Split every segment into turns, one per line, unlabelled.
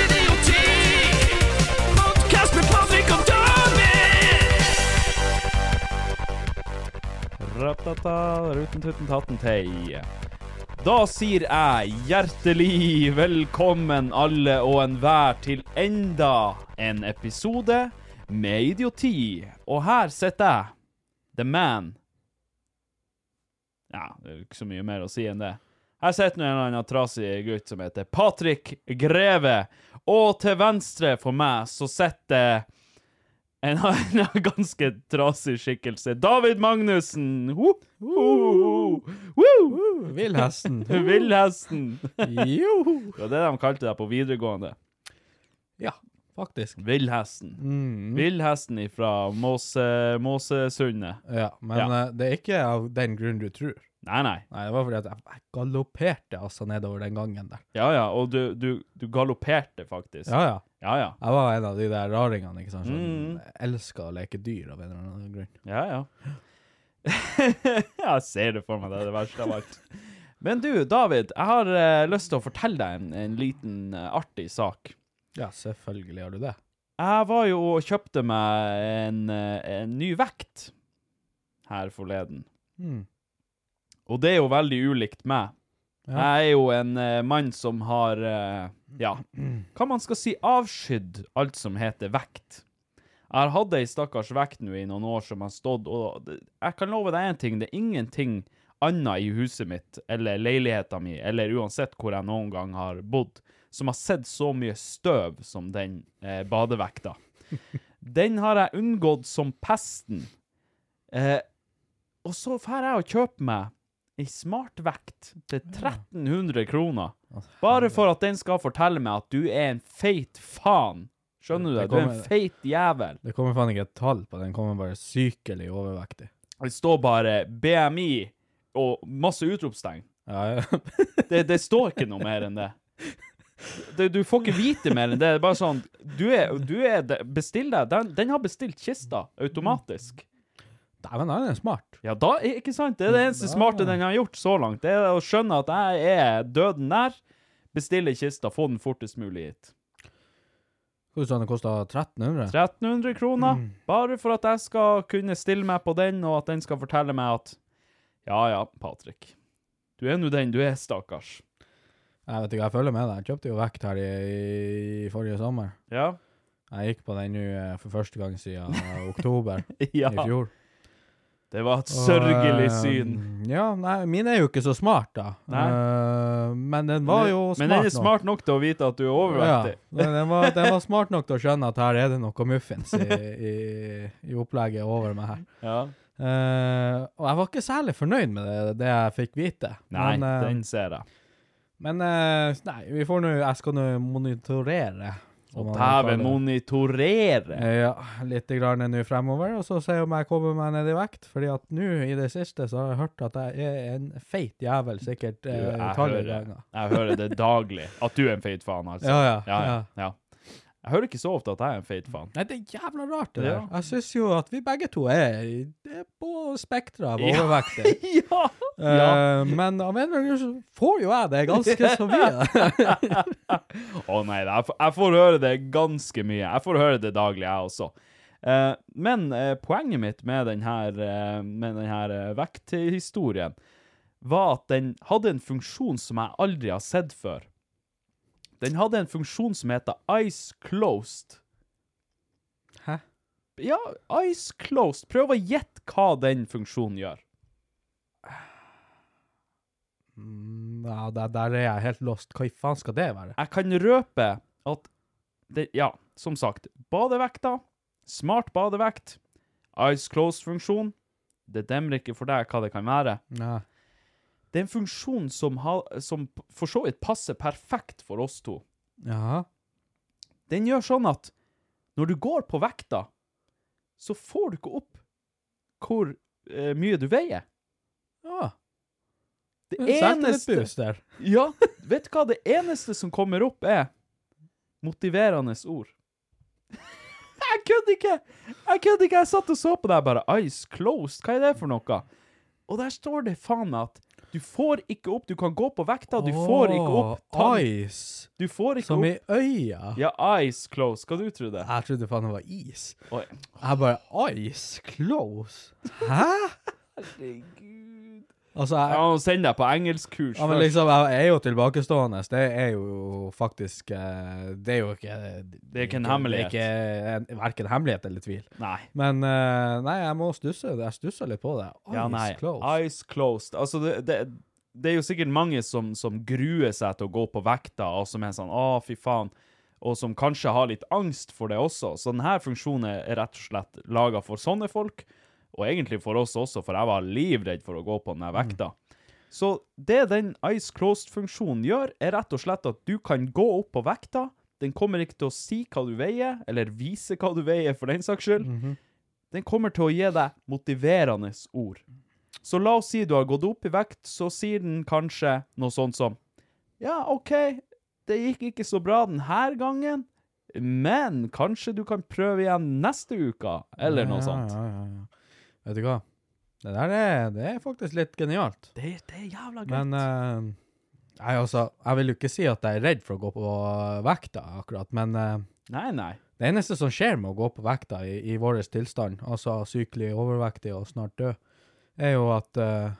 Idioti! Podcast med Patrick og David!
Ratata, ruten tutten tatten tei. Da sier jeg hjertelig velkommen alle og enhver til enda en episode med idioti. Og her sitter jeg, the man. Ja, det er jo ikke så mye mer å si enn det. Her sitter nå en eller annen trasig gutt som heter Patrick Greve. Og til venstre for meg så sitter en annen ganske trasig skikkelse. David Magnussen! Ho, ho, ho, ho.
Villhesten.
Villhesten!
Joho!
Det var det de kalte deg på videregående.
Ja, faktisk.
Villhesten. Villhesten ifra Måse, Måsesundet.
Ja, men
Ja.
eh, det er ikke av den grunnen du tror.
Nei, nei.
Nei, det var fordi at jeg- jeg galopperte altså nedover den gangen der.
Ja, ja. Og du, du, du galopperte, faktisk.
Ja, Mm. ja.
ja, ja.
Jeg var en av de der raringene, ikke sant, som elsker å leke dyr av en eller annen grunn.
Ja, ja. jeg ser det for meg, det er det verste av alt. Men du, David, jeg har eh, lyst til å fortelle deg en, en liten eh, artig sak.
Ja, selvfølgelig har du det.
Jeg var jo og kjøpte meg en, eh, en ny vekt her forleden.
Mm.
Og det er jo veldig ulikt meg.
Ja.
Jeg er jo en eh, mann som har eh, Ja, hva man skal si avskydd alt som heter vekt. Jeg har hatt ei stakkars vekt nå i noen år som har stått, og det- jeg kan love deg én ting, det er ingenting annet i huset mitt eller leiligheta mi, eller uansett hvor jeg noen gang har bodd, som har sett så mye støv som den eh, badevekta. Den har jeg unngått som pesten. Eh, og så drar jeg og kjøper meg ei smartvekt til 1300 kroner. Bare for at den skal fortelle meg at du er en feit faen. Skjønner du det?
Det
Du er en
kommer-
feit jævel.
Det kommer faen ikke et tall på den, kommer bare sykelig overvektig.
Det står bare BMI og masse utropstegn.
Ja, ja.
Det, det står ikke noe mer enn det. Du, du får ikke vite mer enn det. Det er bare sånn Du er, du er Bestill deg. Den, den har bestilt kista automatisk.
Dæven, han er smart.
Ja, da, ikke sant? Det er det eneste smarte den har gjort så langt. Det er å skjønne at jeg er døden nær, bestille kista, få den fortest mulig hit.
Skal du si han koster 1300?
1300 kroner, bare for at jeg skal kunne stille meg på den, og at den skal fortelle meg at Ja ja, Patrick. Du er nå den du er, stakkars.
Jeg vet ikke, jeg følger med deg. Jeg kjøpte jo vekt her i, i forrige sommer.
Ja.
Jeg gikk på den nå eh, for første gang siden eh, oktober
Ja.
i fjor.
Det var et sørgelig
Og, eh,
syn.
Ja, nei, min er jo ikke så smart, da. Eh, men den var jo smart
Men den er smart nok til å vite at du er
nok. Ja,
overvektig.
men den, var, den var smart nok til å skjønne at her er det noe muffins i, i, i opplegget over meg her.
Ja.
Eh, og jeg var ikke særlig fornøyd med det, det jeg fikk vite.
Nei,
men, eh,
den ser jeg.
men eh, nei, vi får nå Jeg skal nå monitorere. som man kaller
Dæven
det.
monitorere!
Eh, Ja, litt grann nå fremover, og så ser jeg om jeg kommer meg ned i vekt. Fordi at nå i det siste så har jeg hørt at jeg er en feit jævel, sikkert
Du,
eh,
jeg,
utallige
hører,
ganger.
jeg hører det daglig. At du er en feit faen, altså.
Ja, ja,
ja,
ja.
ja. Jeg hører ikke så ofte at jeg er en feit faen.
Nei, det er jævla rart, det
Ja.
der. Jeg syns jo at vi begge to er, i- det er på spekteret av
Ja.
overvektige.
Ja!
Eh, men av en eller annen grunn så får jo jeg det ganske så mye.
Å nei, jeg, får- jeg får høre det ganske mye. Jeg får høre det daglig, jeg også. Eh, men eh, poenget mitt med denne, uh, med den her, eh, vekthistorien var at den hadde en funksjon som jeg aldri har sett før. Den hadde en funksjon som heter Eyes Closed.
Hæ?
Ja, Eyes Closed. Prøv å gjette hva den funksjonen gjør.
Mm, Ja, der, der er jeg helt lost. Hva i faen skal det være?
Jeg kan røpe at det, Ja, som sagt. Badevekta. Smart badevekt. Eyes closed-funksjon. Det demrer ikke for deg hva det kan være.
Nei.
Det er en funksjon som, ha, som for så vidt passer perfekt for oss to.
Ja.
Den gjør sånn at når du går på vekta, så får du ikke opp hvor eh, mye du veier.
ja.
Det
Sett litt boost der.
Ja, vet du hva? Det eneste som kommer opp er motiverende ord. Jeg kødder ikke! Jeg kødder ikke! Jeg satt og så på deg bare, eyes closed, hva er det for noe? Og der står det faen meg at du får ikke opp, du kan gå på vekta, du får ikke opp
Åh,
tann.
Ice.
Du får ikke
Som i
opp.
øya?
Ja, eyes closed, skal du tro det?
Jeg trodde faen det var is.
Oi.
Jeg bare Ice close? Hæ?
Herregud.
Altså,
Jeg
jeg,
må sende deg på engelskkurs
ja, men
først.
liksom, jeg er jo tilbakestående. Det er jo faktisk eh, Det er jo ikke
Det er ikke en hemmelighet.
Det er ikke en, verken hemmelighet eller tvil.
Nei.
Men eh, nei, jeg må stusse. Jeg stusser litt på det. Ice
Ja, nei.
close.
Eyes closed. Altså, det, det, det er jo sikkert mange som, som gruer seg til å gå på vekta, og som er sånn 'Å, fy faen', og som kanskje har litt angst for det også. Så denne funksjonen er rett og slett laga for sånne folk, og egentlig for oss også, for jeg var livredd for å gå på denne vekta. Så det den Eyes Closed-funksjonen gjør, er rett og slett at du kan gå opp på vekta. Den kommer ikke til å si hva du veier, eller vise hva du veier, for den saks skyld. Den kommer til å gi deg motiverende ord. Så la oss si du har gått opp i vekt, så sier den kanskje noe sånt som Ja, OK, det gikk ikke så bra denne gangen, men kanskje du kan prøve igjen neste uke, eller noe
Ja,
sånt.
Ja, ja, ja. Vet du hva? Det der er, det er faktisk litt genialt.
Det, det er jævla greit.
Men eh, nei, altså, jeg vil jo ikke si at jeg er redd for å gå på vekta, akkurat. Men eh,
Nei, nei.
det eneste som skjer med å gå på vekta i, i vår tilstand, altså sykelig overvektig og snart død, er jo at eh,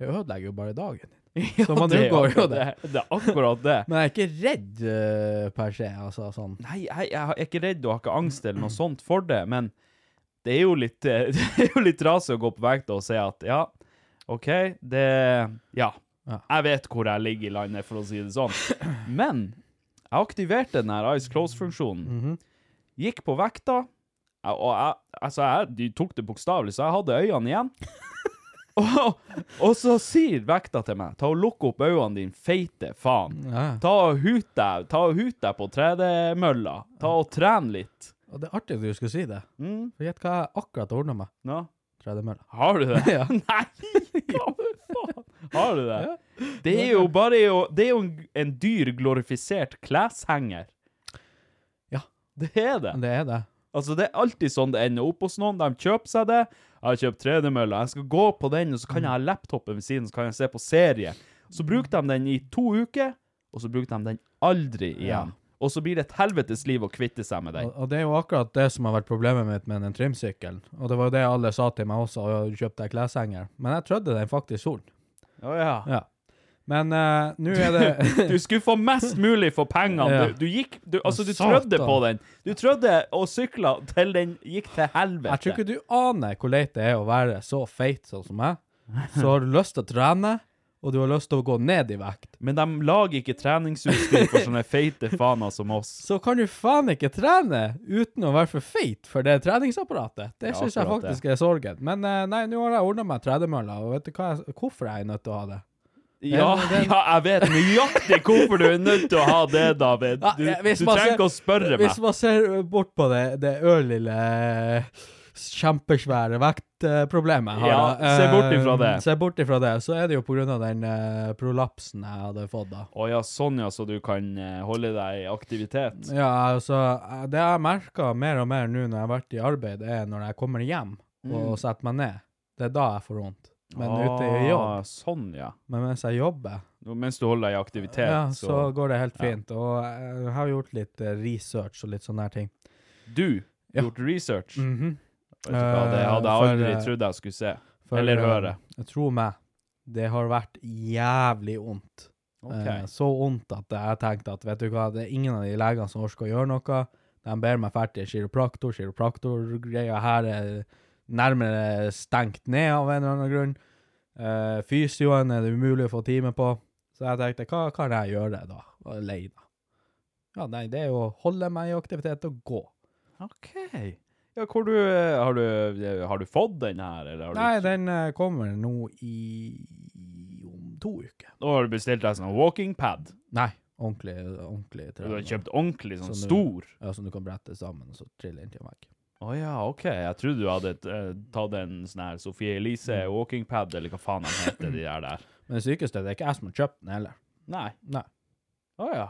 det ødelegger jo bare dagen din. Så man
det er
unngår jo
akkurat
det.
Det er akkurat det.
Men jeg er ikke redd eh, per se, altså sånn.
Nei, jeg, jeg er ikke redd og har ikke angst eller noe sånt for det, men det er jo litt, eh, det er jo litt rasig å gå på vekta og si at ja, OK, det Ja.
Ja.
Jeg vet hvor jeg ligger i landet, for å si det sånn. Men jeg aktiverte den her Eyes Close-funksjonen. Gikk på vekta, jeg- og jeg, altså jeg de tok det bokstavelig, så jeg hadde øynene igjen. og, og så sier vekta til meg, ta og lukk opp øynene dine, feite faen.
Ja.
Ta og hut deg, ta og hut deg på tredemølla. Ta og tren litt.
Og det er artig at du skulle si det.
Mm.
For gjett hva jeg akkurat ordna meg.
Nå.
Tredemølla.
Har du det?
Ja.
Nei, hva faen? Har du det? Det er jo bare jo, Det er jo en, en dyr glorifisert kleshenger.
Ja.
Det er det.
Det er det.
Altså, det er alltid sånn det ender opp hos noen. De kjøper seg det. Jeg har kjøpt tredemølla. Jeg skal gå på den, og så kan jeg ha laptopen ved siden, så kan jeg se på serie. Så bruker de den i to uker, og så bruker de den aldri igjen. Og så blir det et helvetes liv å kvitte seg med den.
Og, og det er jo akkurat det som har vært problemet mitt med den trimsykkelen. Og det var jo det alle sa til meg også, og jeg kjøpte jeg kleshenger. Men jeg trødde den faktisk solen.
Å ja.
Ja. Men eh, nå er det
Du skulle få mest mulig for pengene.
Ja.
Du, du gikk du, Altså, du
Satan.
trødde på den. Du trødde og sykla til den gikk til helvete.
Jeg tror ikke du aner hvor leit det er å være så feit sånn som meg. Så har du lyst til å trene, og du har lyst til å gå ned i vekt.
Men de lager ikke treningsutstyr for sånne feite faner som oss.
Så kan du faen ikke trene uten å være for feit for det treningsapparatet.
Ja,
Det syns jeg
akkurat
faktisk er sorgen. Men eh, nei, nå har jeg ordna meg tredemølla, og vet du hva jeg, hvorfor jeg er nødt til å ha det?
Ja,
den-
ja, jeg vet nøyaktig hvorfor du er nødt til å ha det, David.
Ja,
Du,
eh, hvis
du
man
trenger
ser-
ikke å spørre
Hvis
meg.
man ser bort på det, det ørlille kjempesvære vektproblemet jeg har
Ja,
da,
se bort
eh,
ifra det.
Se bort ifra det. Så er det jo på grunn av den eh, prolapsen jeg hadde fått, da.
Å ja, sånn ja, så du kan eh, holde deg i aktivitet.
Ja, altså, eh, det jeg merker mer og mer nå når jeg har vært i arbeid, er når jeg kommer hjem og setter meg ned. Det er da jeg får vondt. Men ute i
Mm. Ah,
jobb,
Sånn, ja.
men mens jeg jobber,
Nå, Mens du holder deg i aktivitet,
ja,
så,
så går det helt fint. Og jeg har gjort litt eh, research og litt sånne her ting.
Du
Ja.
gjort research.
Mhm.
Vet du hva, det hadde
Eh, for,
jeg aldri
eh,
trodd jeg skulle se.
For,
Eller
eh,
høre.
Jeg tror meg, det har vært jævlig ondt.
Ok.
Eh, så ondt at jeg tenkte at vet du hva, det er ingen av de legene som orker å gjøre noe. De ber meg ferdig kiropraktor, kiropraktorgreia her er nærmere stengt ned av en eller annen grunn. Eh, fysioen er det umulig å få time på. Så jeg tenkte, hva kan jeg gjøre da? Og lei da. Ja, nei, det er jo å holde meg i aktivitet og gå.
OK. Ja, hvor du eh, Har du, har du fått den her, eller har
Nei,
du
den eh, kommer nå i om to uker.
Nå har du bestilt deg sånn walking pad.
Nei, ordentlig, ordentlig
Du
trening.
har kjøpt ordentlig, sånn
Sånn,
stor.
Ja, som du kan brette sammen og så trille inn til en vegg.
Å ja, OK. Jeg trodde du hadde eh, tatt en sånn her Sophie Elise
Mm.
walking pad, eller hva faen de heter, de der der.
Men det sykeste er at det er ikke jeg som har kjøpt den heller.
Nei.
Nei.
Å ja.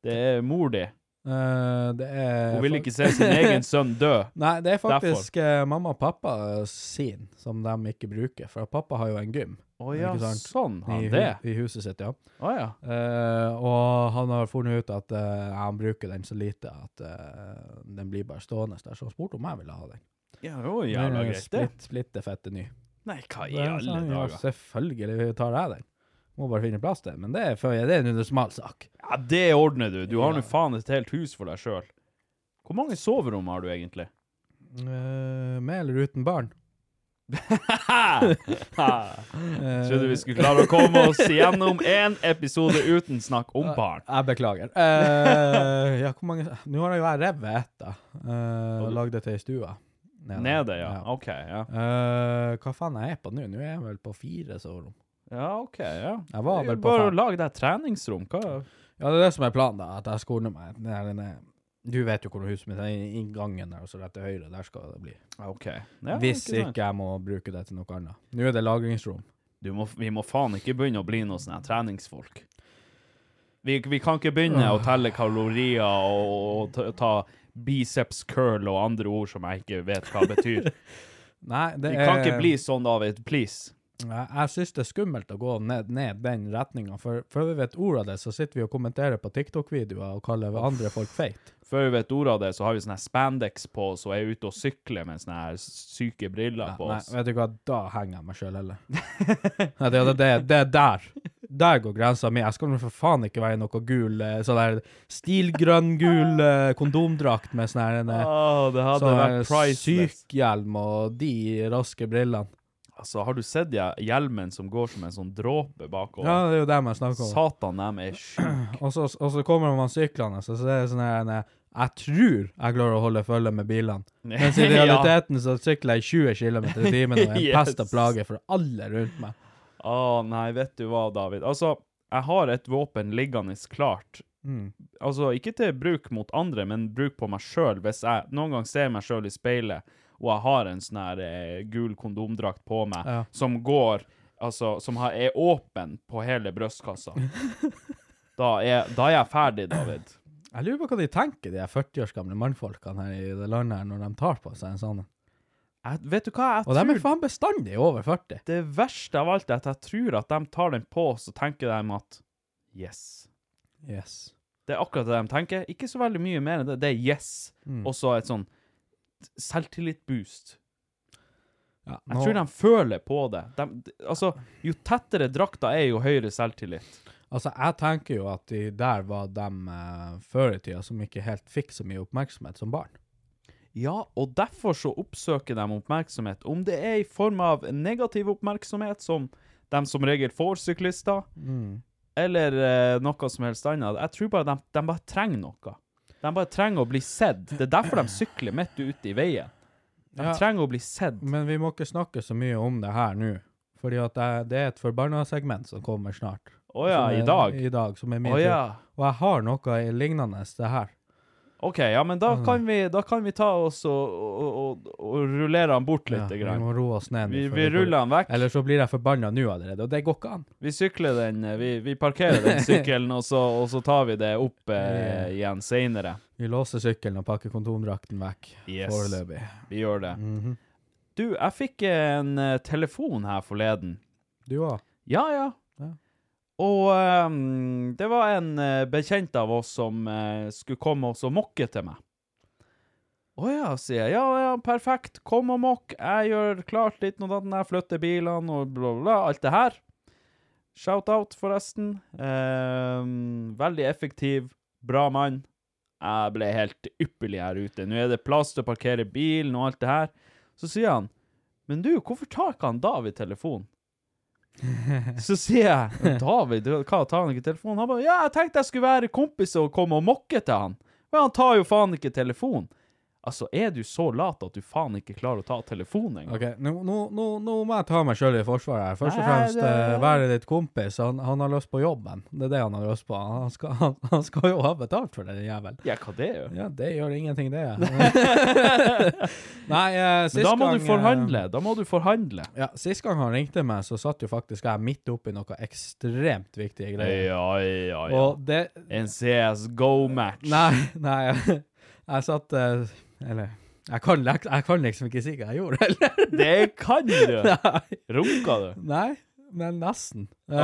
Det er mor di.
Eh, det er
Hun vil ikke se sin egen sønn dø.
Nei, det er faktisk eh, mamma og pappa sin som de ikke bruker, for pappa har jo en gym
Å ja,
Ikke sant?
sånn.
i,
Han
hu-
det.
i huset sitt, ja.
Å ja.
Eh, og han har funnet ut at eh, han bruker den så lite at eh, den blir bare stående der, så han spurte om jeg ville ha den.
Ja, jo, jævla
Den er
greit, det.
Splitt, splitte fette ny.
Nei, hva i
Ja,
alle
sånn,
dager?
Ja, selvfølgelig tar jeg den. Må bare finne plass til den. Men det er, for- det er en undersmal sak.
Ja, det ordner du. Du har nå faen et helt hus for deg sjøl. Hvor mange soverom har du egentlig?
Eh, med eller uten barn? Eh,
Trodde vi skulle klare å komme oss gjennom én episode uten snakk om barn.
Jeg beklager. Eh, ja, hvor mange Nå har jeg jo jeg revet ett, da. Eh, og lagd det til ei stue. Nede.
Nede, ja. OK, ja.
Eh, hva faen er jeg på nå? Nå er jeg vel på fire soverom.
Ja, OK, ja.
Jeg var vel på
Bare
fem.
lag deg treningsrom. Hva
Ja, det er det som er planen, da. At jeg skal ordne meg den her, den her- Du vet jo hvor huset mitt er. i- Inngangen der, og så rett til høyre. Der skal det bli.
OK. Ja,
Hvis
sant.
ikke jeg må bruke det til noe annet. Nå er det lagringsrom.
du må, Vi må faen ikke begynne å bli noen sånne her treningsfolk. Vi, vi kan ikke begynne å telle kalorier og, og ta- ta biceps curl og andre ord som jeg ikke vet hva betyr.
Nei, det
Vi
er
kan ikke bli sånn, David. Please.
Jeg, jeg syns det er skummelt å gå ned, ned den retninga, for før vi vet ordet av det, så sitter vi og kommenterer på TikTok-videoer og kaller andre folk feit.
Før vi vet ordet av det, så har vi sånne her spandex på oss og er ute og sykler med sånne her syke briller på
Nei,
oss.
vet du hva, da henger jeg meg sjøl, heller. Nei, det, det, det, det er der. Der går grensa mi. Jeg skal nå for faen ikke være i noe gul, eh, sånn der stilgrønn-gul eh, kondomdrakt med sånn her en, eh,
Åh, Ah, det hadde
sånn her
vært priceless.
sykhjelm og de raske brillene.
Altså, har du sett de hjelmen som går som en sånn dråpe bakover?
Ja, det er jo dem jeg snakker om.
Satan, dem er sjuke.
Og så, og så kommer man syklende, så er det sånn her en, Jeg tror jeg klarer å holde følge med bilene. Mens i realiteten så sykler jeg 20 km i timen og er en
Yes.
pest og plage for alle rundt meg.
Å nei, vet du hva, David? Altså, jeg har et våpen liggende klart.
Mm.
Altså, ikke til bruk mot andre, men bruk på meg sjøl. Hvis jeg noen gang ser meg sjøl i speilet, og jeg har en sånn her eh, gul kondomdrakt på meg,
Ja.
som går Altså, som har, er åpen på hele brystkassa. da, er, da er jeg ferdig, David.
Jeg lurer på hva de tenker, de her 40 års gamle mannfolkene her i det landet, her, når de tar på seg en sånn.
Jeg, vet du hva, jeg
Og de er
tror
faen bestandig over 40.
det verste av alt er at jeg tror at de tar den på, så tenker de at Yes.
Yes.
Det er akkurat det de tenker. Ikke så veldig mye mer enn Mm. det. Det er yes, og så et sånn selvtillit-boost.
Ja,
Jeg tror de føler på det. De, altså, jo tettere drakta er, jo høyere selvtillit.
Altså, jeg tenker jo at de der var dem eh, før i tida som ikke helt fikk så mye oppmerksomhet som barn.
Ja, og derfor så oppsøker de oppmerksomhet. Om det er i form av negativ oppmerksomhet, som de som regel får syklister, Mm. eller eh, noe som helst annet. Jeg tror bare de, de bare trenger noe. De bare trenger å bli sett. Det er derfor de sykler midt ute i veien. De
Ja.
trenger å bli sett.
Men vi må ikke snakke så mye om det her nå, fordi at jeg, det er et forbanna segment som kommer snart.
Å ja,
Som er-
i dag.
I dag, som er min
Å
tur.
ja.
Og jeg har noe lignende det her.
OK, ja, men
Mm.
da kan vi, da kan vi ta oss og, og, og, og rullere han bort litt.
Ja, vi
grann.
må roe oss ned. nå,
Vi,
for
vi
får-
ruller han vekk.
Eller så blir jeg forbanna nå allerede, og det går ikke an.
Vi sykler den, eh, vi, vi parkerer den sykkelen, og så, og så tar vi det opp eh, igjen seinere.
Vi låser sykkelen og pakker kondomdrakten vekk
Yes. Mhm.
foreløpig.
Vi gjør det. Du, jeg fikk en eh, telefon her forleden.
Du òg?
Ja, ja.
Ja.
Og ehm, det var en eh, bekjent av oss som eh, skulle komme oss og mokke til meg. Å ja, sier jeg. Ja, ja, perfekt. Kom og mokk. Jeg gjør klart litt noe annet. Jeg flytter bilene og bla, bla, bla. Alt det her. Shout-out, forresten. Ehm, veldig effektiv. Bra mann. Jeg ble helt ypperlig her ute. Nå er det plass til å parkere bilen og alt det her. Så sier han, men du, hvorfor tar ikke han David telefonen? Så sier jeg «Men David, du, hva tar han ikke telefonen? Han bare ja, jeg tenkte jeg skulle være kompis og komme og mokke til han. Men han tar jo faen ikke telefonen. Altså, er du så lat at du faen ikke klarer å ta telefonen engang?
OK, nå, nå, nå, nå må jeg ta meg sjøl i forsvaret her. Først og
Nei,
fremst,
det-
eh, være ditt kompis. Han, han har lyst på jobben. Det er det han har lyst på. Han skal, han, han skal jo ha betalt for det, den jævel.
Ja, hva det er jo?
Ja, det gjør ingenting, det. Nei, eh, sist
Men da må
gang,
du forhandle. Da må du forhandle.
eh, Ja, Sist gang han ringte meg, så satt jo faktisk jeg midt oppi noe ekstremt viktige
Ja,
greier.
ja, ja.
Og det
En CSGO-match.
Nei, nei. Jeg, jeg satt eh, Eller jeg kan, lek- jeg kan liksom ikke si hva jeg gjorde, eller?
Det kan du!
Nei.
Runka du?
Nei, men nesten. Eh,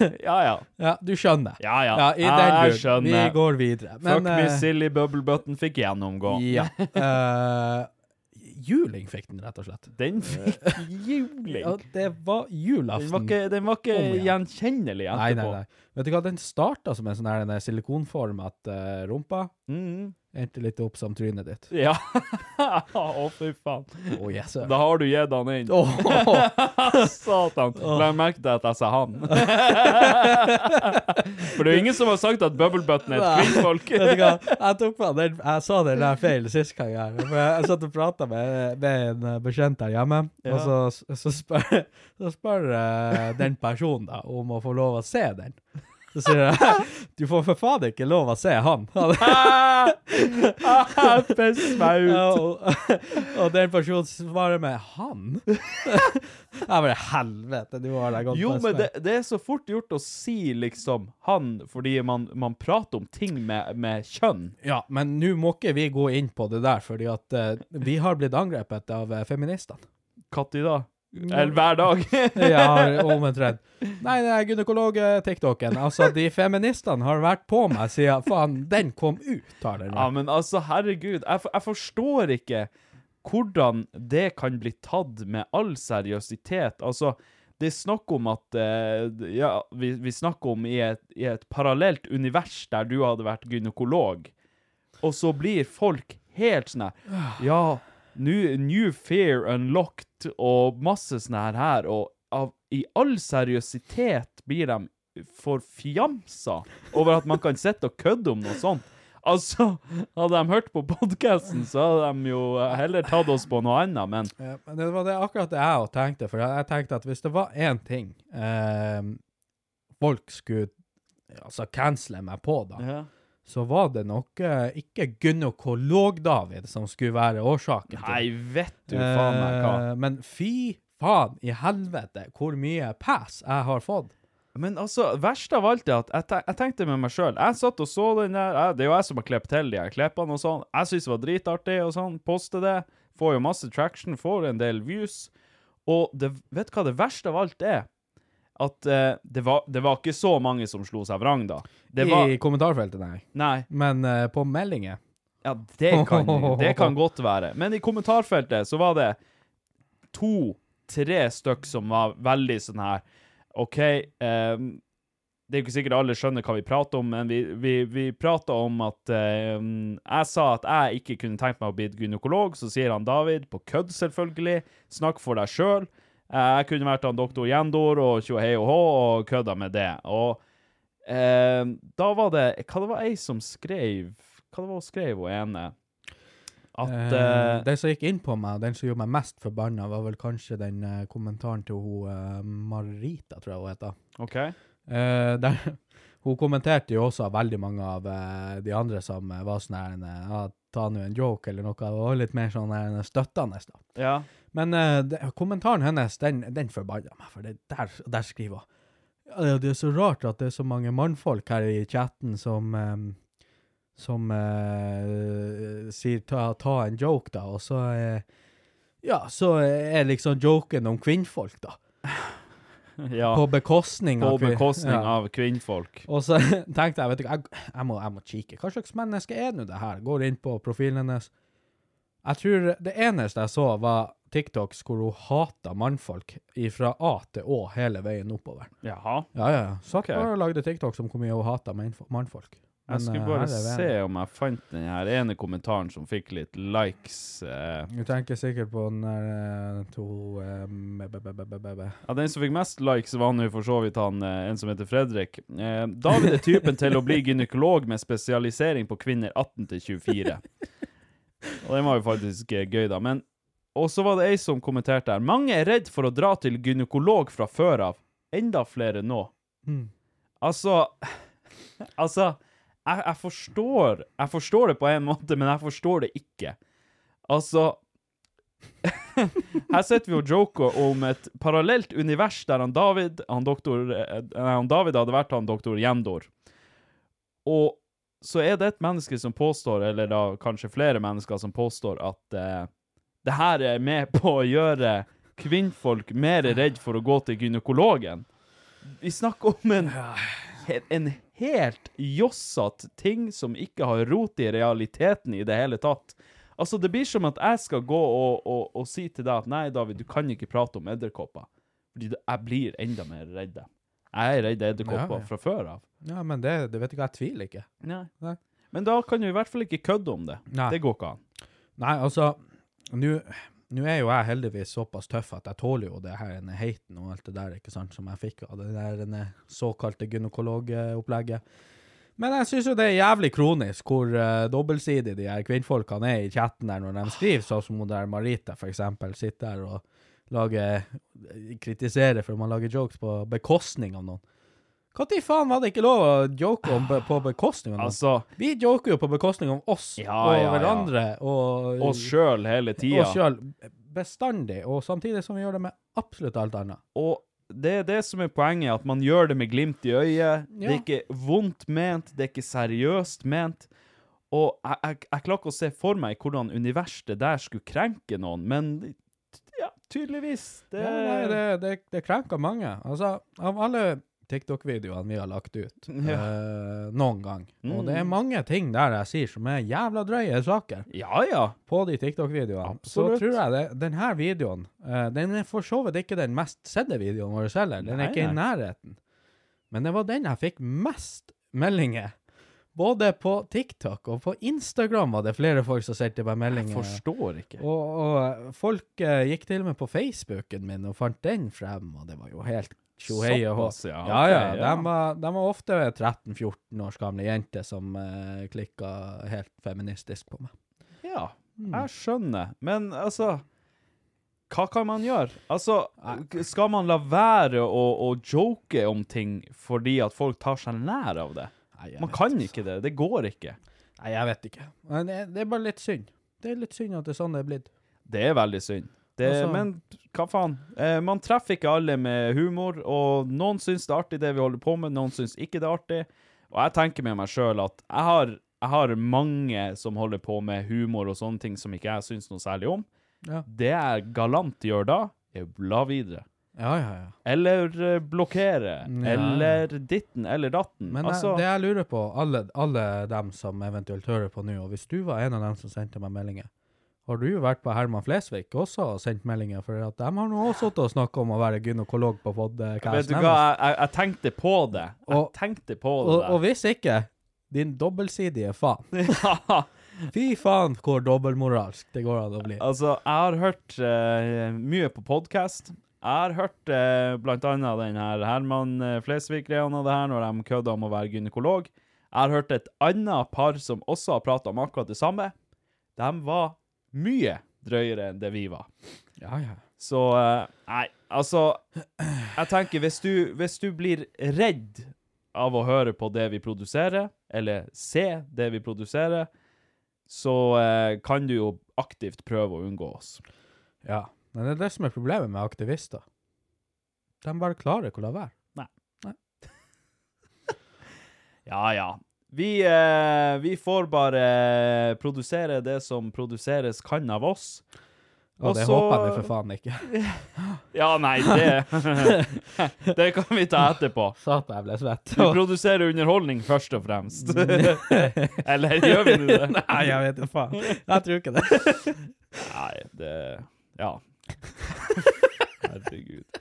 OK. Ja, ja.
ja, du skjønner.
Ja, ja.
i den
Jeg
duren.
skjønner.
Vi går videre.
Fuck me
eh,
silly bubble button fikk gjennomgå.
Ja. eh, juling fikk den, rett og slett.
Den fikk juling.
Og det var julaften.
Den var ikke, den var ikke
Om igjen.
gjenkjennelig
Nei,
etterpå.
nei, nei. Vet du hva, den starta som en sånn her en silikonformet eh, rumpa.
Mm.
Endte litt opp som trynet ditt.
Ja. Å, fy faen.
Å, yes, sir.
Da har du gitt han inn.
Åh.
Satan. La jeg merke til at jeg sa han. For det er jo ingen som har sagt at bubble button er et kvinnfolk.
Vet du hva, jeg tok på den, jeg sa den der feil sist gang her. For jeg, jeg satt og prata med, med en eh, bekjent her hjemme,
Ja.
og så, så spør, så spør eh, den personen da om å få lov å se den. Så sier jeg du får for faen ikke lov å se han.
Piss meg ut.
Ja, og, og den personen svarer med 'han'? Jeg bare helvete, du har deg godt
Jo,
på
men
smell.
det, det er så fort gjort å si liksom han, fordi man, man prater om ting med, med kjønn.
Ja, men nå må ikke vi gå inn på det der, fordi at eh, vi har blitt angrepet av eh, feministene.
Når da? Eller hver dag.
Ja, omtrent. Nei, det er gynekolog-tiktoken. Altså, de feministene har vært på meg siden faen, den kom ut, har den.
Ja,
vært.
men altså, herregud, jeg, for- jeg forstår ikke hvordan det kan bli tatt med all seriøsitet. Altså, det er snakk om at eh, Ja, vi, vi snakker om i et, i et parallelt univers der du hadde vært gynekolog, og så blir folk helt sånn her Ja, nu, new fear unlocked og masse sånn her her, og av, i all seriøsitet blir de forfjamsa over at man kan sitte og kødde om noe sånt. Altså, hadde de hørt på podkasten, så hadde de jo eh, heller tatt oss på noe annet, men
Ja, men det var det, akkurat det jeg også tenkte, for jeg tenkte at hvis det var én ting eh, folk skulle altså cancele meg på, da, så var det nok eh, ikke gynekolog-David som skulle være årsaken til
Nei, vet du faen meg hva.
Eh, Men fy faen i helvete hvor mye pass jeg har fått.
Men altså, verst av alt er at jeg, te- jeg tenkte med meg sjøl Jeg satt og så den der. Jeg, det er jo jeg som har klippet til de her klippene og sånn. Jeg syns det var dritartig og sånn. Poste det. Får jo masse traction, får en del views. Og det, vet du hva det verste av alt er? At eh, det, var, det var ikke så mange som slo seg vrang, da. Det var
I kommentarfeltet, nei.
Nei.
Men eh, på meldinger
Ja, det kan, det kan godt være. Men i kommentarfeltet så var det to tre stykk som var veldig sånn her OK, ehm, det er jo ikke sikkert alle skjønner hva vi prater om, men vi, vi, vi prater om at ehm, Jeg sa at jeg ikke kunne tenkt meg å bli gynekolog, så sier han David, på kødd selvfølgelig, snakk for deg sjøl. jeg kunne vært han doktor Jendor og tjo hei og hå og kødda med det. Og ehm, da var det Hva det var ei som skrev Hva det var hun skrev, hun ene? At eh,
Eh, den som gikk inn på meg, den som gjorde meg mest forbanna, var vel kanskje den eh, kommentaren til hun eh, Marita, tror jeg hun heter.
OK.
Eh, der, hun kommenterte jo også veldig mange av eh, de andre som eh, var sånn her en, eh, ja, Ta nå en joke eller noe, og litt mer sånn her en støttende. da.
Ja.
Men eh, det, kommentaren hennes, den, den forbanna meg, for det der, der skriver hun «Ja, Det er så rart at det er så mange mannfolk her i chatten som eh, som eh, sier ta, ta en joke, da, og så eh, Ja, så er liksom joken om kvinnfolk, da.
ja.
På bekostning
På
av kvin-
bekostning
Ja.
av kvinnfolk.
Og så tenkte jeg, vet du, hva, jeg, jeg, må, jeg må kikke. Hva slags menneske er nå det her? Går inn på profilen hennes. Jeg tror det eneste jeg så var TikToks hvor hun hatet mannfolk fra A til Å hele veien oppover.
Jaha.
Ja, ja, ja. Satt
Ok.
bare og lagde TikToks om hvor mye hun hatet mannf- mannfolk. Men,
Jeg skulle
eh,
bare
her er
se
veien.
om jeg fant den her ene kommentaren som fikk litt likes. eh.
Du tenker sikkert på den der eh, to eh, be- be- be- be- be- be.
Ja, Den som fikk mest likes, var nå for så vidt han eh, en som heter Fredrik. Eh, David er typen til å bli gynekolog med spesialisering på kvinner 18 til 24. Og den var jo faktisk eh, gøy, da. Men Og så var det ei som kommenterte her. Mange er redd for å dra til gynekolog fra før av. Enda flere nå.
Mm.
Altså Altså, jeg, jeg forstår Jeg forstår det på en måte, men jeg forstår det ikke. Altså Her sitter vi og joker om et parallelt univers der han David han doktor, eh, Nei, han David hadde vært han doktor Jendor. Og så er det et menneske som påstår, eller da kanskje flere mennesker som påstår, at eh, det her er med på å gjøre kvinnfolk mer redd for å gå til gynekologen. Vi snakker om en he- en helt jossatt ting som ikke har rot i realiteten i det hele tatt. Altså, det blir som at jeg skal gå og, og, og si til deg at nei, David, du kan ikke prate om edderkopper. Fordi det- jeg blir enda mer redd dem. Jeg er redd edderkopper
Ja, ja.
fra før av.
Ja, men det, det vet du hva, jeg tviler ikke.
Nei.
Nei.
Men da kan du i hvert fall ikke kødde om det.
Nei.
Det går ikke an.
Nei, altså, nå nå er jo jeg heldigvis såpass tøff at jeg tåler jo det her denne heiten og alt det der, ikke sant, som jeg fikk av det der denne såkalte gynekologopplegget. Men jeg synes jo det er jævlig kronisk hvor eh, dobbeltsidig de her kvinnfolkene er i chatten der når de skriver, sånn som hun der Marita for eksempel sitter der og lager, eh, kritiserer for man lager jokes på bekostning av noen. Hva til faen var det ikke lov å joke om be- på bekostning av noen?
Altså,
Vi joker jo på bekostning av oss
Ja,
og
ja, ja.
hverandre og
oss sjøl hele tida.
oss sjøl bestandig, og samtidig som vi gjør det med absolutt alt annet.
Og det er det som er poenget, at man gjør det med glimt i øyet. Det er ikke vondt ment, det er ikke seriøst ment. Og jeg, jeg, jeg klarer ikke å se for meg hvordan universet der skulle krenke noen, men ja, tydeligvis. Det,
Ja, nei, det, det, det krenker mange. Altså, av alle TikTok-videoene vi har lagt ut eh, noen gang, og det er mange ting der jeg sier som er jævla drøye saker
Ja, ja.
på de TikTok-videoene, så
Absolutt.
tror jeg det, denne videoen eh, Den er for så vidt ikke den mest sedde videoen vår heller. Den
Nei,
er ikke i nærheten. Men det var den jeg fikk mest meldinger. Både på TikTok og på Instagram var det flere folk som sendte meg
Jeg
meldinger.
forstår ikke.
Og, og folk eh, gikk til og med på Facebooken min og fant den frem, og det var jo helt tjohei og hå.
Såpass, ja,
ja,
ok,
ja.
ja.
De, var, de var ofte 13-14 års gamle jenter som uh, klikka helt feministisk på meg.
Ja,
Mm.
jeg skjønner. Men altså hva kan man gjøre? Altså, skal man la være å, å joke om ting fordi at folk tar seg nær av det?
Nei, jeg
Man
vet
kan ikke det. Det går ikke.
Nei, jeg vet ikke. Men det, det er bare litt synd. Det er litt synd at det er sånn det er blitt.
Det er veldig synd. Det,
Altså-
men hva faen? Eh, man treffer ikke alle med humor, og noen syns det er artig det vi holder på med, noen syns ikke det er artig. Og jeg tenker med meg sjøl at jeg har, jeg har mange som holder på med humor og sånne ting som ikke jeg syns noe særlig om.
Ja.
Det jeg galant gjør da, er å bla videre.
Ja, ja, ja.
Eller eh, blokkere.
Ja.
Eller ditten eller datten.
Men jeg-
altså,
det jeg lurer på, alle, alle dem som eventuelt hører på nå, og hvis du var en av dem som sendte meg meldinger, Har du vært på Herman Flesvig også og sendt meldinger? For at de har nå også sittet og snakket om å være gynekolog på
Vet
podcasten.
du hva, jeg,
deres.
jeg, jeg tenkte på det. Jeg
altså. Og-
tenkte på det.
Og, og hvis ikke, din dobbeltsidige faen.
ja,
Fy faen hvor dobbeltmoralsk det går an å bli.
altså, jeg har hørt eh, mye på podkast. Jeg har hørt eh, blant annet den her Herman eh, Flesvig-greia og det her, når de kødda om å være gynekolog. Jeg har hørt et annet par som også har prata om akkurat det samme. De var mye drøyere enn det vi var.
Ja, ja.
Så eh, Nei, altså Jeg tenker, hvis du, hvis du blir redd av å høre på det vi produserer, eller se det vi produserer, så eh, kan du jo aktivt prøve å unngå oss.
Ja, men det er det som er problemet med aktivister. De bare klarer ikke å la være.
Ja, ja. Vi, eh, vi får bare produsere det som produseres kan av oss.
Og,
Og
det
så-
håper jeg nå for faen ikke.
Ja, nei, det Det kan vi ta etterpå.
Satan, jeg ble svett.
Vi produserer underholdning først og fremst. Eller gjør vi nå det?
Nei, jeg vet ikke faen. Jeg tror ikke det.
Nei, det Ja. Herregud.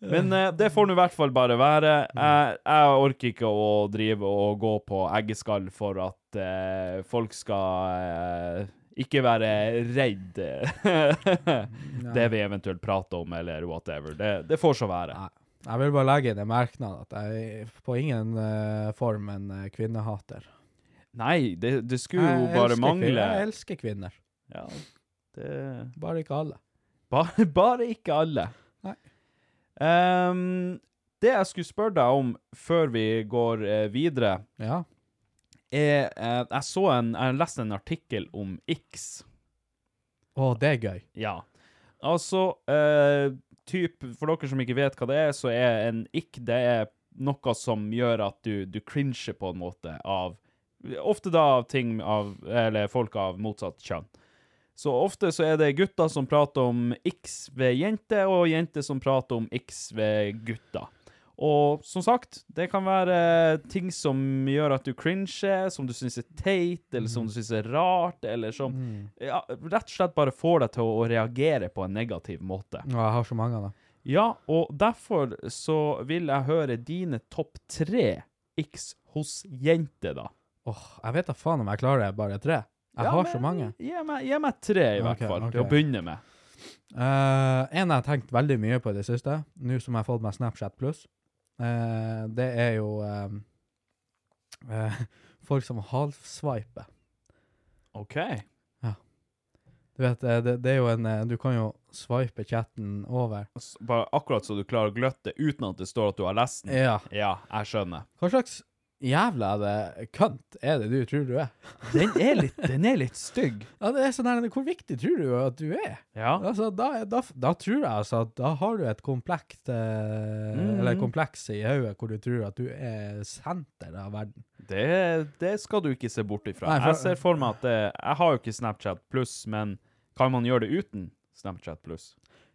Men eh, det får nå i hvert fall bare være. Jeg, jeg orker ikke å drive og gå på eggeskall for at eh, folk skal eh, ikke være redd det vi eventuelt prater om, eller whatever. Det, det får så være.
Jeg vil bare legge inn en merknad at jeg på ingen eh, form en eh, kvinnehater.
Nei, det, det skulle
Jeg
jo bare
elsker kvin-
mangle.
Jeg elsker kvinner,
Ja, det
bare ikke alle.
Bare, bare ikke alle.
Nei.
Ehm, det jeg skulle spørre deg om før vi går eh, videre,
Ja.
er eh, Jeg så en Jeg leste en artikkel om X.
Å, det er gøy.
Ja. Altså, eh, typ, for dere som ikke vet hva det er, så er en ikk det er noe som gjør at du, du cringer på en måte av Ofte da av ting av Eller folk av motsatt kjønn. Så ofte så er det gutter som prater om x ved jenter, og jenter som prater om x ved gutter. Og som sagt, det kan være ting som gjør at du cringer, som du syns er teit, eller
Mm.
som du syns er rart, eller som ja, rett og slett bare får deg til å reagere på en negativ måte.
Å, jeg har så mange av dem.
Ja, og derfor så vil jeg høre dine topp tre x hos jenter, da.
Åh, jeg vet da faen om jeg klarer bare tre. Jeg
Ja,
har
men
så mange.
Gi meg, gi meg tre, i hvert
Ok,
fall,
ok.
til å begynne med.
Eh, en jeg har tenkt veldig mye på i det siste, nå som jeg har fått meg Snapchat pluss, eh, det er jo eh, eh, folk som halvswiper.
OK.
Du vet, eh, det, det er jo en eh, Du kan jo swipe chatten over.
S- Bare akkurat så du klarer å gløtte uten at det står at du har lest den.
Ja.
Ja, jeg skjønner.
Hva slags jævla er det kønt er det du tror du er?
Den er litt, den er litt stygg.
Ja, det er sånn her, Hvor viktig tror du at du er?
Ja.
Altså, da, da, da tror jeg altså at da har du et komplekt eh,
Mhm.
Eller kompleks i hodet hvor du tror at du er senter av verden.
Det, det skal du ikke se bort ifra.
Nei, for-
Jeg ser for meg at det, jeg har jo ikke Snapchat pluss, men kan man gjøre det uten Snapchat pluss?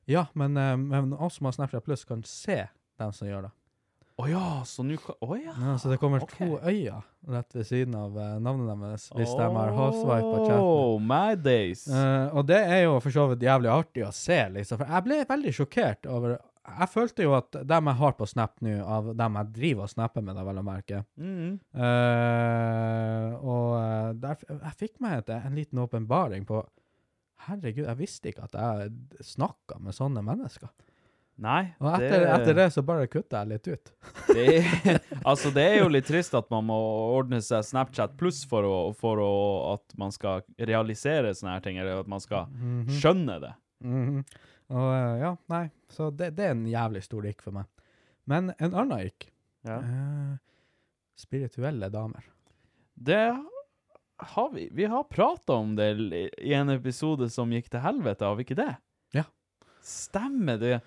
Ja, men, eh, men oss som har Snapchat Plus, kan se dem som gjør det.
Å ja, så nå kan Å ja.
Ja, så det kommer
Ah, ok.
to øyer rett ved siden av eh, navnet deres hvis de har halvsveipa chatten.
Oh, my days.
Eh, og det er jo for så vidt jævlig artig å se, liksom. For jeg ble veldig sjokkert over Jeg følte jo at dem jeg har på Snap nå, av dem jeg driver og snapper med, da, vel å merke
Mm.
eh, Og eh, der, f- jeg fikk meg et, en liten åpenbaring på Herregud, jeg visste ikke at jeg snakka med sånne mennesker.
Nei,
Og etter det, etter det så bare kutta jeg litt ut.
det Altså, det er jo litt trist at man må ordne seg Snapchat pluss for, å, for å, at man skal realisere sånne her ting, eller at man skal skjønne det.
Mhm. Og eh, ja, nei, så det, det er en jævlig stor ikk for meg. Men en annen ikk
Ja.
eh, Spirituelle damer.
Det har vi Vi har prata om det l- i en episode som gikk til helvete, har vi ikke det?
Ja.
Stemmer det.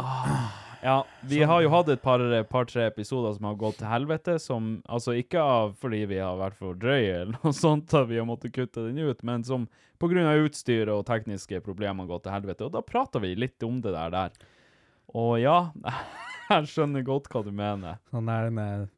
Ah, ja, vi har jo hatt et par-tre episoder som har gått til helvete, som altså ikke av fordi vi har vært for drøye eller noe sånt, at vi har måttet kutte den ut, men som pga. utstyret og tekniske problemer har gått til helvete. Og da prata vi litt om det der. der. Og ja, jeg skjønner godt hva du mener.
Sånn der med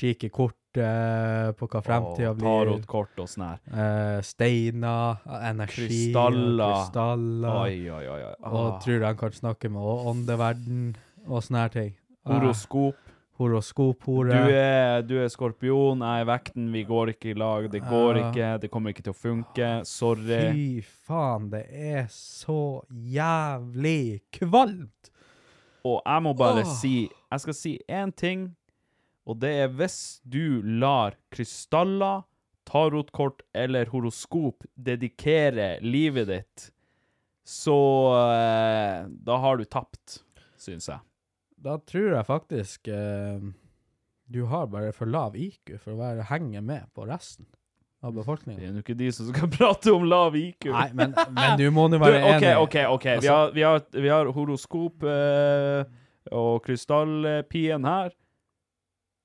cheeky kort eh, på hva fremtida
Og
blir.
Tarotkort og sånn her.
Eh, steiner, eh, energi, eh,
Krystaller.
krystaller
Oi, oi, oi. oi.
Og
Ah.
tror de kan snakke med å- åndeverden og sånne her ting.
Horoskop.
Eh, Horoskophore.
Du er, du er skorpion, jeg er vekten, vi går ikke i lag. Det går
Ah.
ikke, det kommer ikke til å funke. Sorry.
Fy faen, det er så jævlig kvalmt!
Og jeg må bare
Åh.
si Jeg skal si én ting, og det er hvis du lar krystaller, tarotkort eller horoskop dedikere livet ditt, så eh, Da har du tapt, syns jeg.
Da tror jeg faktisk eh, du har bare for lav IQ for å være, henge med på resten av
Det
befolkningen.
er jo ikke de som skal prate om lav IQ.
Nei, men, men du må nå
Du,
være
OK,
enig.
OK. ok. Vi,
Altså-
har, vi, har, vi har horoskop eh, og krystallpien her.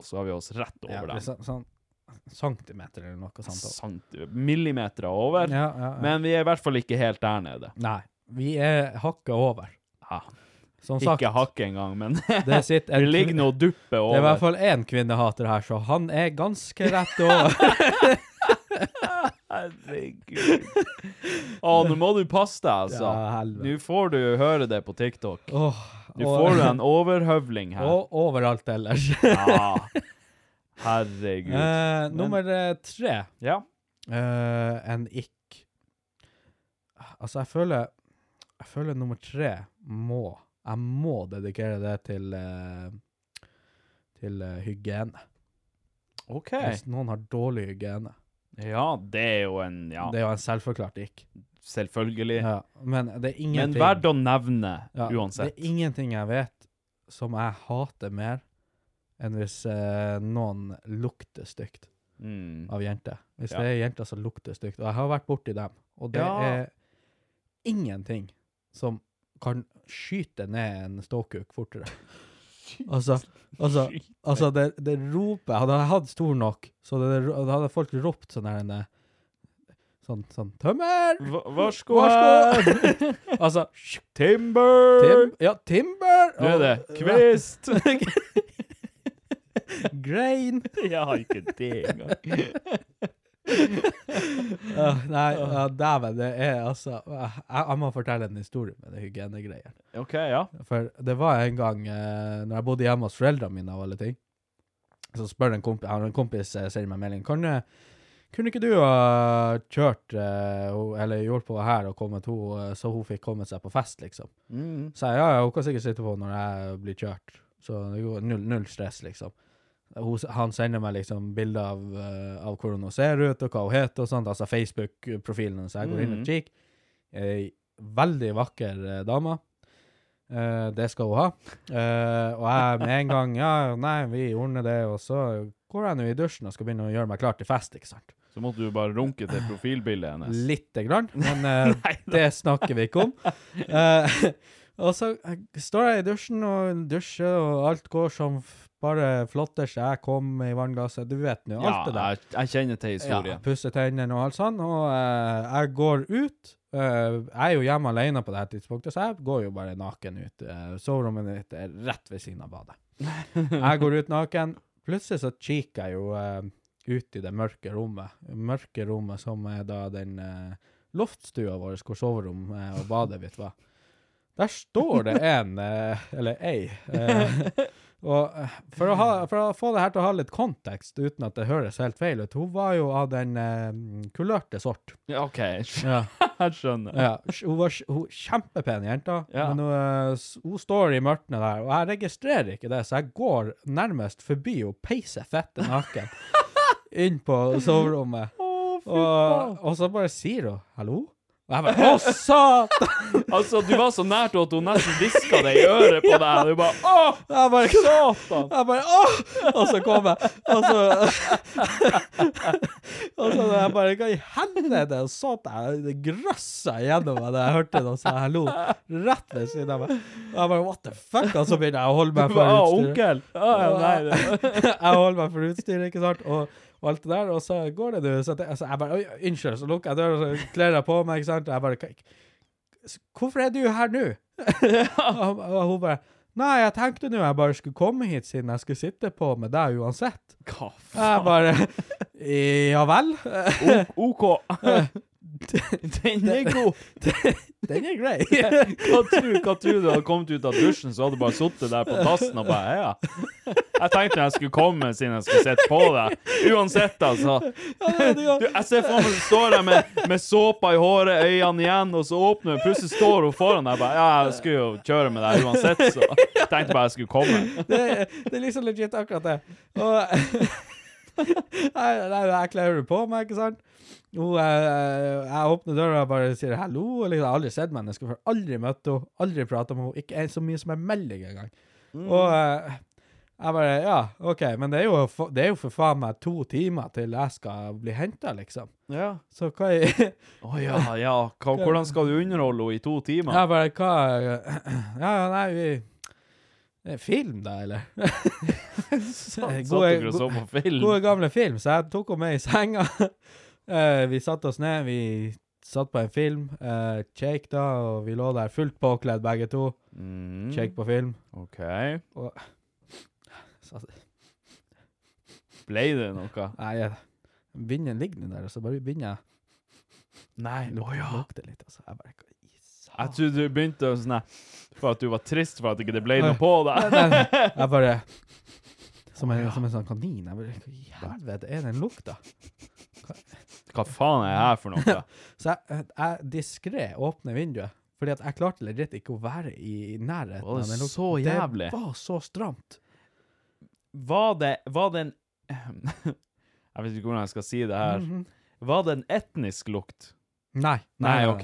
Og så har vi oss rett
Ja,
over
det er
den.
sånn, sånn centimeter eller noe sånt.
Sant, millimeter over.
Ja, ja, ja.
Men vi er i hvert fall ikke helt der nede.
Nei, vi er hakket over.
Ja.
Som sagt,
Ikke hakket engang, men
det sitter
vi
en
ligger nå
kvin-
og dupper
Det er i hvert
over.
fall én kvinnehater her, så han er ganske rett over.
Herregud. Å, nå må du passe deg, altså.
Ja, helvete.
nå får du høre det på TikTok.
Åh,
Nå
og-
får du en overhøvling her.
Og overalt ellers.
Ja. Herregud.
Eh,
Men-
nummer eh, tre.
Ja.
Eh, en ikk. Altså, jeg føler Jeg føler nummer tre må Jeg må dedikere det til eh, til eh, hygiene.
OK.
Hvis noen har dårlig hygiene.
Ja, det er jo en Ja,
Det er jo en selvforklart ikk.
selvfølgelig.
Ja, men det er
Men
ingenting
verdt å nevne
Ja,
uansett.
Det er ingenting jeg vet som jeg hater mer enn hvis eh, noen lukter stygt
Mm.
av jenter. Hvis
Ja.
det er jenter som lukter stygt. Og jeg har vært borti dem, og det
Ja.
er ingenting som kan skyte ned en ståkuk fortere. Altså, altså, altså det, det roper Hadde jeg hatt stor nok, så det, da hadde folk ropt sånn her en, eh, Sånn, sånn Tømmer!
Va- Varsko her!
Varsko! altså
Timber!
Tim, ja, timber!
Nå er det
og-
kvist!
Grain!
Jeg har ikke det engang.
Ja, nei, ja, dæven, det er altså jeg, jeg må fortelle en historie med det hygienegreier.
OK, ja.
For det var en gang eh, når jeg bodde hjemme hos foreldrene mine, av alle ting, så spør en kompis, han har en kompis eh, sender meg melding kan, eh, Kunne ikke du ha kjørt eh, ho- eller hjulpet henne her og kommet henne, eh, så hun fikk kommet seg på fest, liksom?
Mm.
Så jeg, ja, ja, hun kan sikkert sitte på når jeg blir kjørt. Så det går null, null stress, liksom. Hun, han sender meg liksom bilder av, eh, av hvordan hun ser ut, og hva hun heter, og sånt. Altså Facebook-profilen hennes. Jeg går inn og kikker. Ei veldig vakker eh, dame. Eh, det skal hun ha. Eh, og jeg med en gang Ja, nei, vi ordner det, og så går jeg nå i dusjen og skal begynne å gjøre meg klar til fest, ikke sant.
Så måtte du bare runke til profilbildet hennes.
Lite grann, men eh, det snakker vi ikke om. Eh, og så eh, står jeg i dusjen og dusjer, og alt går som f- bare flotter seg. Jeg kom i vannglasset, du vet nå,
Ja,
alt det der.
jeg, jeg kjenner til
Ja,
historien.
pusser tennene og alt sånn, og eh, jeg går ut. Eh, jeg er jo hjemme alene på det her tidspunktet, så jeg går jo bare naken ut. Eh, soverommet mitt er rett ved siden av badet. Jeg går ut naken. Plutselig så kikker jeg jo eh, ut i det mørke rommet. Mørke rommet som er da den eh, loftstua vår hvor soverom eh, og badet mitt var. Der står det en, eh, eller ei. eh, og eh, for å, ha, for å få det her til å ha litt kontekst, uten at det høres helt feil ut, hun var jo av den eh, kulørte sort.
Ja, OK,
Ja.
jeg skjønner.
Ja, hun var hun, kjempepen jente,
Ja.
men hun, eh, s- hun står i mørket der, og jeg registrerer ikke det, så jeg går nærmest forbi og peiser fette naken inn på soverommet. og, og så bare sier hun 'hallo'. Og jeg bare 'å, satan'!
Altså, du var så nært at hun nesten hviska deg i øret på deg. og Du bare Å,
Jeg bare,
satan!
jeg bare 'åh!' Og så kom jeg, og så Og så jeg bare Hva i helvete? Og så at jeg det grøssa gjennom meg da jeg hørte det, og sa hallo rett ved siden av meg. Og jeg bare What the fuck? Og så begynner jeg å holde
Du
meg
bare, «Ah,
for
Å,
utstyret.
onkel! Å, ja, nei, det
jeg holder meg for utstyret, ikke sant? Og, og alt det der. Og så går det, du. Så, det, så jeg bare Oi, unnskyld. Så lukker jeg døra, så kler jeg på meg, ikke sant? Og jeg bare «Hva- Hvorfor er du her nå? og, og hun bare Nei, jeg tenkte nå jeg bare skulle komme hit siden jeg skulle sitte på med deg uansett.
Hva
Jeg
faen?
bare Ja vel?
O- OK. Den er god.
Den er grei.
Hva tror, hva tror du hadde kommet ut av dusjen, så hadde du bare sittet der på dassen og bare ja. Jeg tenkte jeg skulle komme siden jeg skulle sitte på deg. Uansett, altså. Du, jeg ser for meg at du står der med, med såpa i håret, øynene igjen, og så åpner hun, plutselig står hun foran deg bare Ja, jeg skulle jo kjøre med deg uansett, så tenkte bare jeg skulle komme.
det, det er liksom legit akkurat det. Og Nei, nei, jeg kler jo på meg, ikke sant? Hun, eh, jeg åpner døra og bare sier hallo. og Liksom, jeg har aldri sett mennesker før. Aldri møtt henne, aldri pratet med henne. Ikke en- så mye som en melding engang.
Mm.
Og eh, jeg bare Ja, OK, men det er jo, fa- det er jo for faen meg to timer til jeg skal bli henta, liksom.
Ja.
Så hva i-
Å ja, ja. Hva, hvordan skal du underholde henne i to timer?
Jeg bare Hva Ja, ja, nei, vi det er Film, da, eller?
Satt
Gode-
dere og så på film?
Gode gamle film, så jeg tok henne med i senga. Eh, vi satte oss ned, vi satt på en film, uh, shake da, og vi lå der fullt påkledd begge to,
Mm,
shake på film.
OK.
Og, så,
Ble det noe?
nei, jeg- vinden ligger nå der, og så bare begynner jeg
Nei.
å
Å ja.
lukte litt, altså. Jeg bare, hva i
Jeg
satan?
trodde du begynte å sånn her, for at du var trist for at det ikke ble noe på deg.
Jeg bare, som en, som en sånn kanin, jeg bare, hva i helvete er den lukta?
Hva faen er det her for noe?
Så jeg, eh, jeg diskré åpner vinduet, fordi at jeg klarte legit ikke å være i nærheten.
Var det
av den lukten.
så jævlig?
Det var så stramt.
Var det, var det en Jeg vet ikke hvordan jeg skal si det her. Var det en etnisk lukt?
Nei.
Mhm. Nei, OK.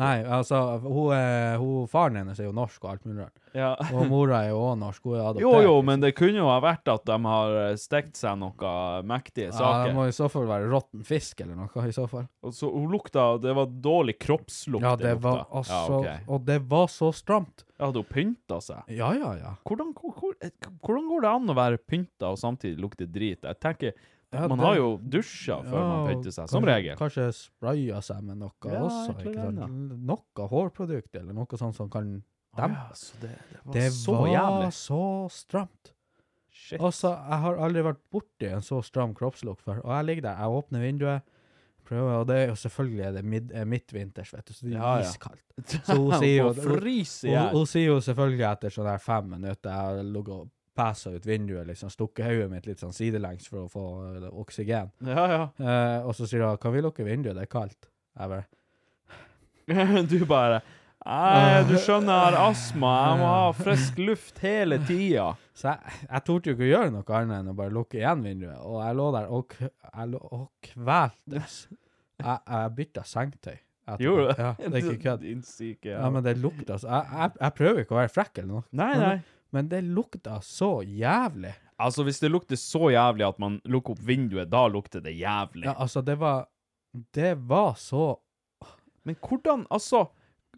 Nei, altså, hun, er- hun, faren hennes er jo norsk og alt mulig rart.
Ja.
Og mora er jo også norsk, hun er adoptert.
Jo, jo, men det kunne jo ha vært at de har eh, stekt seg noe mektige
Ja, det
saker.
må i så fall være råtten fisk eller noe, i så fall.
Og så hun lukta Det var dårlig kroppslukt.
Ja, det
lukta.
var altså,
ja, ok.
og det var så stramt.
ja, hadde hun pynta seg?
Ja, ja, ja.
Hvordan, hvor- hvor- eh, hvordan går det an å være pynta og samtidig lukte drit? Jeg tenker,
Ja,
Man
det-
har jo dusja før man
Ja,
pynter seg, som
kanskje-
regel.
Kanskje spraya seg med noe
Ja,
også,
jeg tror
ikke
det,
sant? Noe hårprodukt eller noe sånt som kan
Å
dem.
ja, så det, det var
altså, Det
så
var
jævlig.
så stramt.
Shit.
Altså, jeg har aldri vært borti en så stram kroppslukt før. Og jeg ligger der, jeg åpner vinduet, prøver, og det er jo selvfølgelig er det mid, eh, midtvinters, vet du, så det er
Ja, ja.
iskaldt. Så hun sier jo
Hun fryser i
hun,
hjel.
hun sier jo selvfølgelig etter sånn her fem minutter, jeg har ligget og passa ut vinduet, liksom, stukket hodet mitt litt sånn sidelengs for å få eh, oksygen.
Ja, ja.
Eh, og så sier hun 'Kan vi lukke vinduet? Det er kaldt'. Jeg bare
Du bare Nei, du skjønner, jeg har astma. Jeg må ha frisk luft hele tida.
Så jeg, jeg torde jo ikke å gjøre noe annet enn å bare lukke igjen vinduet, og jeg lå der og, k- jeg lå, og kveltes. Jeg, jeg bytta sengetøy. etterpå.
Gjorde du
Ja, det er ikke kødd.
Din syke
Ja, men det lukta så jeg, jeg, jeg prøver ikke å være frekk eller noe,
Nei, nei.
men det lukta så jævlig.
Altså, hvis det lukter så jævlig at man lukker opp vinduet, da lukter det jævlig.
Ja, altså, det var Det var så
Men hvordan Altså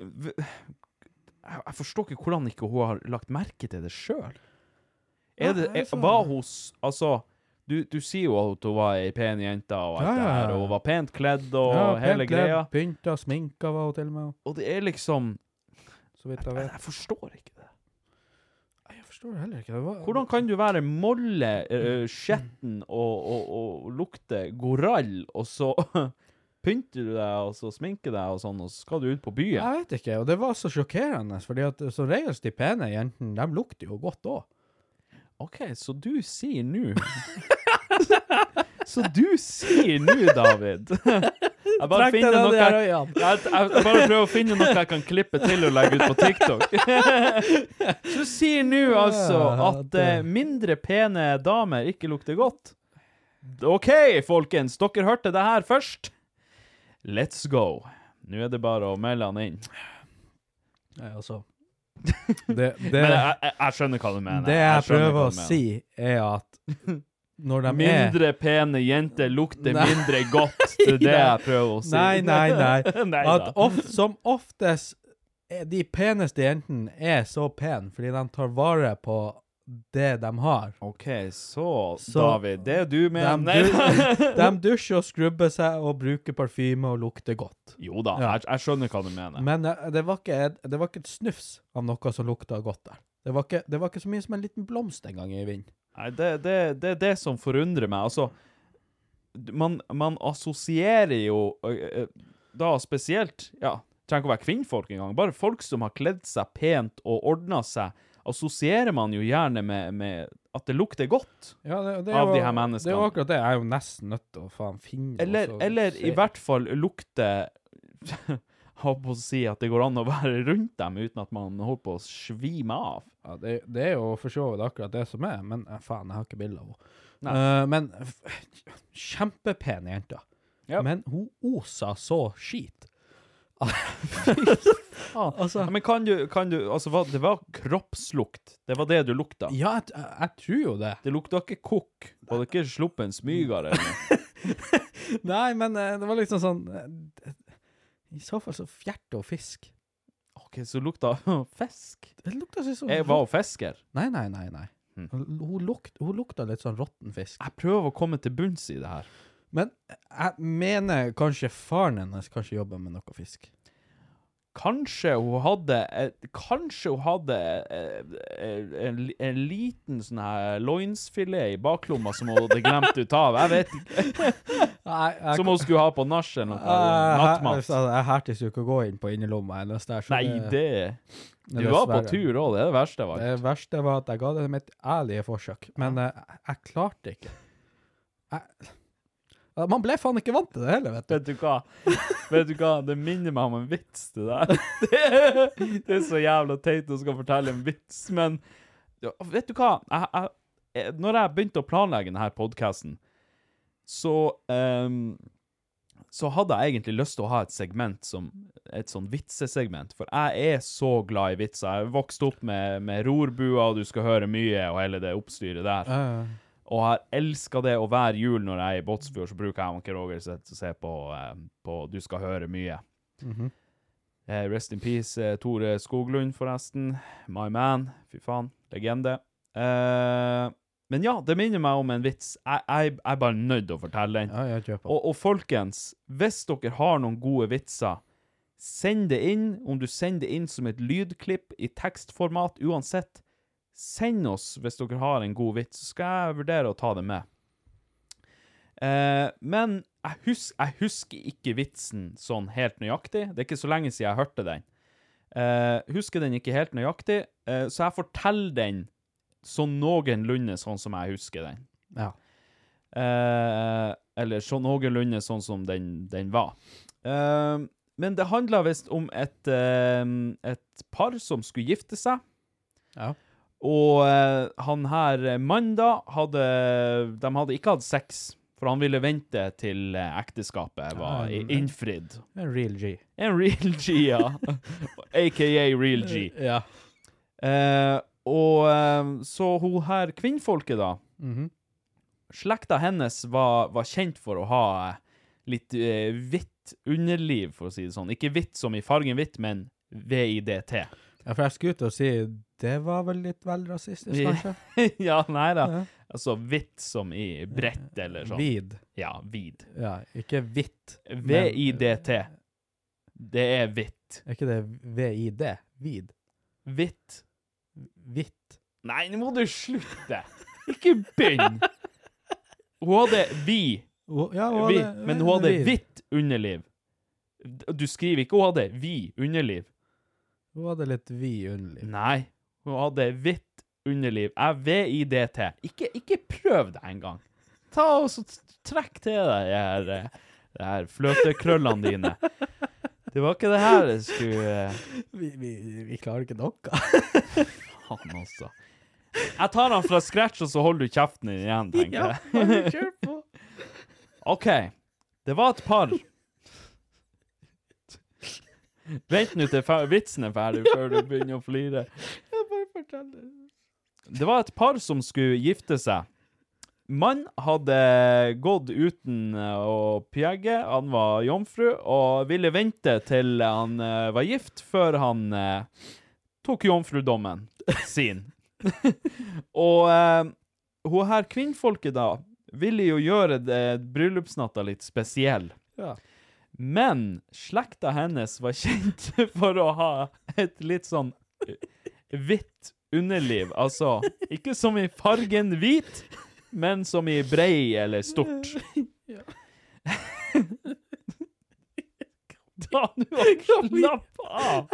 v- Jeg jeg forstår ikke hvordan ikke hun har lagt merke til det sjøl. Er det,
Nei,
er,
altså-
var hun s- Altså, du, du sier jo at hun var ei pen jente, og alt
Ja,
det
ja,
her,
ja.
og hun var pent kledd og
ja,
hele
pent kledd,
greia,
Pynta, sminka var hun til og med,
og det er liksom
så vidt jeg
Jeg,
vet.
jeg forstår ikke det.
Nei, Jeg forstår heller ikke. Det var,
Hvordan kan du være molle, eh, skjetten og, og, og lukte gorall, og så pynter du deg, og så sminker deg, og sånn, og så skal du ut på byen?
Jeg vet ikke, og det var så sjokkerende, fordi at som regel de pene jentene, de lukter jo godt òg.
OK, så du sier nå Så du sier nå, David Jeg bare
Trekk deg
finner
ned
noe
de her
jeg,
øynene.
jeg, jeg, jeg bare prøver å finne noe jeg kan klippe til og legge ut på TikTok. Så du sier nå altså at eh, mindre pene damer ikke lukter godt? OK, folkens, dere hørte det her først. Let's go. Nå er det bare å melde han inn.
Nei, altså det, det,
Men jeg, jeg, jeg skjønner hva du mener.
det jeg
skjønner
prøver
hva
å
du mener.
si, er at når de er
Mindre pene jenter lukter
Eh. Nei.
mindre godt. Det er det jeg prøver å si.
Nei, nei, nei.
Nei
At
da.
oft, som oftest er de peneste jentene er så pene fordi de tar vare på det de har.
OK, så,
Så-
David. Det du mener
De,
Nei,
du, de dusjer og skrubber seg og bruker parfyme og lukter godt.
Jo da,
Ja.
jeg, jeg skjønner hva du mener.
Men eh, det var, ikke, et- det var ikke et snufs av noe som lukta godt der. Det var ikke, det var ikke så mye som en liten blomst en gang i vind.
Nei, det er det, det, er det som forundrer meg. Altså, d- man, man assosierer jo ø, ø, da spesielt Ja, trenger ikke å være kvinnfolk engang. Bare folk som har kledd seg pent og ordna seg, assosierer man jo gjerne med, med at det lukter godt.
Ja, det, det
Av
var-
de her menneskene.
Det var akkurat det. Jeg er jo nesten nødt til å faen finne det, altså.
Eller,
og så
eller
se.
i hvert fall lukter Jeg holdt på å si at det går an å være rundt dem uten at man holder på å svime av.
ja, det, det er jo for så vidt akkurat det som er, men eh, faen, jeg har ikke bilde av henne. Eh, men f- kjempepen jente.
Ja.
Men hun osa så skit. Altså-
Ja, men kan du, kan du Altså, hva, det var kroppslukt. Det var det du lukta.
Ja, jeg, jeg, jeg tror jo det.
Det lukta ikke kokk. Var det ikke sluppet en smyger eller noe?
Nei, men eh, det var liksom sånn eh, det- I så fall så fjerte og fisk.
OK, så lukta fisk.
Det lukta sånn
Jeg var jo fisker.
Nei, nei, nei. nei. Hun, lukt, hun lukta litt sånn råtten fisk.
Jeg prøver å komme til bunns i det her.
Men jeg mener kanskje faren hennes kanskje jobber med noe fisk.
Kanskje hun hadde et, Kanskje hun hadde eh, eh, en, li- en liten sånn her loinsfilet i baklomma som hun hadde glemt ut av. Jeg vet ikke.
Nei, jeg, Ah,
Som hun skulle ha på nach eller noe.
jeg,
Nattmat.
hertes jo ikke å gå inn på innerlomma hennes der. så
Nei, det Du var på tur òg, det er det verste av alt.
Det verste var at jeg ga det mitt ærlige forsøk, men eh, jeg, jeg klarte ikke. Jeg, Ja, man ble faen ikke vant til det heller, vet du.
Vet du hva? Vet du hva? Det minner meg om en vits, det der. Det, det er så jævla teit å skal fortelle en vits, men ja, Vet du hva? Jeg, jeg, jeg- når jeg begynte å planlegge denne podkasten, så ehm, så hadde jeg egentlig lyst til å ha et segment som et sånn vitsesegment, for jeg er så glad i vitser. Jeg har vokst opp med, med rorbua, og du skal høre mye, og hele det oppstyret der. Og jeg har elska det, og hver jul når jeg er i Båtsfjord, så bruker jeg og Anker Roger sitt og se på, eh, på Du skal høre mye. eh, rest in peace, eh, Tore Skoglund, forresten. My man. Fy faen. Legende. Eh, men ja, det minner meg om en vits. Jeg, jeg, jeg er bare nødt til å fortelle den.
Ja, jeg kjøper.
Og, og folkens, hvis dere har noen gode vitser, send det inn. Om du sender det inn som et lydklipp i tekstformat, uansett, send oss hvis dere har en god vits, så skal jeg vurdere å ta det med. Eh, men jeg, hus jeg husker ikke vitsen sånn helt nøyaktig. Det er ikke så lenge siden jeg hørte den. Eh, husker den ikke helt nøyaktig, eh, så jeg forteller den sånn noenlunde sånn som jeg husker den.
Ja.
Eh, eller sånn noenlunde sånn som den, den var. Eh, men det handla visst om et, eh, et par som skulle gifte seg.
Ja.
Og eh, han her eh, mannen da hadde De hadde ikke hatt sex, for han ville vente til eh, ekteskapet var i- innfridd.
En real G.
En real G, ja. AKA real G.
Ja.
Eh, og eh, så hun her kvinnfolket, da.
Mhm.
Slekta hennes var, var kjent for å ha eh, litt eh, hvitt underliv, for å si det sånn. Ikke hvitt som i fargen hvitt, men VIDT.
ja, for jeg skulle ut og si det var vel litt vel rasistisk,
Vi-
kanskje?
ja, nei da.
Ja.
Altså hvitt som i bredt, eller sånn.
Vid.
Ja, vid.
Ja, ikke hvitt. men- eh,
VIDT. Det er hvitt.
Er ikke det VID? Vid.
Hvitt.
Hvitt.
Nei, nå må du slutte! Ikke begynn! Hun hadde vi
Å, Ja,
vi, men hun hadde
vid.
hvitt underliv. D- Du skriver ikke hun hadde vi underliv.
Hun hadde litt vid underliv.
Nei, hun hadde hvitt underliv. Jeg VIDT. Ikke, ikke prøv det engang. Ta og så t- trekk til deg de her, eh, de her fløtekrøllene dine. Det var ikke det her jeg skulle eh,
Vi, vi, vi klarer ikke noe.
Faen, altså. Jeg tar han fra scratch, og så holder du kjeften din igjen, tenker jeg.
Kjør på.
OK. Det var et par Vent nå til fer- vitsen er ferdig før du begynner å flire. Det var et par som skulle gifte seg. Mannen hadde gått uten eh, å pjegge, han var jomfru, og ville vente til han eh, var gift før han eh, tok jomfrudommen sin. og eh, hun her kvinnfolket da ville jo gjøre det, bryllupsnatta litt spesiell.
Ja.
Men slekta hennes var kjent for å ha et litt sånn eh, hvitt underliv. Altså, ikke som i fargen hvit, men som i brei eller stort. Ta nå og slapp av!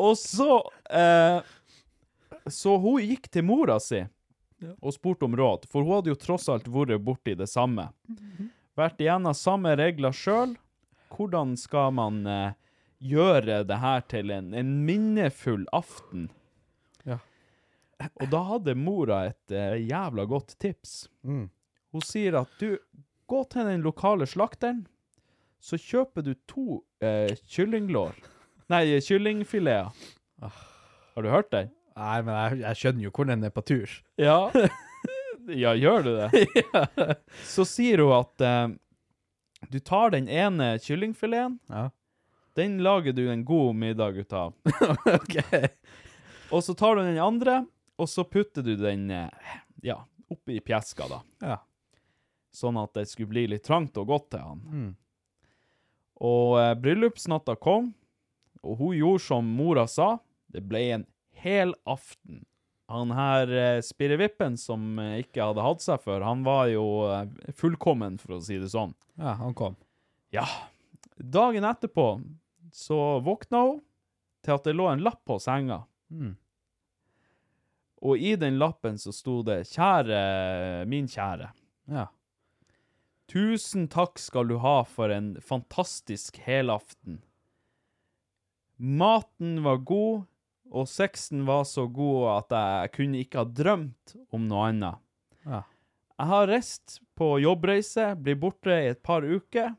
Og så eh, Så hun gikk til mora si og spurte om råd, for hun hadde jo tross alt vært borti det samme. Vært igjennom samme regler sjøl. Hvordan skal man eh, gjøre det her til en, en minnefull aften?
Ja.
Og da hadde mora et eh, jævla godt tips.
Mm.
Hun sier at du, gå til den lokale slakteren, så kjøper du to eh, kyllinglår. Nei, kyllingfileter.
Ah.
Har du hørt den?
Nei, men jeg, jeg skjønner jo hvor den er på tur.
Ja. ja, gjør du det? Så sier hun at eh, du tar den ene kyllingfileten,
Ja.
den lager du en god middag ut av.
ok.
Og så tar du den andre, og så putter du den eh, ja, oppi pjeska, da.
Ja.
Sånn at det skulle bli litt trangt og godt til han.
Mm.
Og eh, bryllupsnatta kom, og hun gjorde som mora sa. Det ble en hel aften. Han her eh, spirrevippen som eh, ikke hadde hatt seg før, han var jo eh, fullkommen, for å si det sånn.
Ja, han kom.
Ja. Dagen etterpå så våkna hun til at det lå en lapp på senga.
Mm.
Og i den lappen så sto det 'Kjære eh, min kjære'.
Ja.
Tusen takk skal du ha for en fantastisk helaften. Maten var god, og sexen var så god at jeg kunne ikke ha drømt om noe annet.
Ja.
Jeg har reist på jobbreise, blir borte i et par uker.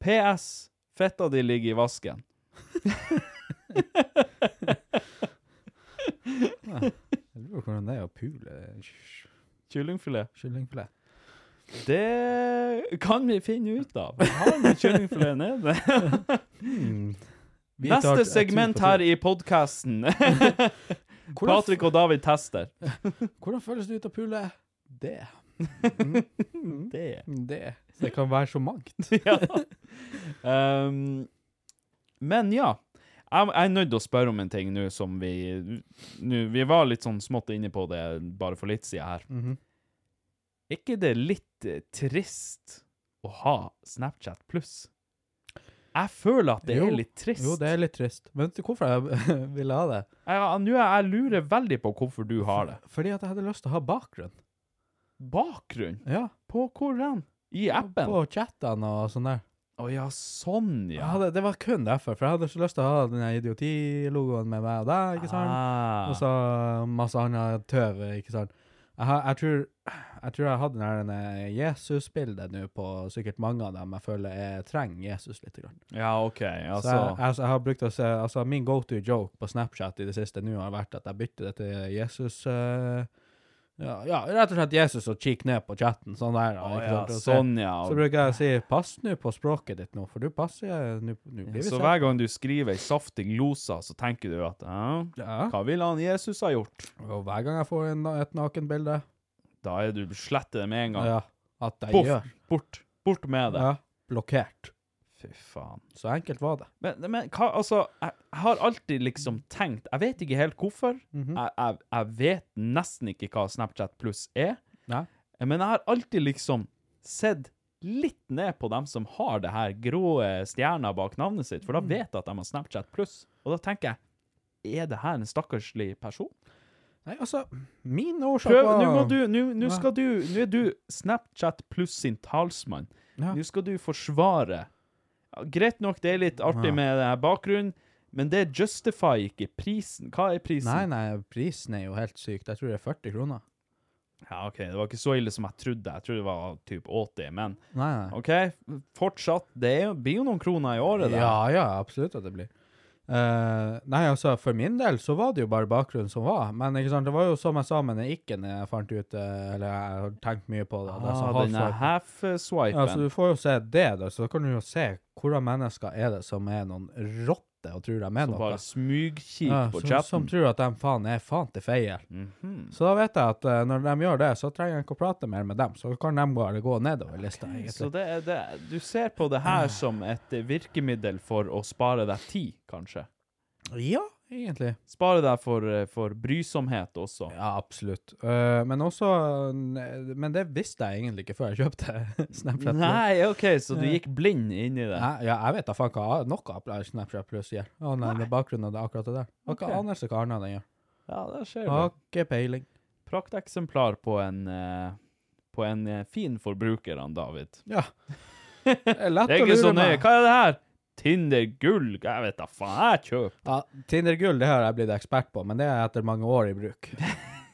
PS. Fetta di ligger i vasken.
Jeg lurer på hvordan det er å pule ky-
Kyllingfilet.
kyllingfilet.
Det kan vi finne ut av. Har vi kyllingfilet nede?
Mm. Vi tar-
Neste
jeg tror
segment
på
her
tur.
i podkasten.
hvordan,
Patrick og David tester.
hvordan føles det ut å pule? Det. Mm.
Det.
Det. Det kan være så mangt.
Ja. Um, men ja. Jeg jeg er nødt til å spørre om en ting nå som vi nå, Vi var litt sånn smått inne på det bare for litt siden her. Er ikke det litt eh, trist å ha Snapchat pluss? Jeg føler at det
Jo.
er litt trist.
Jo, det er litt trist. Men vet du hvorfor jeg ville ha det?
Jeg, nå er jeg lurer veldig på hvorfor du har det.
Fordi at jeg hadde lyst til å ha bakgrunn.
Bakgrunn?
Ja.
På hvor hen? I appen? Å
På chattene og sånn der.
ja, sånn, ja.
Jeg hadde, det var kun derfor, for jeg hadde så lyst til å ha den her idiotilogoen med meg og deg, ikke sant?
Ah.
Og så masse annet tøv, ikke sant? Jeg, har, jeg, tror, jeg tror jeg hadde den her denne Jesus-bildet nå på sikkert mange av dem. Jeg føler jeg trenger Jesus litt. Grann.
Ja, OK. Altså
Så jeg, altså, jeg har brukt å se, altså Min go to joke på Snapchat i det siste nå har vært at jeg bytter det til Jesus eh, ja, ja, rett og slett Jesus og kikker ned på chatten. Sånn der. da,
Å
ikke
ja,
sant, og se-
sånn, ja.
Så bruker jeg å si 'pass nå på språket ditt nå', for du passer nå nå blir vi
Så
sett.
hver gang du skriver ei saftig glosa, så tenker du at «Hæ?
Ja.
Hva ville han Jesus ha gjort?
Og hver gang jeg får en, et nakenbilde
Da er du sletter det med en gang.
ja, At jeg
Poff!
gjør
Bort. Bort med det.
ja, Blokkert.
Fy faen.
Så enkelt var det.
Men, men hva, altså, jeg jeg har alltid liksom tenkt Jeg vet ikke helt hvorfor.
Mhm.
jeg, jeg, jeg vet nesten ikke hva Snapchat pluss er.
Nei.
Men jeg har alltid liksom sett litt ned på dem som har det her grå eh, stjerna bak navnet sitt,
Mm.
for da vet jeg at de har Snapchat pluss. Og da tenker jeg er det her en stakkarslig person?
Nei, altså, min årsak
Prøv,
var
nå må du, nå nå
Ja.
skal du, nå er du Snapchat pluss sin talsmann.
Ja.
Nå skal du forsvare. Ja, Greit nok, det er litt artig med det her bakgrunnen, men det justifier ikke prisen. Hva er prisen?
Nei, nei, prisen er jo helt sykt. Jeg tror det er 40 kroner.
Ja, ok, det var ikke så ille som jeg trodde. Jeg trodde det var typ 80, men
Nei, nei.
OK, fortsatt. Det er jo- blir jo noen kroner i året, det.
Ja, ja, absolutt at det blir. Eh, nei, altså, for min del så var det jo bare bakgrunnen som var. Men ikke sant, det var jo som jeg sa med den ikken jeg fant ut, eh, eller jeg har tenkt mye på det. det er sånn så
Ah, denne
halvsvart.
half-swipen.
Ja, så du får jo se det, da. Så da kan du jo se hvordan mennesker er det som er noen rotter og tror de er
som
noe.
bare smygkikk
Ja,
på
som,
chatten.
som tror at de faen er faen til feil.
Mhm.
Så da vet jeg at eh, når de gjør det, så trenger jeg ikke å prate mer med dem. Så kan de bare gå nedover lista,
Så
egentlig.
det er det. Du ser på det her som et eh, virkemiddel for å spare deg tid, kanskje.
Ja, egentlig.
Spare deg for, eh, for brysomhet også.
Ja, absolutt. Eh, men også eh, Men det visste jeg egentlig ikke før jeg kjøpte Snapchat. Plus.
Nei, OK, så du gikk blind inn i det.
Nei, ja, jeg vet da faen hva noe av Snapchat Plus gjør. Å nei, med bakgrunn av det akkurat det der. Har ikke
Ok.
anelse hva annet den gjør.
Ja, det skjer
Har
det.
ikke peiling.
Prakteksemplar på en, eh, på en eh, fin forbruker, han David.
Ja. Det er lett
Det er
å
ikke så
lure
nøye.
meg.
Hva er det her? Tinder gull? Jeg vet da faen, jeg kjøper.
Ja, Tinder Gull det har jeg blitt ekspert på, men det er etter mange år i bruk.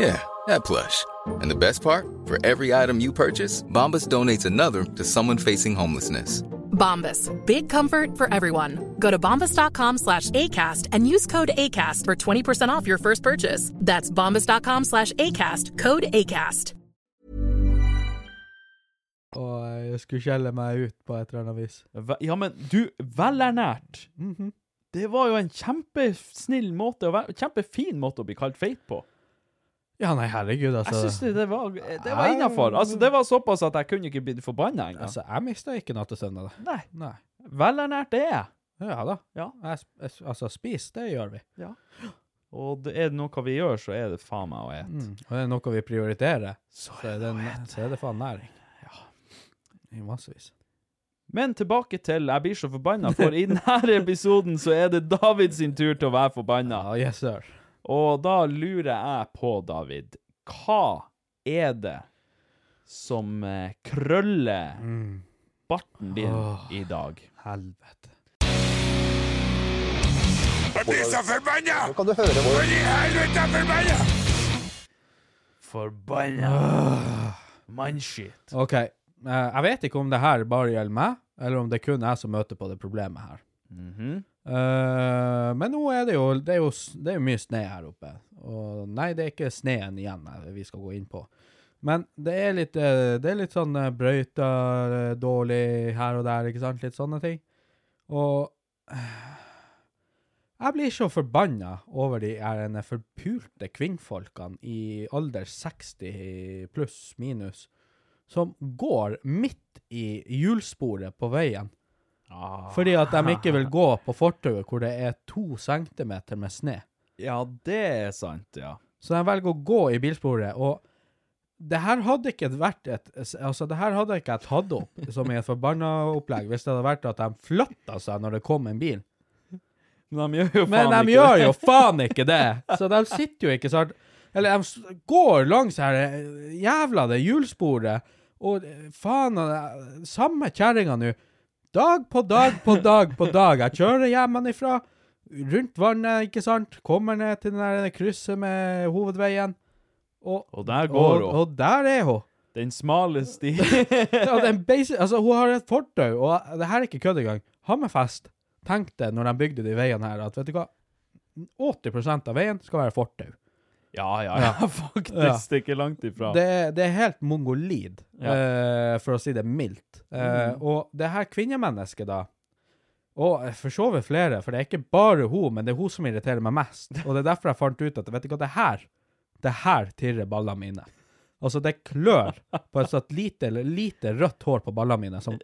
Yeah, that plush. And the best part? For every item you purchase, Bombas donates another to someone facing homelessness.
Bombas. Big comfort for everyone. Go to bombas.com slash ACAST and use code ACAST for 20% off your first purchase. That's bombas.com slash ACAST. Code ACAST.
Og jeg skulle skjelle meg ut på et eller annet vis.
Ve- Ja, men du, velernært. Det var jo en kjempesnill måte å være Kjempefin måte å bli kalt feit på.
Ja, nei, herregud,
Jeg
altså.
syns det, det var, det var innafor. Altså, det var såpass at jeg kunne ikke blitt forbanna engang.
altså jeg mista ikke nattesøvn av det.
Nei.
Nei.
Velernært er jeg.
Ja da.
Ja.
Jeg, sp- jeg, s- altså, spis, det gjør vi.
Og det er det noe vi gjør, så er det faen meg å ete.
Mm. Og det er noe vi prioriterer.
Så
Så er det, så er det faen næring. Ja. I massevis.
Men tilbake til Jeg blir så forbanna, for i denne episoden så er det David sin tur til å være forbanna.
Ja, yes, sir.
Og da lurer jeg på, David, hva er det som eh, krøller barten din i dag?
Helvete.
Forbanna mannskitt.
OK, Eh, jeg vet ikke om det her bare gjelder meg, eller om det kun er jeg som møter på det problemet her. Eh, men nå er det jo det er jo, s- det er jo mye snø her oppe. Og nei, det er ikke sneen igjen eh, vi skal gå inn på. Men det er litt, eh, det er litt sånn eh, brøyta eh, dårlig her og der, ikke sant? Litt sånne ting. Og eh, jeg blir så forbanna over de her ene forpulte kvinnfolkene i alder 60 pluss minus som går midt i hjulsporet på veien. Fordi at de ikke vil gå på fortauet hvor det er to centimeter med snø.
Ja, det er sant, ja.
Så de velger å gå i bilsporet, og det her hadde ikke vært et Altså, det her hadde ikke jeg tatt opp som i et forbanna opplegg hvis det hadde vært at de flytta seg når det kom en bil.
Men de gjør jo faen
Men de
ikke
gjør
det.
jo faen ikke det! Så de sitter jo ikke sånn Eller de s- går langs her eh, jævla det hjulsporet, og eh, faen eh, Samme kjerringa nå. Dag på dag på dag på dag. Jeg kjører hjemmefra, rundt vannet, ikke sant? Kommer ned til den der krysset med hovedveien. Og,
Og der går
og,
hun.
og der er hun.
Den smale sti.
Ja, den basic, altså, hun har et fortau, og det her er ikke kødd engang. Hammerfest tenkte når de bygde de veiene her, at vet du hva, 80 av veien skal være fortau.
ja, ja, ja. Faktisk ikke langt ifra.
Det, det er helt mongolid,
Ja.
eh, for å si det mildt. Eh, Og det her kvinnemennesket, da Og eh, for så vidt flere, for det er ikke bare hun, men det er hun som irriterer meg mest. Og det er derfor jeg fant ut at vet du hva, det her det her tirrer ballene mine. Altså, det klør på et sånt lite, lite rødt hår på ballene mine, som,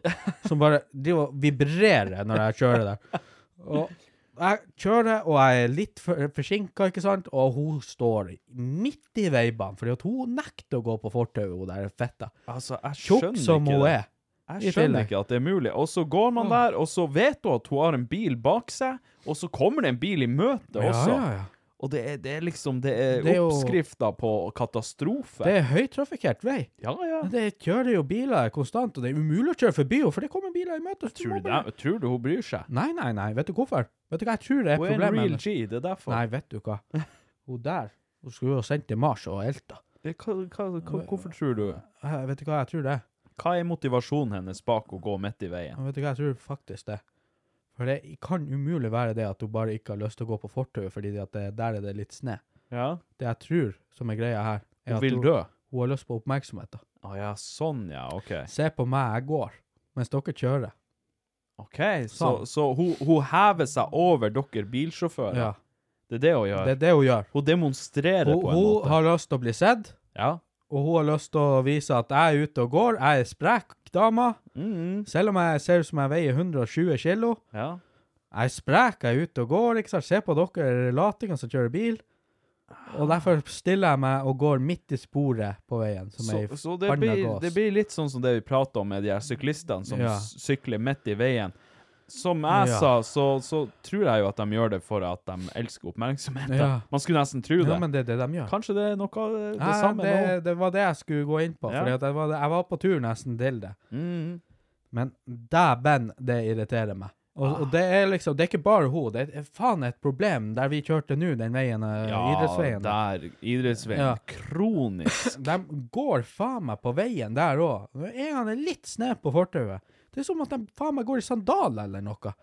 som bare driver og vibrerer når jeg kjører der. Og jeg kjører, og jeg er litt for, forsinka, ikke sant, og hun står midt i veibanen, fordi at hun nekter å gå på fortauet, hun der fetta.
Altså, jeg
Tjukk
skjønner
som
ikke
hun
det.
er. i
Jeg skjønner
tillegg.
ikke at det er mulig. Og så går man der, og så vet du at hun har en bil bak seg, og så kommer det en bil i møte også.
ja.
Og det er, det er liksom Det er,
Det er jo-
oppskrifta på katastrofe.
Det er høytrafikkert vei.
ja, ja.
Det kjører jo biler konstant, og det er umulig å kjøre forbi henne, for det kommer biler i møte. så du
Tror,
må
du
bare-
det, tror du hun bryr seg?
Nei, nei, nei. Vet du hvorfor? Vet du hva jeg tror det er
Hun er en
problemet?
real
hennes?
G, det er derfor.
Nei, vet du hva. Hun der, hun skulle jo sendt til Mars og elta.
Det- Hva, hva, hva, hvorfor tror du
Eh, Vet du hva jeg tror det er?
Hva er motivasjonen hennes bak å gå midt i veien?
Vet du hva jeg tror faktisk det? er? For det kan umulig være det at hun bare ikke har lyst til å gå på fortauet, fordi at det, der er det litt snø.
Ja.
Det jeg tror som er greia her, er
Hun
at
vil
hun,
dø.
hun har lyst på oppmerksomhet. da.
Å ja, sånn ja, OK.
Se på meg, jeg går, mens dere kjører.
OK, så,
Sånn.
så hun, hun hever seg over dere bilsjåfører.
Ja,
Det er det hun gjør.
Det er det hun gjør.
Hun demonstrerer
Hun,
på en måte.
hun har lyst til å bli sett,
Ja.
og hun har lyst til å vise at jeg er ute og går, jeg er sprek dame.
Mm,
Selv om jeg ser ut som jeg veier 120 kilo,
ja.
jeg er sprek, jeg er ute og går, ikke sant? Se på dere latinger som kjører bil. Og derfor stiller jeg meg og går midt i sporet på veien, som er
Så,
i
så det,
forbanna
blir,
gås.
det blir litt sånn som det vi prater om med de her syklistene som
Ja.
s- sykler midt i veien. Som jeg
Ja.
sa, så, så tror jeg jo at de gjør det for at de elsker oppmerksomheten.
Ja.
Man skulle nesten tro det.
Ja, men det er det de gjør.
Kanskje det er noe av det, det
Nei,
samme
det,
nå?
det var det jeg skulle gå inn på,
Ja.
fordi at jeg, var, jeg var på tur nesten til det.
Mm.
Men dæven, det irriterer meg. Og, og det er liksom, det er ikke bare hun, det er faen et problem der vi kjørte nå, den veien, eh,
Ja,
idrettsveien.
der. Idrettsveien.
Ja.
Kronisk.
De går faen meg på veien der òg. En gang det er litt snø på fortauet. Det er som at de faen meg går i sandaler eller noe.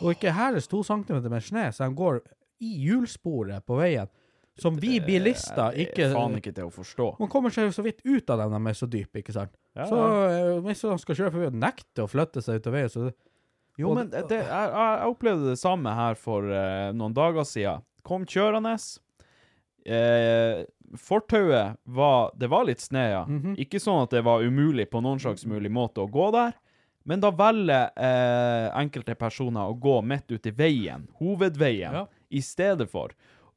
Og ikke hæres to centimeter med snø, så de går i hjulsporet på veien. Som vi bilister
Det
ikke
er faen ikke til å forstå.
Man kommer seg jo så vidt ut av dem, de er så dype, ikke sant?
Ja,
Så
ja.
eh, hvis de skal kjøre forbi og nekte å flytte seg ut av veien, så
Jo,
Og
men det,
det-
jeg, jeg jeg opplevde det samme her for eh, noen dager siden. Kom kjørende. Eh, fortauet var Det var litt snø, ja.
Mhm.
Ikke sånn at det var umulig på noen slags
Mm.
mulig måte å gå der. Men da velger eh, enkelte personer å gå midt ute i veien, hovedveien,
Ja.
i stedet for.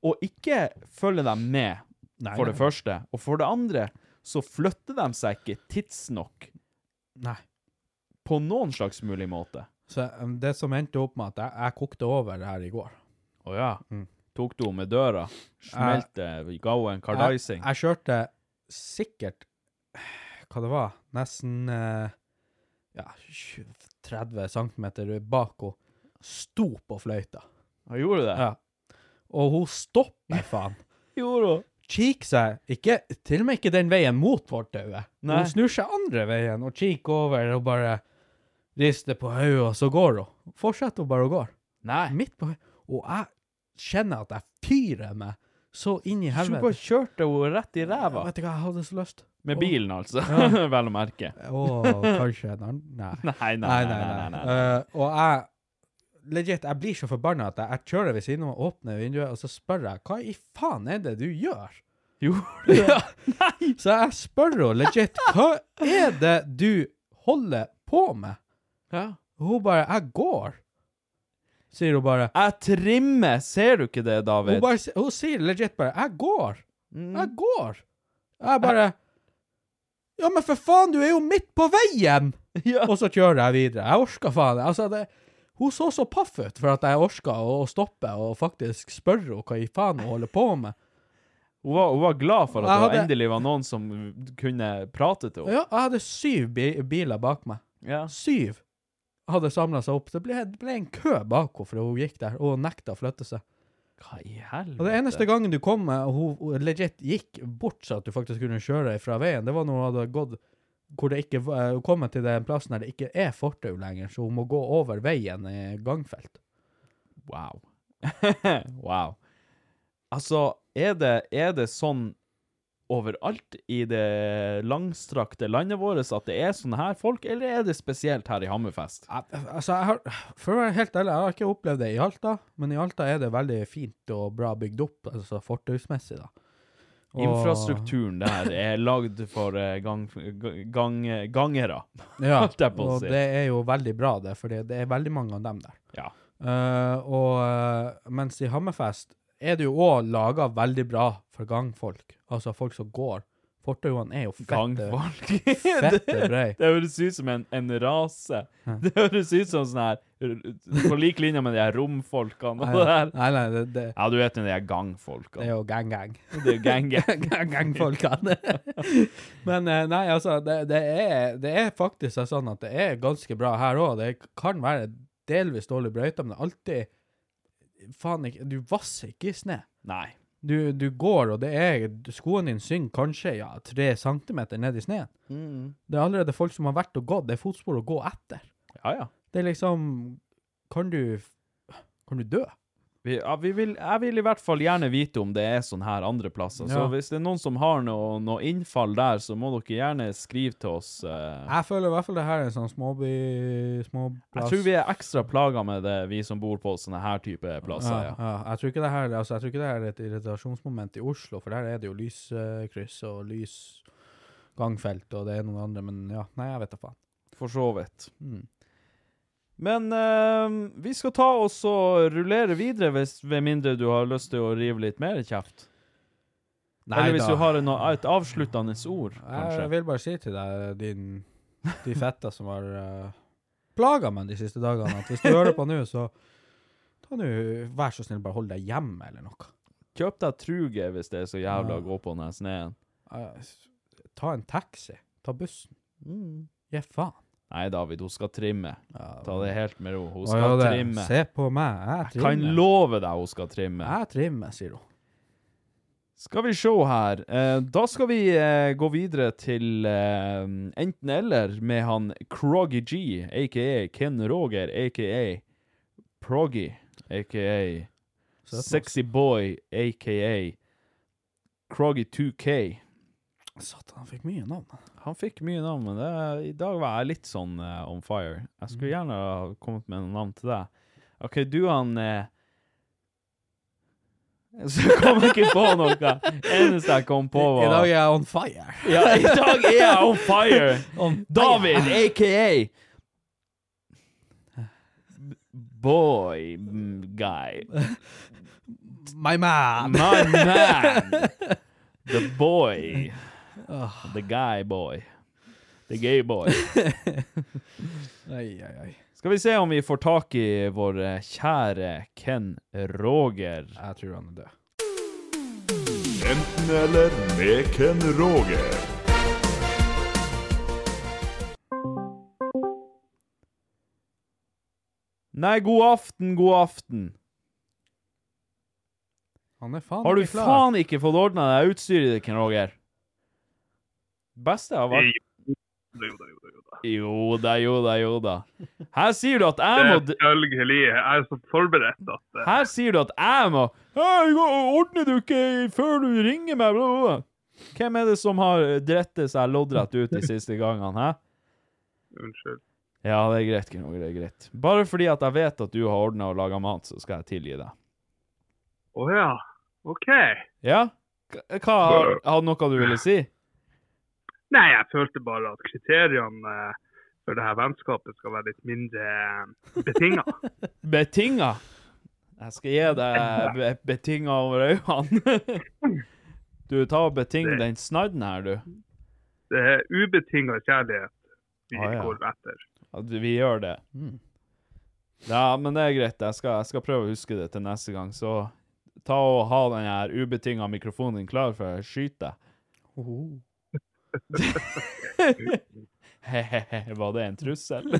Og ikke følger dem med,
Nei,
for det
nei.
første. Og for det andre så flytter de seg ikke tidsnok
Nei.
på noen slags mulig måte.
Så eh, det som endte opp med at jeg, jeg kokte over her i går Mm.
Å ja. Tok du henne med døra? Smelte? ga hun en
jeg,
kardaising?
jeg kjørte sikkert Hva det var? Nesten eh, ja, 20 30 cm bak henne. Sto på fløyta.
Ja, gjorde du det?
Ja. Og hun stopper, faen.
Gjorde hun?
kikker seg ikke, til og med ikke den veien mot fortauet.
Nei.
Hun snur seg andre veien og kikker over og bare rister på hodet, og så går hun. Fortsetter hun bare å gå.
Nei.
Midt på Og jeg kjenner at jeg fyrer meg så inn i
Hun
helvete.
bare kjørte henne rett i ræva.
Vet du hva, jeg hadde så lyst.
Med
Å.
bilen, altså.
Ja.
Vel å merke.
Å, kanskje en annen Nei.
Nei, nei,
Nei, nei, nei. Eh, og jeg Legit, jeg blir så forbanna at jeg, jeg kjører ved siden av og åpner vinduet, og så spør jeg hva i faen er det du gjør?
Jo.
Ja. Så jeg spør henne legit hva er det du holder på med?
Ja.
Og hun bare 'jeg går', sier hun bare.
Jeg trimmer, ser du ikke det,
Hun,
David?
bare, s- hun sier legit bare 'jeg går'. Jeg
Mm.
går. Jeg bare Ja, men for faen, du er jo midt på veien!
Ja.
Og så kjører jeg videre. Jeg orka faen altså, det. Hun så så paff ut for at jeg orka å å stoppe og faktisk spørre henne hva i faen hun holder på med.
Hun, var, hun var glad for at
Jeg
det var
hadde-
endelig var noen som kunne prate til henne.
Ja, jeg hadde syv bi biler bak meg.
Ja.
Syv hadde samla seg opp. Det ble, det ble en kø bak henne fordi hun gikk der, og hun nekta å flytte seg.
Hva i helvete?
Og det eneste gangen du kom med, og hun- hun legit gikk bort så at du faktisk kunne kjøre fra veien, det var når hun hadde gått hvor det ikke var, hun kommet til den plassen der det ikke er fortau lenger, så hun må gå over veien i gangfelt.
Wow. wow. Altså, er det, er det sånn overalt i det langstrakte landet vårt at det er sånne her folk, eller er det spesielt her i Hammerfest?
Jeg- Altså, jeg har, for å være helt ærlig, jeg har ikke opplevd det i Alta, men i Alta er det veldig fint og bra bygd opp, altså fortausmessig, da. Og-
Infrastrukturen der er lagd for eh, gang, gang, gangere.
Ja,
holdt jeg på å
og
si.
det er jo veldig bra, det, for det er veldig mange av dem der.
Ja.
Eh, og eh, mens i Hammerfest er det jo òg laga veldig bra for gangfolk, altså folk som går. Fortauene er jo fette.
Gangfolk.
fette brei.
det, det høres ut som en, en rase. Det høres ut som sånn her På lik linje med de her romfolkene og det
Nei,
der.
nei, nei, det, det,
Ja, du vet jo de her
det er
gangfolkene.
jo gang-gang.
Det er jo gang-gang.
Gangfolkene. Men eh, nei, altså, det, det, er, det er faktisk sånn at det er ganske bra her òg. Det kan være delvis dårlig brøyta, men det er alltid Faen ikke Du vasser ikke i snø.
Nei.
Du, du går, og det er Skoen din synger kanskje ja, tre centimeter ned i sneen.
Mm.
Det er allerede folk som har vært og gått. Det er fotspor å gå etter.
Ja, ja.
Det er liksom Kan du Kan du dø?
Vi, ja, vi vil, jeg vil i hvert fall gjerne vite om det er sånn her andre plasser. Så
Ja.
hvis det er noen som har noe, noe innfall der, så må dere gjerne skrive til oss. eh.
Jeg føler i hvert fall det her er en sånn småby småplass.
jeg tror vi er ekstra plaga med det, vi som bor på sånne her type plasser. Ja.
ja, ja. Jeg tror ikke det her altså, Jeg tror ikke det her er et irritasjonsmoment i Oslo, for der er det jo lyskryss og lys gangfelt og det er noen andre, men ja. Nei, jeg vet da faen.
For så vidt. Hmm.
Mm.
Men eh, vi skal ta oss og rullere videre, hvis, ved mindre du har lyst til å rive litt mer kjeft. Eller hvis du har en, et avsluttende ord,
Jeg
kanskje.
vil bare si til deg, din, de fetta som har uh, plaga meg de siste dagene, at hvis du hører på nå, så ta nå, vær så snill, bare hold deg hjemme eller noe.
Kjøp deg truge hvis det er så jævla
Ja.
å gå på den her sneen.
Eh, s- ta en taxi. Ta bussen. Gi faen.
Nei, David, hun skal trimme. Ta det helt med ro. Hun
Å,
skal
ja, det-
trimme.
Se på meg, jeg
Jeg kan
trimmer.
love deg hun skal trimme.
Jeg trimmer, sier hun.
Skal vi se her. Eh, da skal vi eh, gå videre til eh, enten-eller med han Kroggy G, aka Ken Roger, aka Proggy, aka
Søt mann.
Sexy Boy, aka Kroggy 2K.
Satan, han fikk mye navn.
Han fikk mye navn, men det, i dag var jeg litt sånn eh, on fire. Jeg skulle
Mhm.
gjerne ha kommet med noen navn til deg. OK, du han eh, Så kom jeg ikke på noe. Eneste jeg kom på,
I
var
dag er jeg on fire.
ja, I dag er jeg on fire!
On
David, aka Boy mm, guy.
My man.
My man! The boy.
Ah.
The guy boy. The gay boy.
Ai, ai, ai.
Skal vi se om vi får tak i vår eh, kjære Ken Roger.
Jeg tror han er død.
Enten eller med Ken Roger.
Nei, god aften, god aften.
Han er faen
Har du
ikke klar.
faen ikke fått ordna det utstyret ditt, Ken Roger? Beste har vært
Jo
Jo da,
da, jo da, jo da, jo da.
jo da, jo da. Her sier du at jeg må d-
Selvfølgelig. Jeg er så forberedt at eh,
Her sier du at jeg må «Hei, hva- Ordner du ikke før du ringer meg? Bla, bla, bla. Hvem er det som har drettet seg loddrett ut de siste gangene? Hæ?
Unnskyld.
Ja, det er greit, Ken Roger. Det er greit. Bare fordi at jeg vet at du har ordna og laga mat, så skal jeg tilgi deg.
Å ja. OK.
Ja? K- Hva har, har noe du ville si?
Nei, jeg følte bare at kriteriene eh, for det her vennskapet skal være litt mindre eh, betinga.
Betinga. Jeg skal gi deg be betinga over øynene. Du, ta og beting den snadden her, du.
Det er ubetinga kjærlighet vi
Å, Ah, ja.
går etter.
At vi gjør det. Hmm. Ja, men det er greit. Jeg skal, jeg skal prøve å huske det til neste gang. Så ta og ha den her ubetinga mikrofonen din klar for å skyte. He-he-he, var det en trussel?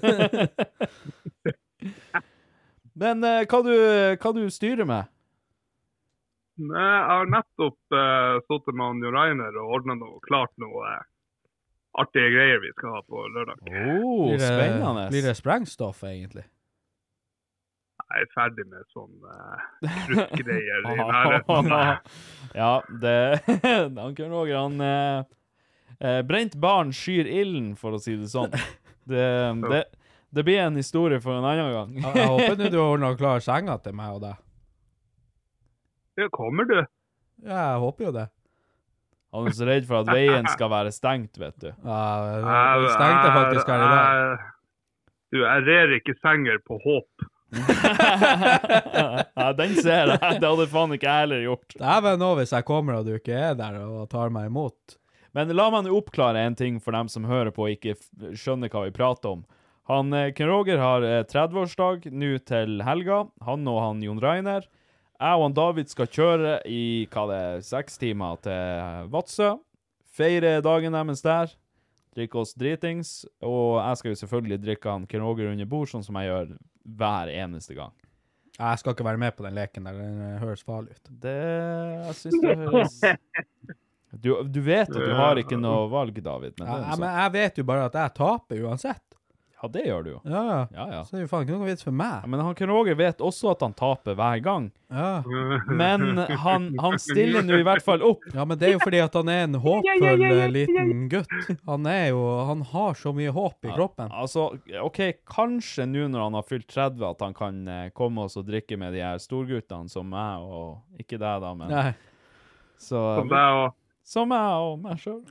men eh, hva, du, hva du styrer med?
Men Jeg har nettopp uh, sittet med han Jo Reiner og ordna noe klart noe eh, artige greier vi skal ha på lørdag.
Oh,
Blir det-
spennende.
Blir det sprengstoff, egentlig?
Jeg er ferdig med sånn uh, kruttgreier i nærheten av meg.
ja, det Han Kjørn Roger, han eh, eh, Brent barn skyr ilden, for å si det sånn. Det, det, det blir en historie for en annen gang.
Jeg, jeg håper nå du har ordna klar senga til meg og deg.
Ja, kommer du?
Ja, jeg håper jo det.
Han er så redd for at veien skal være stengt, vet du.
Ja, jeg stengte faktisk her i dag.
Jeg- jeg- Du, jeg rer ikke senger på håp.
ja, den ser jeg. Det hadde faen ikke jeg heller gjort.
Dæven nå hvis jeg kommer og du ikke er der og tar meg imot.
Men la meg nå oppklare en ting for dem som hører på og ikke f- skjønner hva vi prater om. Han, eh, Ken Roger har eh, 30-årsdag nå til helga. Han og han Jon Reiner. Jeg og han David skal kjøre i hva det er, seks timer til eh, Vadsø. Feire dagen deres der. Drikke oss dritings. Og jeg skal jo selvfølgelig drikke han Ken Roger under bord, sånn som jeg gjør hver eneste gang.
Jeg skal ikke være med på den leken der, den eh, høres farlig ut.
Det Jeg syns det høres du, du vet at du har ikke noe valg, David. Men det
Ja,
er jo
men
sånn.
jeg vet jo bare at jeg taper uansett.
Ja, det gjør du jo.
Ja,
Ja, ja.
Så det er jo faen ikke noe vits for
Ja,
meg.
Men han Ken Roger vet også at han taper hver gang.
Ja.
Men han, han stiller nå i hvert fall opp.
ja, men det er jo fordi at han er en håpfull eh, liten gutt. Han er jo Han har så mye håp i kroppen.
Altså, OK, kanskje nå når han har fylt 30 at han kan eh, komme oss og drikke med de her storguttene som meg og Ikke deg, da, men
Nei.
så,
Som deg og
Som meg og meg sjøl.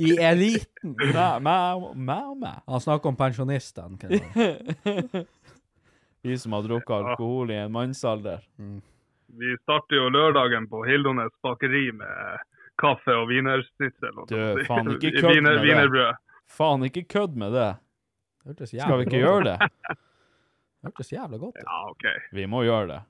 I eliten.
Meg meg og meg. og meg.
Han snakker om pensjonistene. kan jeg bare.
Vi som har drukket alkohol i en mannsalder.
Vi starter jo lørdagen på Hildones bakeri med kaffe og wienersnitzel. og
Du,
sånt.
faen, ikke kødd
Wiener-
med det.
Wienerbrød.
Faen, ikke kødd med det.
Det hørtes
Skal vi
jævla
ikke
godt ut.
gjøre det?
Hørtes jævla godt ut.
Ja, OK.
Vi må gjøre det.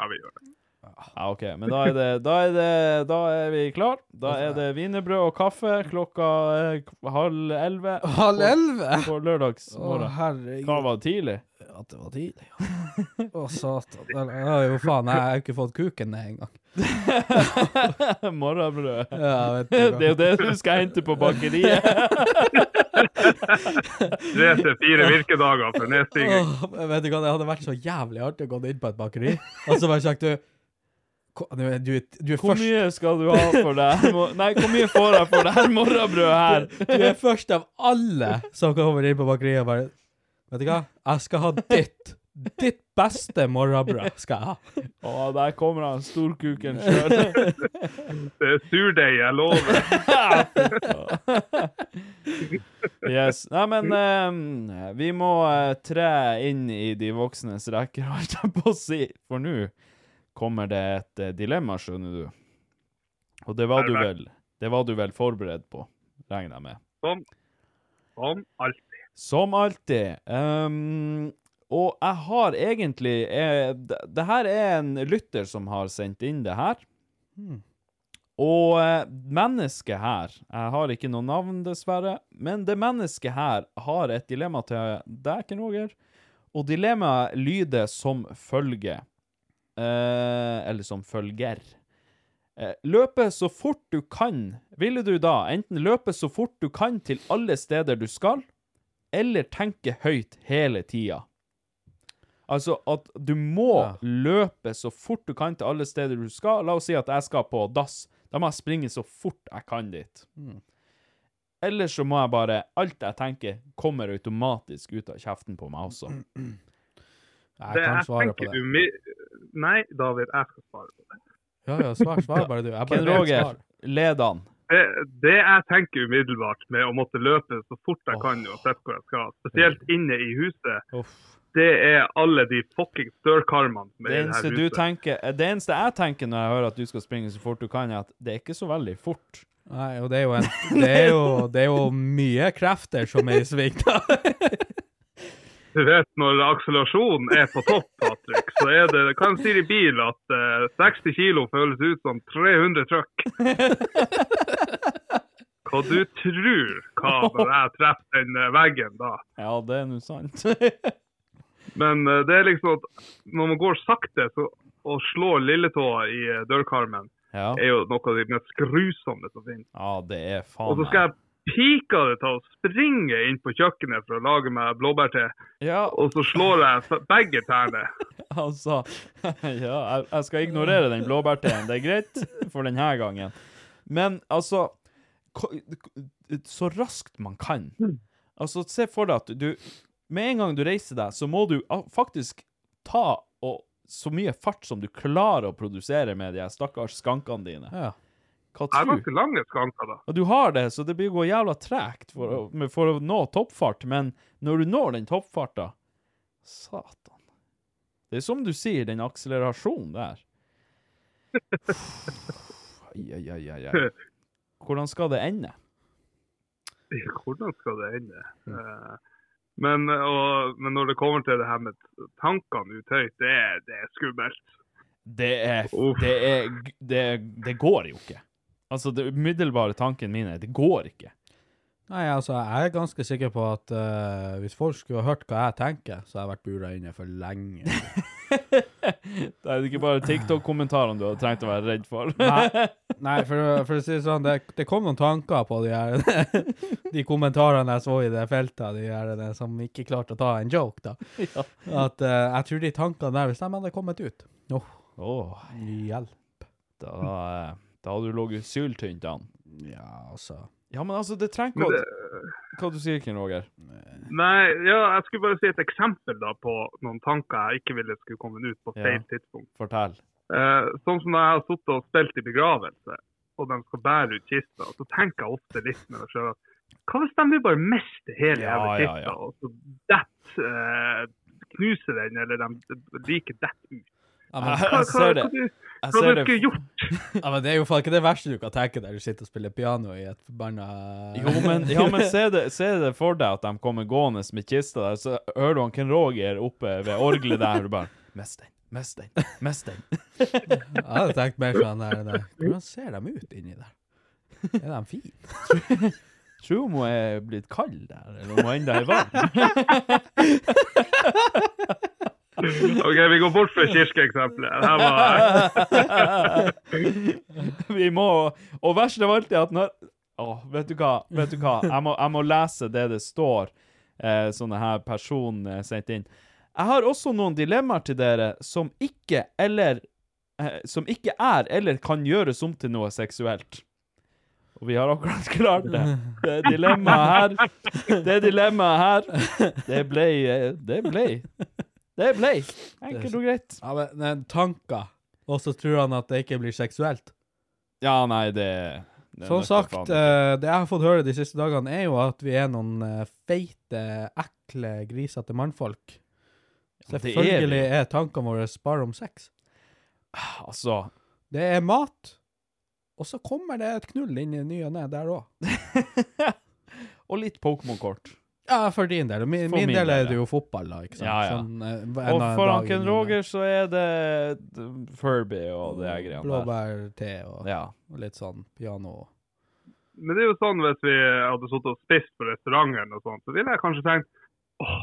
Ja, vi gjør det.
Ja, OK. Men da er, det, da, er det, da er vi klar. Da
Altså,
er det wienerbrød og kaffe klokka eh, k- halv elleve
Halv elleve?
på
Å,
lørdagsmorgen.
herregud.
Hva var det tidlig?
At det var tidlig, ja. Å, satan. Eller, Ja, jo, faen, jeg har jo ikke fått kuken ned engang.
Morgenbrød.
Ja, vet du
Det er
hva.
jo det du skal hente på bakeriet.
Tre til fire virkedager for nedstigning.
Åh, vet du hva, det hadde vært så jævlig artig å gå inn på et bakeri, og så bare sagt du "Ko- Du, er- du, er- du er
Hvor
først
mye skal du ha for det her? mo- Nei, hvor mye får jeg for det her morgenbrødet her?
Du er først av alle som kommer inn på bakeriet og bare Vet du hva, jeg skal ha ditt. Ditt beste morgenbrød skal jeg ha.
Å, der kommer han storkuken sjøl.
Det er surdeig, jeg lover.
Yes. Nei, men eh, vi må eh, tre inn i de voksnes rekker, holdt jeg på å si. For nå kommer det et eh, dilemma, skjønner du. Og det var du vel, det var du vel forberedt på, regner jeg med.
Som, som alltid.
Som alltid. Ehm, og jeg har egentlig eh, det, det her er en lytter som har sendt inn det her. Og eh, mennesket her Jeg har ikke noe navn, dessverre. Men det mennesket her har et dilemma til deg, Ken Roger. Og dilemmaet lyder som følger. eh, eller som følger. Eh, Løpe så fort du kan. Ville du da enten løpe så fort du kan til alle steder du skal, eller tenke høyt hele tida? Altså at du må
Ja.
løpe så fort du kan til alle steder du skal. La oss si at jeg skal på dass. Da må jeg springe så fort jeg kan dit. Eller så må jeg bare Alt jeg tenker, kommer automatisk ut av kjeften på meg også.
Jeg
Det,
kan
jeg
svare på
tenker
det.
umi- Nei, David, jeg skal svare på det.
Ja, ja, svar, svar bare du. Jeg bare
Ken
vet
Roger,
svar.
led han.
det. Det jeg tenker umiddelbart med å måtte løpe så fort jeg kan uansett hvor jeg skal, spesielt inne i huset,
Uff.
det er alle de fuckings dørkarmene som
Det
er i det
eneste,
her
du
huset.
tenker, det eneste jeg tenker når jeg hører at du skal springe så fort du kan, er at det er ikke så veldig fort.
Nei, og det er jo en Det er jo, det er jo mye krefter som er i sving, da.
Du vet når akselerasjonen er på topp, Patrick, så er det Hva de sier i bil? At eh, 60 kilo føles ut som 300 trøkk. Hva du tror hva når jeg treffer den eh, veggen da?
Ja, det er nå sant.
Men eh, det er liksom at når man går sakte så, og slår lilletåa i eh, dørkarmen,
Ja,
er jo noe av det mest grusomme som finnes.
ja det er
Og
faen
så skal jeg pike det til å springe inn på kjøkkenet for å lage meg blåbærte,
Ja,
og så slår jeg f- begge tærne.
altså Ja, jeg, jeg skal ignorere den blåbærteen, det er greit for denne gangen. Men altså ko- Så raskt man kan. Altså, se for deg at du Med en gang du reiser deg, så må du ah, faktisk ta og, så mye fart som du klarer å produsere med de her stakkars skankene dine.
Ja.
Hva
Jeg har
tror du?
ganske lange skanker, da.
Og du har det, så det blir å gå jævla tregt for, å- med- for å nå toppfart, men når du når den toppfarta Satan. Det er som du sier, den akselerasjonen der. Ai, ai, ai, ai, ai. Hvordan skal det ende?
Hvordan skal det ende? Eh, Men, og, men når det kommer til det her med tankene ut høyt, det er, det er skummelt.
Det er
Uff.
Det, er, det, det går jo ikke. Altså, det umiddelbare tanken min er det går ikke.
Nei, altså, jeg er ganske sikker på at eh, hvis folk skulle ha hørt hva jeg tenker, så hadde jeg vært bura inne for lenge.
Det er ikke bare TikTok-kommentarene du hadde trengt å være redd for.
Nei, nei for, for å si det sånn, det, det kom noen tanker på de her De kommentarene jeg så i det feltet, de her de som ikke klarte å ta en joke, da. At eh, jeg tror de tankene der, hvis de hadde kommet ut Åh,
Åh,
hjelp.
da, eh, da hadde du ligget syltynt an.
Ja, altså.
Ja, men altså, det trenger
Men
ikke å
det,
Hva du sier, Ken Roger?
nei, ja, jeg skulle bare si et eksempel da på noen tanker jeg ikke ville skulle komme ut på
Ja.
feil tidspunkt.
Fortell.
Eh, sånn som når jeg har sittet og spilt i begravelse, og de skal bære ut kista, så tenker jeg ofte litt med meg sjøl at hva hvis de vil bare mister hele
Ja,
jævla
ja,
kista,
ja.
og så detter eh, Knuser den, eller de liker detter
Ja,
ut.
Jeg,
men,
Hva,
jeg ser det.
hva, hva, du-
Jeg
hva
ser
du
det.
skulle gjort?
ja, men det er jo faen ikke det verste du kan tenke der du sitter og spiller piano i et forbanna
Jo, men, ja, men se, det, se det for deg at de kommer gående med kista der, så hører du han Ken Roger oppe ved orgelet der, og du bare Mest den, mest den, mest den.
Jeg hadde tenkt mer sånn der, der. Hvordan ser de ut inni der? Er de fine?
Tror hun er blitt kald der, eller om hun ennå er varm.
OK, vi går bort fra kirkeeksempelet. Det her var
Vi må Og verst av alt er at når Å, vet du hva? Vet du hva? Jeg må, jeg må lese det det står, eh, sånne her personen eh, sendt inn. Jeg har også noen dilemmaer til dere som ikke eller eh, Som ikke er eller kan gjøres om til noe seksuelt. Og vi har akkurat klart det. Det dilemmaet her Det dilemmaet her Det ble eh, Det ble. Det ble. Enkelt og greit.
Ja, men det er tanker. Og så tror han at det ikke blir seksuelt.
Ja, nei, det, det er
Som
nødt til
sagt,
faen.
eh, det jeg har fått høre de siste dagene, er jo at vi er noen eh, feite, ekle, grisete mannfolk.
Ja, det er vi.
Selvfølgelig er tankene våre bare om sex.
Altså
Det er mat, og så kommer det et knull inn i ny og ne der òg.
Og litt Pokémon-kort.
Ja, for din del. Og Min,
For
min
min
del
del,
er det jo fotball, da. ikke sant?
Ja, ja.
Sånn, eh, en
Og
annen
for
dag
Anken
inn i
Roger så er det d- Furby og det her greiene der.
Blåbærte og,
Ja.
og litt sånn piano.
Men det er jo sånn hvis vi hadde sittet og spist på restauranten og sånt, så ville jeg kanskje tenkt åh,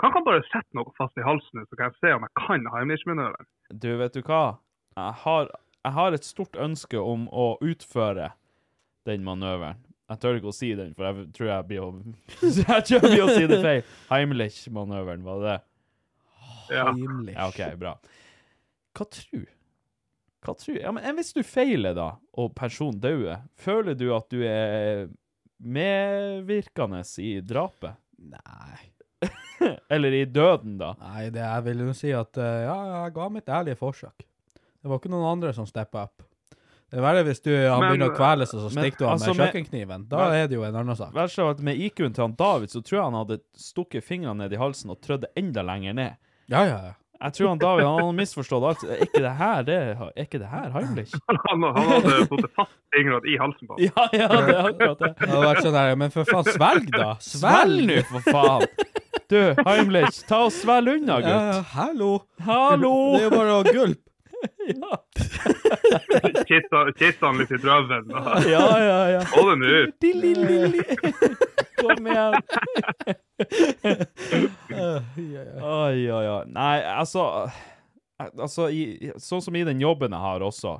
Kan ikke han bare sette noe fast i halsen, så kan jeg se om jeg kan Heimlich-manøveren?
Du, vet du hva? Jeg har, jeg har et stort ønske om å utføre den manøveren. Jeg tør ikke å si den, for jeg tror jeg blir å Jeg tror jeg blir å si det feil. Heimlich-manøveren, var det det?
Ja.
Heimlich.
Ja, OK, bra. Hva tror Hva tror Ja, men enn hvis du feiler, da, og personen dauer, føler du at du er medvirkende i drapet?
Nei.
Eller i døden, da?
Nei, det jeg vil jo si at eh, ja, jeg ga mitt ærlige forsøk. Det var ikke noen andre som steppa opp. Det er verre hvis du, han
Men-
begynner å kvele seg, så
men,
stikker du han
altså,
med
med-
kjøkkenkniven. Da
Men-
er det jo en annen sak.
Verst av alt, med IQ-en til han David, så tror jeg han hadde stukket fingrene ned i halsen og trødd det enda lenger ned.
Ja, ja, ja.
Jeg tror han David han har misforstått alt. Er ikke det her det Er ikke det her Heimlich?
Han, han hadde fått fast fingrene i halsen på ham.
Ja, ja, det er akkurat det.
Det hadde vært sånn der, men for faen, svelg, da!
Svelg
Svelg!
nå, for faen! Du, Heimlich, ta og svelg unna,
Ja, ja,
gutt.
Eh, hallo!
Hallo!
Det er jo bare å gulpe.
Ja,
Kissa han litt i drømmen. og
ja, ja. ja.
Få den ut.
Dililili. Kom igjen. Oi, oi, oi. Nei, altså, altså i, Sånn som i den jobben jeg har også.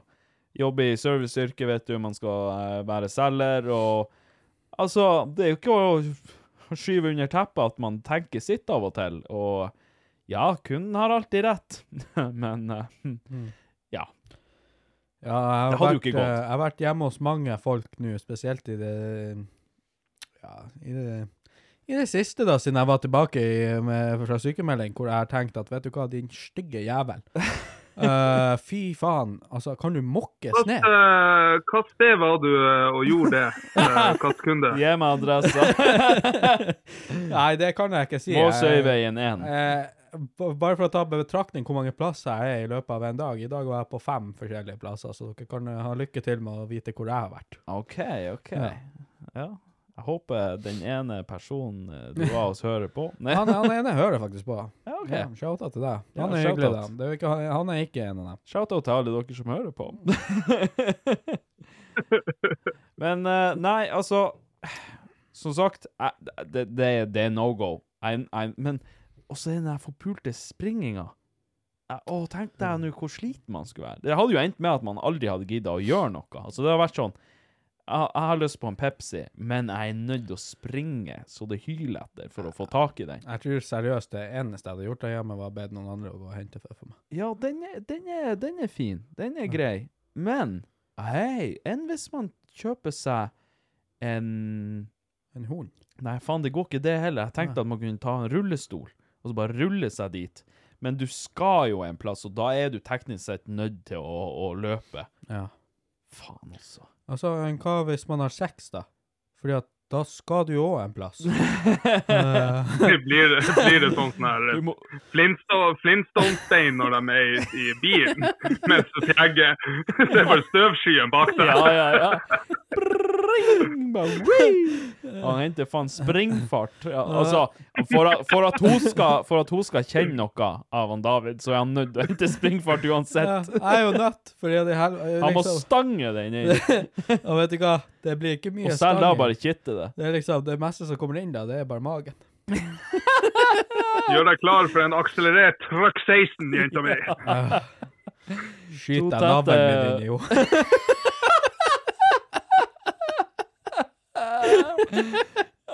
Jobber i serviceyrket, vet du. Man skal eh, være selger og Altså, det er jo ikke å skyve under teppet at man tenker sitt av og til. Og ja, kunden har alltid rett, men eh,
Ja, jeg
Det hadde jo
har, vært,
ikke
eh,
gått.
jeg har vært hjemme hos mange folk nå, spesielt i det Ja, i det, i det siste, da, siden jeg var tilbake i, med, fra sykemelding, hvor jeg har tenkt at vet du hva, din stygge jævel. Eh, fy faen, altså, kan du mokkes ned?
Hvilket eh, sted var du eh, og gjorde det? eh, Hvilken kunde?
gi meg adressa.
Nei, det kan jeg ikke si. Jeg-
Måsøyveien 1.
Eh, b- bare for å ta i betraktning hvor mange plasser jeg er i løpet av en dag. I dag var jeg på fem forskjellige plasser, så dere kan eh, ha lykke til med å vite hvor jeg har vært.
OK, OK.
Ja.
Ja. Jeg håper den ene personen eh, du var hos, hører på. Nei.
Han, han ene hører faktisk på.
Ja, OK.
Ja, Shout-out til deg.
Ja,
Han er
shout-out.
hyggelig, da. Det er jo ikke, han- han er ikke en av dem.
Shout-out til alle dere som hører på. Men eh, nei, altså Som sagt, jeg- det, det, det er no go. Jeg- jeg- Men også den der forpulte springinga. Jeg- Å, tenk deg nå hvor sliten man skulle være. Det hadde jo endt med at man aldri hadde gidda å gjøre noe. Altså, det har vært sånn jeg, jeg har lyst på en Pepsi, men jeg er nødt til å springe så det hyler etter for å få tak i den.
Jeg tror seriøst det eneste jeg hadde gjort der hjemme, var å bedt noen andre å gå og hente for, for meg.
Ja, den er, den er, den er fin. Den er grei. Men hei, enn hvis man kjøper seg en
En hund.
Nei, faen, det går ikke det heller. Jeg tenkte at man kunne ta en rullestol og så bare rulle seg dit. Men du skal jo en plass, og da er du teknisk sett nødt til å, å løpe.
Ja.
Faen også.
Altså, en hva hvis man har sex, da? Fordi at da skal du jo òg en plass.
Blir, det- blir det sånn sånn her
Du må,
Flintstone- Flintstone-stein når de er i, i bilen, mens du tjegger. Det er bare støvskyen bak deg.
Ja, ja, ja. Bring, ba, wing. Han henter faen springfart. Ja, altså, for, at- for, at hun skal, for at hun skal kjenne noe av han David, så er han nødt til å hente springfart
Ja,
uansett.
jeg er jo nødt, fordi at i hel...
Han må
liksom-
stange den inn,
Og vet du hva, det blir ikke mye
og selv da
stanging.
bare kitte det.
Det er liksom, det meste som kommer inn da, det er bare magen.
Gjør deg klar for en akselerert truck 16, jenta mi.
Skyt
To
deg navlen min
tette-
inn i jo.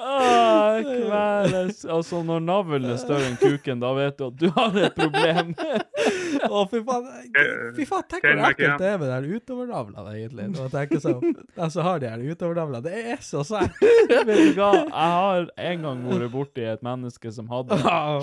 Ah, kveles. Altså, når navlen er større enn kuken, da vet du at du har et problem.
Å, fy faen. Fy faen, tenk hvor
Kjenner ikke
ekkelt det er med de her utovernavlene, egentlig. Når jeg tenker sånn, de som har de her utovernavlene, det er så sært.
Vet du hva? Jeg har en gang vært borti et menneske som hadde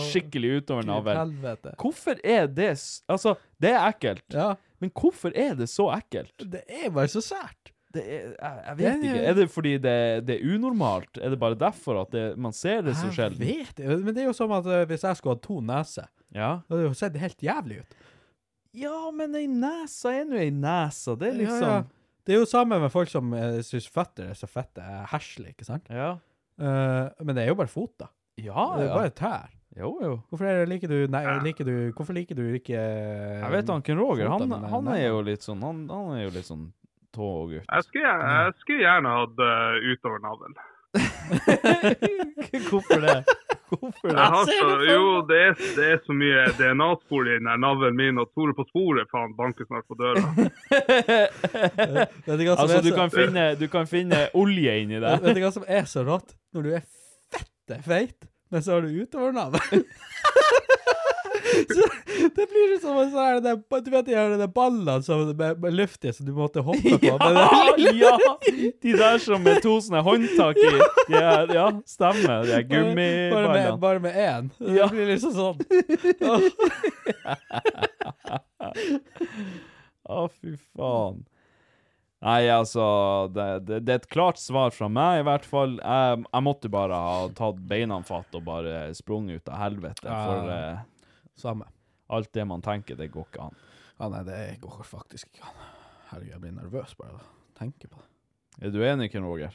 skikkelig utover navlen.
Helvete.
Hvorfor er det s- Altså, det er ekkelt.
Ja,
Men hvorfor er det så ekkelt?
det er bare så sært.
Det er, jeg, jeg
Ja, ja,
vet ikke.
ja.
Er det fordi det, det er unormalt? Er det bare derfor at det, man ser det så
Jeg
sjelden?
vet det. Men det er jo som at eh, hvis jeg skulle hatt to neser,
Ja.
da hadde det jo sett helt jævlig ut.
ja, men ei nese er nå ei nese. Det er liksom
Ja, ja. Det er jo samme med folk som uh, synes føtter er så fette eh, herselig, ikke sant?
Ja.
Eh, men det er jo bare fot da.
Ja, Ah,
Det er
ja.
bare tær.
Jo, jo.
Hvorfor er det, liker du Nei, liker du Hvorfor liker du ikke
Jeg vet han Ken Roger,
fot,
han,
da, men,
han
nei,
er
nei.
jo litt sånn Han, han er jo litt sånn tågutt.
Jeg skulle, eh, jeg skulle gjerne hatt uh, utover navlen.
Hvorfor det?
Hvorfor
Jeg har
det?
så, jo,
sånn?
det er, det er så mye DNA-spor i den der navlen min, og Tore på sporet faen banker snart på døra.
Vet du hva som
Altså,
er
du
så-
kan finne, du kan finne olje inni
Vet
det.
vet du hva som er så rått? Når du er fette feit, men så har du utover navnet. så det blir som en sånn her, det- Du vet de her de ballene som- med, med luft i, som du måtte hoppe på? men
Ja,
det-
ja! De der som er to sånne håndtak i. De er, ja, stemmer. De er
Bare, bare, med-
gummiballene.
bare med én.
Ja.
Det blir liksom sånn.
Å, fy faen. Nei, altså det, det, det er et klart svar fra meg, i hvert fall. Jeg, jeg måtte bare ha tatt beina fatt og bare sprunget ut av helvete. For
Ja.
eh,
Samme.
alt det man tenker, det går ikke an.
Ja, nei, det går faktisk ikke an. Herregud, jeg blir nervøs bare av å tenke på det.
Er du enig, Ken Roger?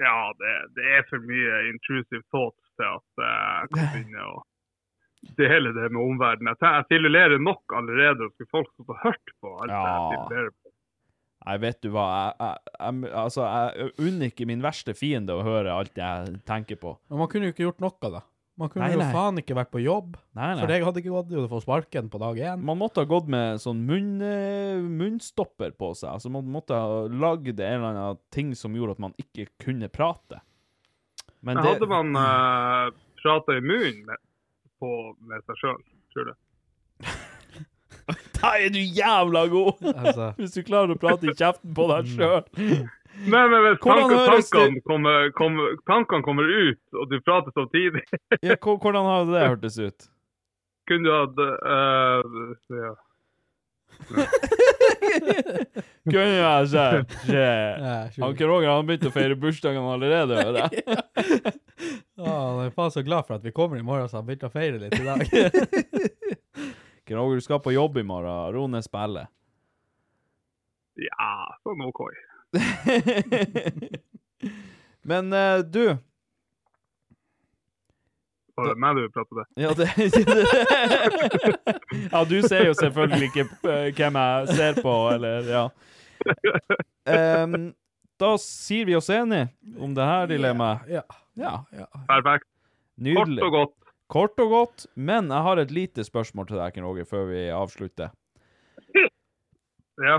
Ja, det, det er for mye intrusive thoughts til at eh, jeg kan begynne å Det hele det med omverdenen. Jeg, te- jeg filulerer nok allerede, og skulle folk som har hørt på alt det jeg
Ja.
filulerer på.
Nei, vet du hva, jeg, jeg, jeg, altså, jeg unner ikke min verste fiende å høre alt jeg tenker på.
Men man kunne jo ikke gjort noe, da. Man kunne
Nei, nei.
jo faen ikke vært på jobb.
Nei, nei.
For det hadde ikke gått jo å få sparken på dag én.
Man måtte ha gått med sånn munn, eh, munnstopper på seg. Altså, man måtte ha lagd en eller annen ting som gjorde at man ikke kunne prate. Men Mm.
Men Hadde man uh, prata i munnen med, på, med seg sjøl, tror du?
Der er du jævla god!
Altså.
Hvis du klarer å prate i kjeften på deg sjøl.
Nei, men hvis
Hvordan
tanken,
høres det-
tankene, kommer, kommer, tankene kommer ut, og du prater samtidig
Ja, hva- hvordan har det hørtes ut?
Kunne du hatt eh, ja.
Kunne jeg sagt
Ja,
det?
jeg skjønner.
Anker Roger han begynte å feire bursdagen allerede, hører jeg.
Å, han er faen så glad for at vi kommer i morgen, så han begynte å feire litt i dag.
Anker Roger, du skal på jobb i morgen. Ro ned spillet.
ja, sånn OK.
Men eh, du
Var det meg du pratet til?
Ja, det, ja, du ser jo selvfølgelig ikke eh, hvem jeg ser på, eller ja. Em, da sier vi oss enige om det her dilemmaet.
ja.
Ja,
Perfekt. Kort
nydelig.
og godt.
Kort og godt. Men jeg har et lite spørsmål til deg, Ken Roger, før vi avslutter.
Ja.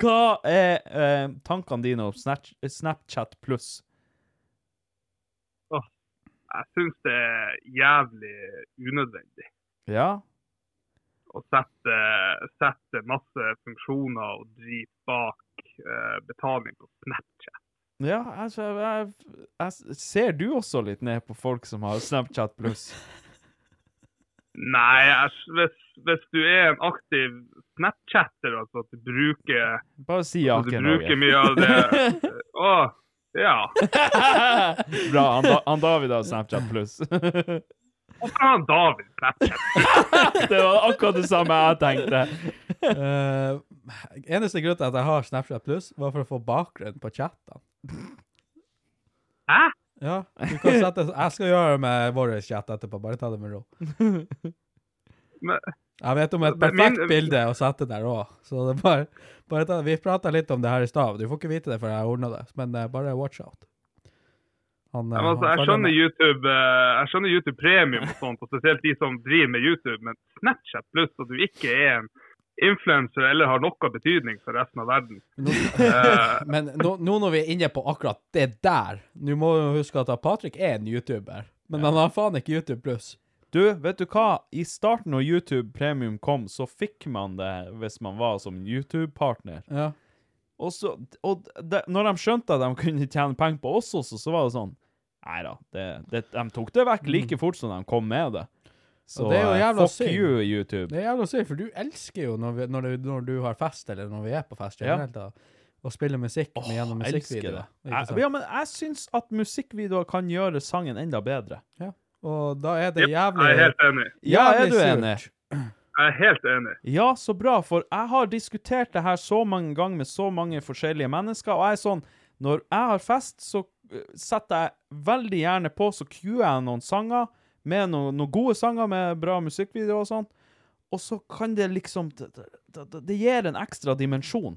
Hva er eh, tankene dine om Snatch- Snapchat pluss?
Jeg syns det er jævlig unødvendig
Ja?
å sette, sette masse funksjoner og drit bak eh, betaling på Snapchat.
Ja, altså, jeg, jeg Ser du også litt ned på folk som har Snapchat pluss?
Nei, jeg, hvis, hvis du er en aktiv Snapchatter, altså at du bruker,
Bare si ja,
at Altså, du
Ken
bruker
Roger.
mye av det Å, ja.
Bra. Han, da, han David har Snapchat pluss. det
Hvorfor har han David Snapchat?
var akkurat det samme jeg tenkte.
Eh, eneste grunn til at jeg har Snapchat Plus, var for å få bakgrunn på chattene.
Hæ?
Ja, du kan sette, jeg skal gjøre det med vår chat etterpå, bare ta det med ro.
Men-
Jeg vet om et
Men min-
perfekt bilde å sette der òg, så det er bare, bare ta, vi prata litt om det her i stad. Du får ikke vite det før jeg ordner det, men eh, bare watch out. Han, eh,
Ja, men altså,
han
jeg
følger
skjønner
med.
YouTube eh, Jeg skjønner YouTube premium og sånt, og spesielt de som driver med YouTube, men Snapchat pluss at du ikke er en influenser eller har noe betydning for resten av verden. Eh,
Nå, men nå, nå når vi er inne på akkurat det der Nå må vi huske at Patrick er en YouTuber, men han har faen ikke YouTube pluss.
Du, vet du hva? I starten når YouTube Premium kom, så fikk man det hvis man var som YouTube-partner.
Ja.
Og, så, og de, når de skjønte at de kunne tjene penger på oss også, så var det sånn Nei da, det, det, de tok det vekk like fort som de kom med Mm. det. Så
Og det er jo
eh,
jævla
fuck
synd.
you, YouTube.
Det er jævla sykt, for du elsker jo når, vi, når, du, når du har fest, eller når vi er på fest
Ja.
generelt, da, å spille musikk med, gjennom
Jeg elsker
musikkvideoer.
det.
ikke sant?
Jeg, ja, men jeg syns at musikkvideoer kan gjøre sangen enda bedre.
Og da er det
Jep,
jævlig
Jeg er helt enig.
Ja, er
jævlig
du
surt.
enig?
Jeg er helt enig.
Ja, så bra, for jeg har diskutert det her så mange ganger med så mange forskjellige mennesker, og jeg er sånn Når jeg har fest, så eh, setter jeg veldig gjerne på, så cuer jeg noen sanger, med no, noen gode sanger med bra musikkvideo og sånn, og så kan det liksom Det, det, det- det gir en ekstra dimensjon.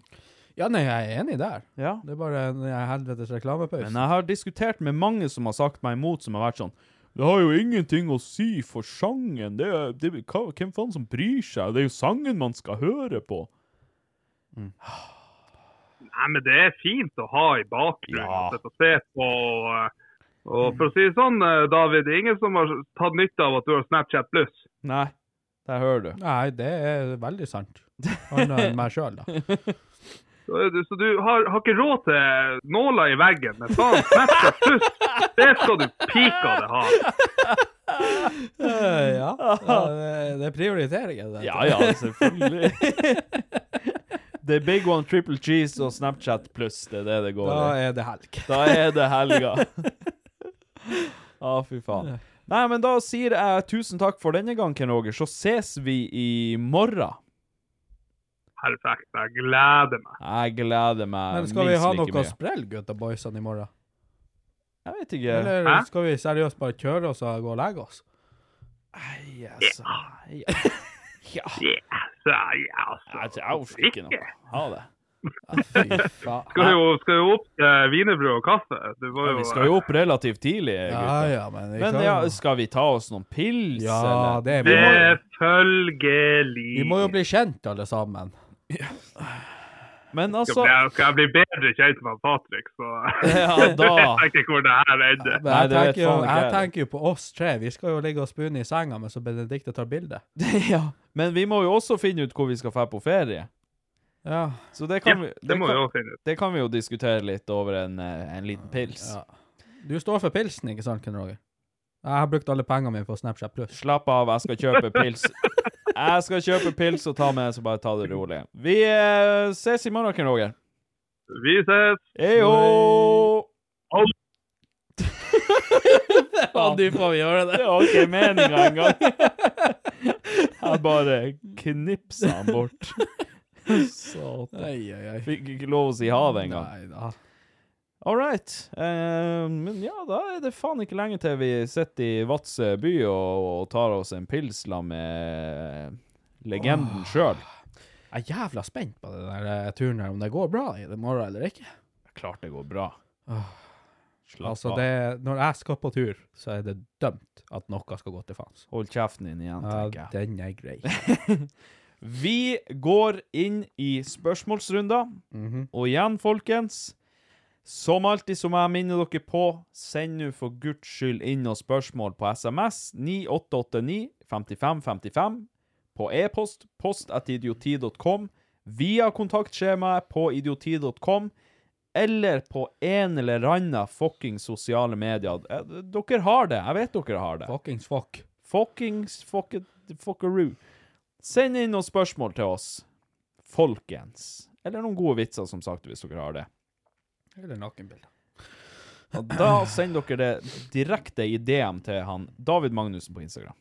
Ja, nei, jeg er enig der.
Ja.
Det er bare en helvetes reklamepause.
Men eh, jeg har diskutert med mange som har sagt meg imot, som har vært sånn Det har jo ingenting å si for sangen. Det er, det, hva, hvem faen som bryr seg? Det er jo sangen man skal høre på.
Nei, men det er fint å ha i bakgrunnen.
Ja.
å sitte og se på. og, Og for å si det sånn, eh, David, det er ingen som har tatt nytte av at du har Snapchat pluss.
Nei, der hører du.
Nei, det er veldig sant. Annet enn meg sjøl, da.
Så, er du- så du har, har ikke råd til nåler i veggen, men faen, Snapchat pluss, det skal du pika det ha.
Eh, ja. Eh, Det er prioriteringer, det.
Ja ja, selvfølgelig. The big one, triple cheese og Snapchat pluss. Det er det det går
Da
i.
er det helg.
Da er det helga. Å, fy faen. Nei, men da sier jeg tusen takk for denne gang, Ken Roger. Så ses vi i morgen.
Perfekt. Jeg gleder meg.
Jeg gleder meg
Men skal vi ha noe
mye.
sprell, gutta boysene, i morgen?
Jeg vet ikke.
Eller
Hæ?
skal vi seriøst bare kjøre oss og gå og legge oss?
Nei, altså. Ja. ja.
Så, ja, altså.
Jeg, jeg orker ikke noe. Ha det.
Fy faen.
Skal jo, skal jo opp til wienerbrød og kaffe. Du må jo,
Vi skal jo opp relativt tidlig,
Ja,
gutter.
ja, men vi
Men
kan
ja,
jo-
skal vi ta oss noen pils,
Ja,
eller?
det vi må, jo-
eh, Selvfølgelig.
vi må jo bli kjent, alle sammen.
Men
skal
altså
jeg, skal jeg bli bedre kjent med Patrick, så
Ja,
du
da.
vet ikke hvor det her ender.
Men
Nei,
jeg,
det vet
tenker jo,
faen ikke
jeg
jeg.
tenker jo på oss tre. Vi skal jo ligge og spune i senga mens Benedicte tar bilde.
ja. Men vi må jo også finne ut hvor vi skal dra på ferie.
Ja.
Så det
Ja,
kan, vi,
det må vi
kan,
jo finne ut.
det kan vi jo diskutere litt over en, eh, en liten pils.
ja. Du står for pilsen, ikke sant, Ken Roger? Jeg har brukt alle pengene mine på Snapchat pluss.
Slapp av, jeg skal kjøpe pils. Jeg skal kjøpe pils og ta med, så bare ta det rolig. Vi eh, ses i morgen, Ken Roger.
Vi ses.
Heyo!
Ja, du får vi gjøre
Det var ikke meninga engang. Jeg bare knipsa han bort. Satan.
Oi, oi, oi.
Fikk ikke lov å si ha det engang.
Nei da.
All right. Eh, men ja, da er det faen ikke lenge til vi sitter i Vadsø by og, og tar oss en pils la med legenden sjøl.
Jeg er jævla spent på den der eh, turen her, om det går bra i det morgen eller ikke.
Klart det går bra. Slapp
Altså,
av.
det, når jeg skal på tur, så er det dømt at noe skal gå til faens.
Hold kjeften din igjen, tenker
Ja,
jeg.
den er grei.
Vi går inn i spørsmålsrunder. Og igjen, folkens, som alltid så må jeg minne dere på, send nå for guds skyld inn noen spørsmål på SMS 9889 5555, på e-post post at idioti.com, via kontaktskjemaet på idioti.com, eller på en eller annen fucking sosiale medier. Eh, Dere har det, jeg vet dere har det.
Fuckings fuck.
Fuckings fucket, fuckeroo. Send inn noen spørsmål til oss, folkens. Eller noen gode vitser, som sagt, hvis dere har det.
Eller nakenbilder.
Og da sender dere det direkte i DM til han David Magnussen på Instagram.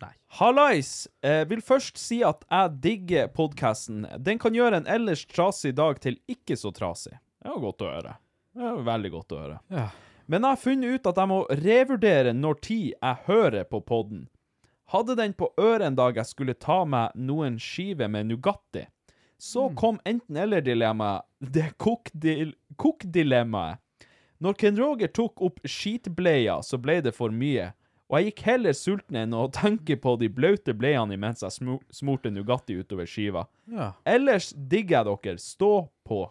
Nei.
Hallais! Eh, vil først si at jeg digger podkasten. Den kan gjøre en ellers trasig dag til ikke så trasig. Det var godt å høre. Det var veldig godt å høre.
Ja.
Men jeg har funnet ut at jeg må revurdere når tid jeg hører på podden. Hadde den på øret en dag jeg skulle ta meg noen skiver med Nugatti. Så kom enten-eller-dilemmaet, det kokdil- kokk-dilemmaet. Når Ken Roger tok opp skitbleia, så ble det for mye, og jeg gikk heller sulten enn å tenke på de blaute bleiene mens jeg smo- smurte Nugatti utover skiva.
Ja.
Ellers digger jeg dere, stå på.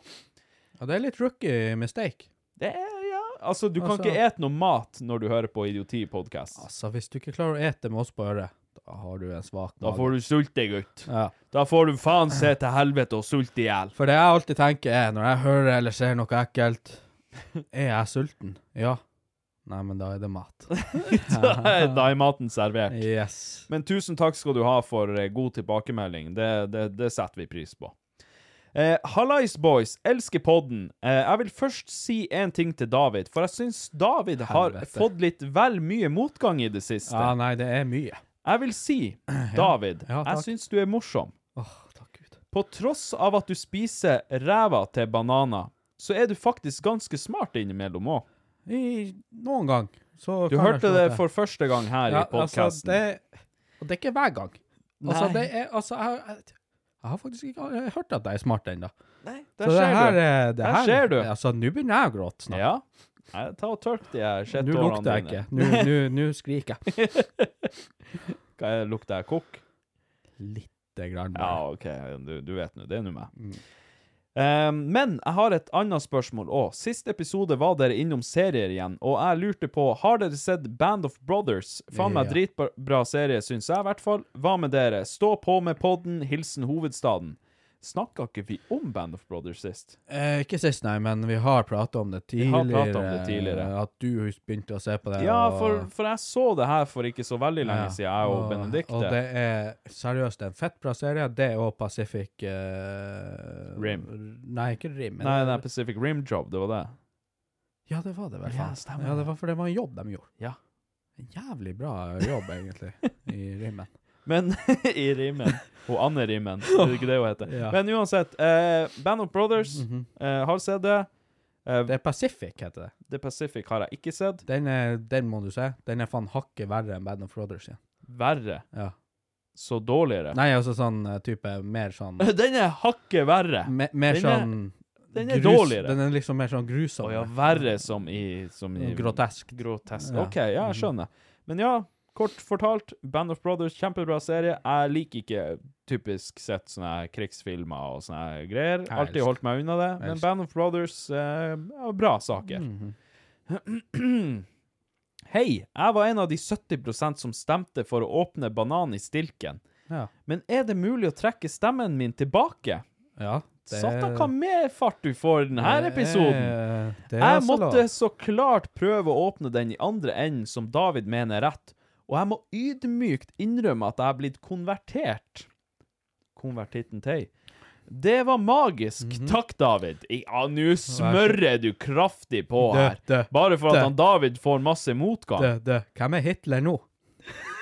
ja, det er litt rookie mistake.
Det er, ja, altså Du kan
Altså-
ikke ete noe mat når du hører på Idioti-podkast.
Altså, hvis du ikke klarer å ete med oss på øret, da har du en svak
Da
mage.
får du sulte, gutt.
Ja.
Da får du faen se til helvete og sulte i hjel.
For det jeg alltid tenker er, når jeg hører eller ser noe ekkelt, er jeg sulten? Ja. Nei, men da er det mat.
da er maten servert.
Yes.
Men tusen takk skal du ha for eh, god tilbakemelding. Det, det, det setter vi pris på. Eh, Hallais, boys. Elsker podden. Eh, jeg vil først si en ting til David, for jeg syns David har
Helvete.
fått litt vel mye motgang i det siste.
Ja, nei, det er mye.
Jeg vil si, David,
Ja, takk.
jeg syns du er morsom.
Åh, takk Gud.
På tross av at du spiser ræva til bananer, så er du faktisk ganske smart innimellom òg.
I, noen gang. Så
Du
kan jeg
hørte
slå
det for første gang her i podkasten.
Altså, det, og det er ikke hver gang. Altså,
Nei.
det er, altså, jeg, jeg, jeg har faktisk ikke hørt at jeg er smart ennå.
Nei,
Så det her, er- det
Der
her
ser du.
Altså, nå begynner jeg å gråte snart.
Ja. Nei, Ta og tørk de her
Nå
skjettårene
lukter jeg ikke. Nå- nå- Nå skriker jeg.
Hva er, lukter jeg kokk?
Lite grann.
Ja,
bare.
OK, du, du vet nå. Det er nå meg.
Mm.
Um, men jeg har et annet spørsmål òg. Sist episode var dere innom serier igjen, og jeg lurte på Har dere sett Band of Brothers? Faen meg
Ja.
dritbra serie, syns jeg i hvert fall. Hva med dere? Stå på med podden. Hilsen hovedstaden. Snakka ikke vi om Band of Brothers sist?
Eh, ikke sist, nei, men vi har prata om det
Vi
tidligere. eh,
har pratet om det tidligere.
At du begynte å se på det.
Ja,
og-
for, for jeg så det her for ikke så veldig lenge siden, jeg og Benedicte.
Og det er seriøst en fett bra serie. Det og Pacific eh,
Rim.
Nei, ikke Rim. men-
Nei, det er Pacific Rim Job, det var det.
Ja, det var det vel.
Ja,
faen.
stemmer
ja, det
det.
var for det var en jobb de gjorde.
Ja.
En jævlig bra jobb, egentlig, i rimmen.
Men i rimen. Og Anne Rimen, er det ikke det hun heter?
Ja.
Men uansett, eh, Band of Brothers
Mhm.
eh, har sett det. Eh,
Det er Pacific, heter det.
The Pacific har jeg ikke sett.
Den, er, den må du se. Den er faen hakket verre enn Band of Brothers igjen.
Verre.
Ja.
Så dårligere.
Nei, altså sånn eh, type mer sånn
Den er hakket verre.
Me, mer
Den er-
sånn
den er dårligere.
Den er liksom mer sånn
Å
grusom.
ja, verre som i, som i
Grotesk.
Grotesk.
Ja. Mm.
OK, ja, jeg skjønner. Men ja, kort fortalt, Band of Brothers, kjempebra serie. Jeg liker ikke typisk sett sånne her krigsfilmer og sånne her greier. Alltid
elsker.
holdt meg unna det. Men
elsker.
Band of Brothers eh, er bra saker.
Mhm.
Hei, jeg var en av de 70 som stemte for å åpne banan i stilken.
Ja.
Men er det mulig å trekke stemmen min tilbake?
ja det-
Satan, hva mer fart du får i denne episoden!
Det- det er
Jeg
altså
måtte
lov.
så klart prøve å åpne den i andre enden, som David mener er rett, og jeg må ydmykt innrømme at jeg er blitt konvertert. Konvertitten tei. Det var magisk.
Mhm.
Takk, David. I- Ja, nå smører du kraftig på
Dø,
her.
dø,
Bare for at
dø.
han David får masse motgang.
Dø, dø. Hvem er Hitler nå?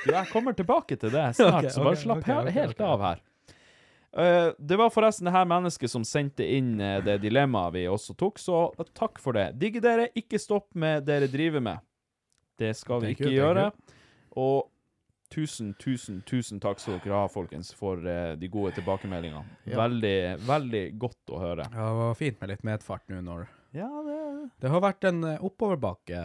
Du, Jeg kommer tilbake til det snart,
Ok,
så bare
ok,
slapp
ok,
he-
ok,
helt
ok.
av her. Eh, det var forresten det her mennesket som sendte inn eh, det dilemmaet vi også tok, så takk for det. Digger dere, ikke stopp med dere driver med. Det skal vi
Thank
ikke
you,
gjøre.
thank
Og tusen, tusen, tusen takk skal dere ha, folkens, for eh, de gode tilbakemeldingene. Veldig, veldig godt å høre.
Ja, det var fint med litt medfart nå når
Ja, det
Det har vært en eh, oppoverbakke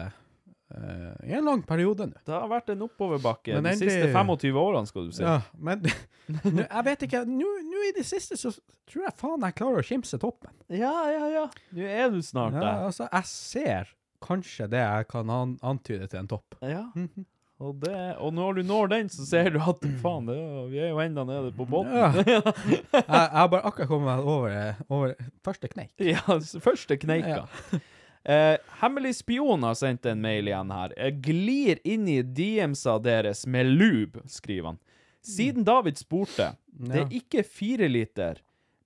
eh, i en lang periode nå.
Det har vært en oppoverbakke
Men
de
egentlig-
siste 25 årene, skal du si.
Ja, men nå, jeg vet ikke Nå nå i det siste så tror jeg faen jeg klarer å kimse toppen.
ja, ja. ja. Nå er du snart der.
Ja, altså, jeg ser kanskje det jeg kan an antyde til en topp.
Ja. Og, det, og når du når den, så ser du at faen, det, er jo- vi er jo enda nede på båten.
Ja. jeg, jeg har bare akkurat kommet meg over, eh, over første kneik.
Ja, s- første kneika. Eh, hemmelig spion har sendt en mail igjen her. Jeg glir inn i DM-sa deres med lube, skriver han. Siden David spurte, det er ikke fire liter,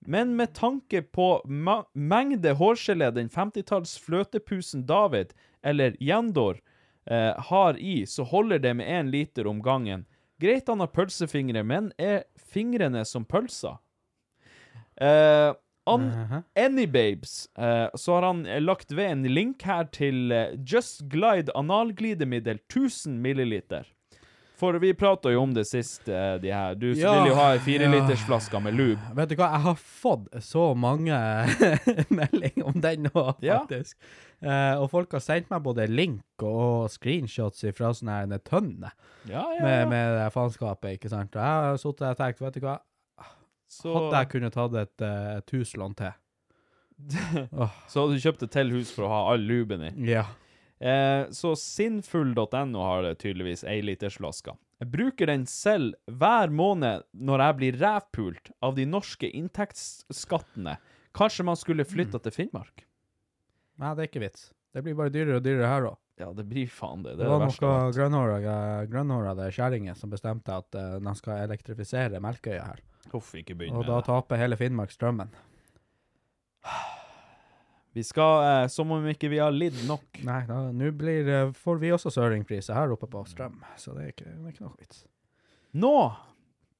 men med tanke på ma mengde hårgelé den 50-talls fløtepusen David, eller Jendor, eh, har i, så holder det med én liter om gangen. Greit han har pølsefingre, men er fingrene som pølser? Eh, an Anybabes, eh, så har han eh, lagt ved en link her til eh, Just Glide analglidemiddel 1000 milliliter. For vi prata jo om det sist, eh, de her. Du
Ja,
vil jo ha ei
ja.
firelitersflaske med lube.
Vet du hva, jeg har fått så mange meldinger om den nå,
Ja.
faktisk. Eh, og folk har sendt meg både link og screenshots fra sånne her tønne
Ja, ja,
med,
ja.
med det faenskapet, ikke sant. Og jeg har sittet og tenkt, vet du hva,
så,
hadde jeg kunnet tatt et, eh, et huslån til.
så du kjøpte til hus for å ha all luben i.
Ja.
Eh, så sinnfull.no har tydeligvis ei litersflaske. Jeg bruker den selv hver måned når jeg blir rævpult av de norske inntektsskattene. Kanskje man skulle
Mm.
flytta til Finnmark?
Nei, det er ikke vits. Det blir bare dyrere og dyrere her òg.
Ja, det blir faen det.
Det,
Det, er
var
det verste.
noen grønnhårede- grønnhårede kjerringer som bestemte at eh, de skal elektrifisere Melkøya her.
Huff, ikke begynn
Og
med
da
det.
taper hele Finnmark strømmen.
Vi skal eh, som om ikke vi har lidd nok.
Nei, da- nå blir, eh, får vi også søringpriser her oppe på strøm, så det er ikke, det er ikke noe vits.
Nå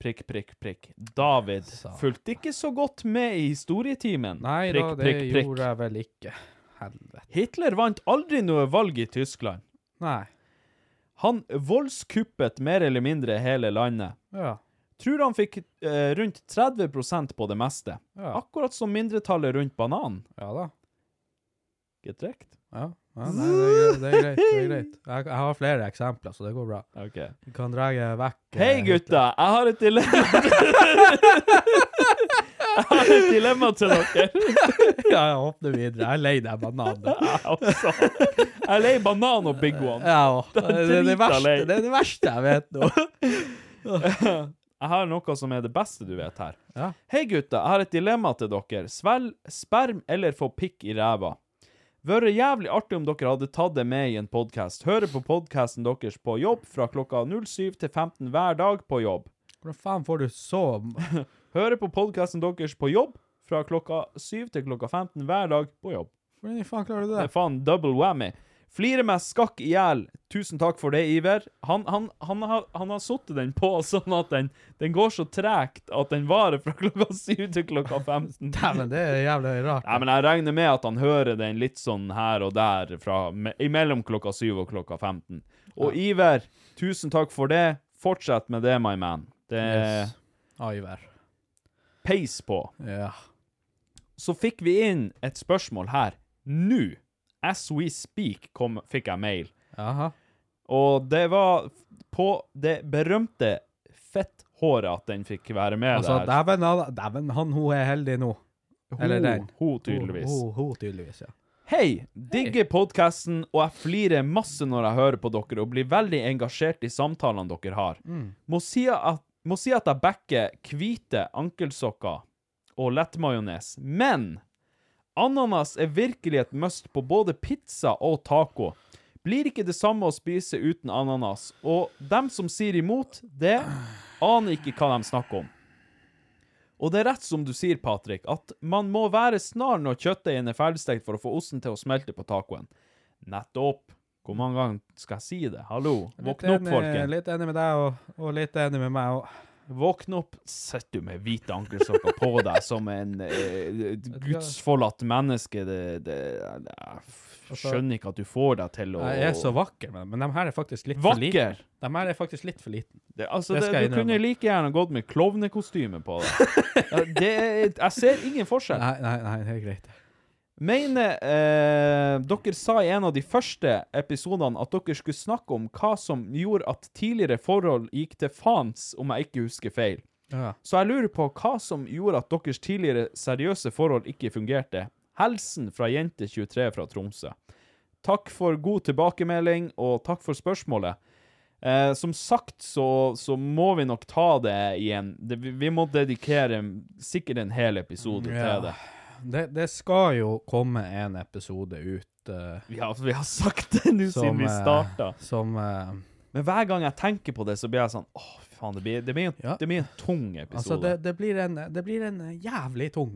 Prikk, prikk, prikk. David
Satan.
fulgte ikke så godt med i historietimen.
Nei
prikk,
da, det
prikk, prikk.
gjorde jeg vel ikke. Helvete.
Hitler vant aldri noe valg i Tyskland.
Nei.
Han voldskuppet mer eller mindre hele landet.
Ja.
Tror han fikk eh, rundt 30 på det meste.
Ja.
Akkurat som mindretallet rundt bananen.
Ja da.
Get rekt?
Ja. ja nei, det er greit. Det er greit. Det er greit. Jeg, jeg har flere eksempler, så det går bra.
Ok.
Vi kan dra vekk eh,
Hei, gutta! Jeg har et dilemma Jeg har et dilemma til dere.
Hitler. Ja, jeg åpner videre. Jeg er lei deg bananen.
Jeg også. Jeg er lei banan og Big One.
Ja, og det, det, er det,
drita
verste,
lei.
det er det verste jeg vet nå.
Jeg har noe som er det beste du vet her.
Ja.
Hei gutta, jeg har et dilemma til dere. Svelg sperm eller få pikk i ræva? Vært jævlig artig om dere hadde tatt det med i en podkast. Hører på podkasten deres på jobb fra klokka 07 til 15 hver dag på jobb.
Hvordan faen får du så
Hører på podkasten deres på jobb fra klokka 7 til klokka 15 hver dag på jobb.
Hvordan i faen klarer du
Det
det?
er faen double whammy. Flirer meg skakk i hjel. Tusen takk for det, Iver. Han, han, han, har, han har suttet den på sånn at den, den går så tregt at den varer fra klokka 7 til klokka 15.
Dæven, det er jævlig rart.
Nei, men jeg regner med at han hører den litt sånn her og der fra, me, imellom klokka 7 og klokka 15. Og Iver, tusen takk for det. Fortsett med det, my man. Det er
Yes. Aiver.
peis på.
Ja.
Så fikk vi inn et spørsmål her. Nå, as we speak, kom, fikk jeg mail.
Jaha.
Og det var på det berømte fetthåret at den fikk være med
Altså,
der.
dæven, han- dæven, han hun er heldig nå. eller den.
Ho, ho tydeligvis.
Hun, hun, hun tydeligvis, ja.
Hei! Digger podkasten, og jeg flirer masse når jeg hører på dere, og blir veldig engasjert i samtalene dere har. Må, si at, må si at jeg backer hvite ankelsokker og lettmajones, men ananas er virkelig et must på både pizza og taco. Blir ikke det samme å spise uten ananas, og dem som sier imot, det aner ikke hva de snakker om. Og det er rett som du sier, Patrick, at man må være snar når kjøttdeigen er ferdigstekt for å få osten til å smelte på tacoen. Nettopp. Hvor mange ganger skal jeg si det? eh, Hallo, våkne opp,
enig,
folken.
Litt enig med deg, og, og litt enig med meg. Og,
Våkne opp. Sitter du med hvite ankelsokker på deg som en eh, gudsforlatt menneske? Det, det, jeg skjønner ikke at du får deg til å
Altså, jeg er så vakker, men, men de her er faktisk litt for liten.
Vakker!
De her er faktisk litt for liten.
Det, altså,
Det
det
skal jeg
du kunne
innrømme.
like gjerne gått med klovnekostyme på deg. det, jeg ser ingen forskjell.
Nei, nei, nei, det er greit.
Mener eh, dere sa i en av de første episodene at dere skulle snakke om hva som gjorde at tidligere forhold gikk til faens, om jeg ikke husker feil.
Ja.
Så jeg lurer på hva som gjorde at deres tidligere seriøse forhold ikke fungerte. Helsen fra jente23 fra Tromsø. Takk for god tilbakemelding, og takk for spørsmålet. Eh, som sagt så, så må vi nok ta det igjen. Det, vi, vi må dedikere sikkert en hel episode
Ja.
til det.
Det, det skal jo komme en episode ut eh,
Vi har, vi har sagt det nå siden vi
eh,
starta.
som eh,
Men hver gang jeg tenker på det, så blir jeg sånn Åh, fy faen, det blir, det blir, en,
Ja.
det blir en tung episode.
Altså, det, det, blir en, det blir en jævlig tung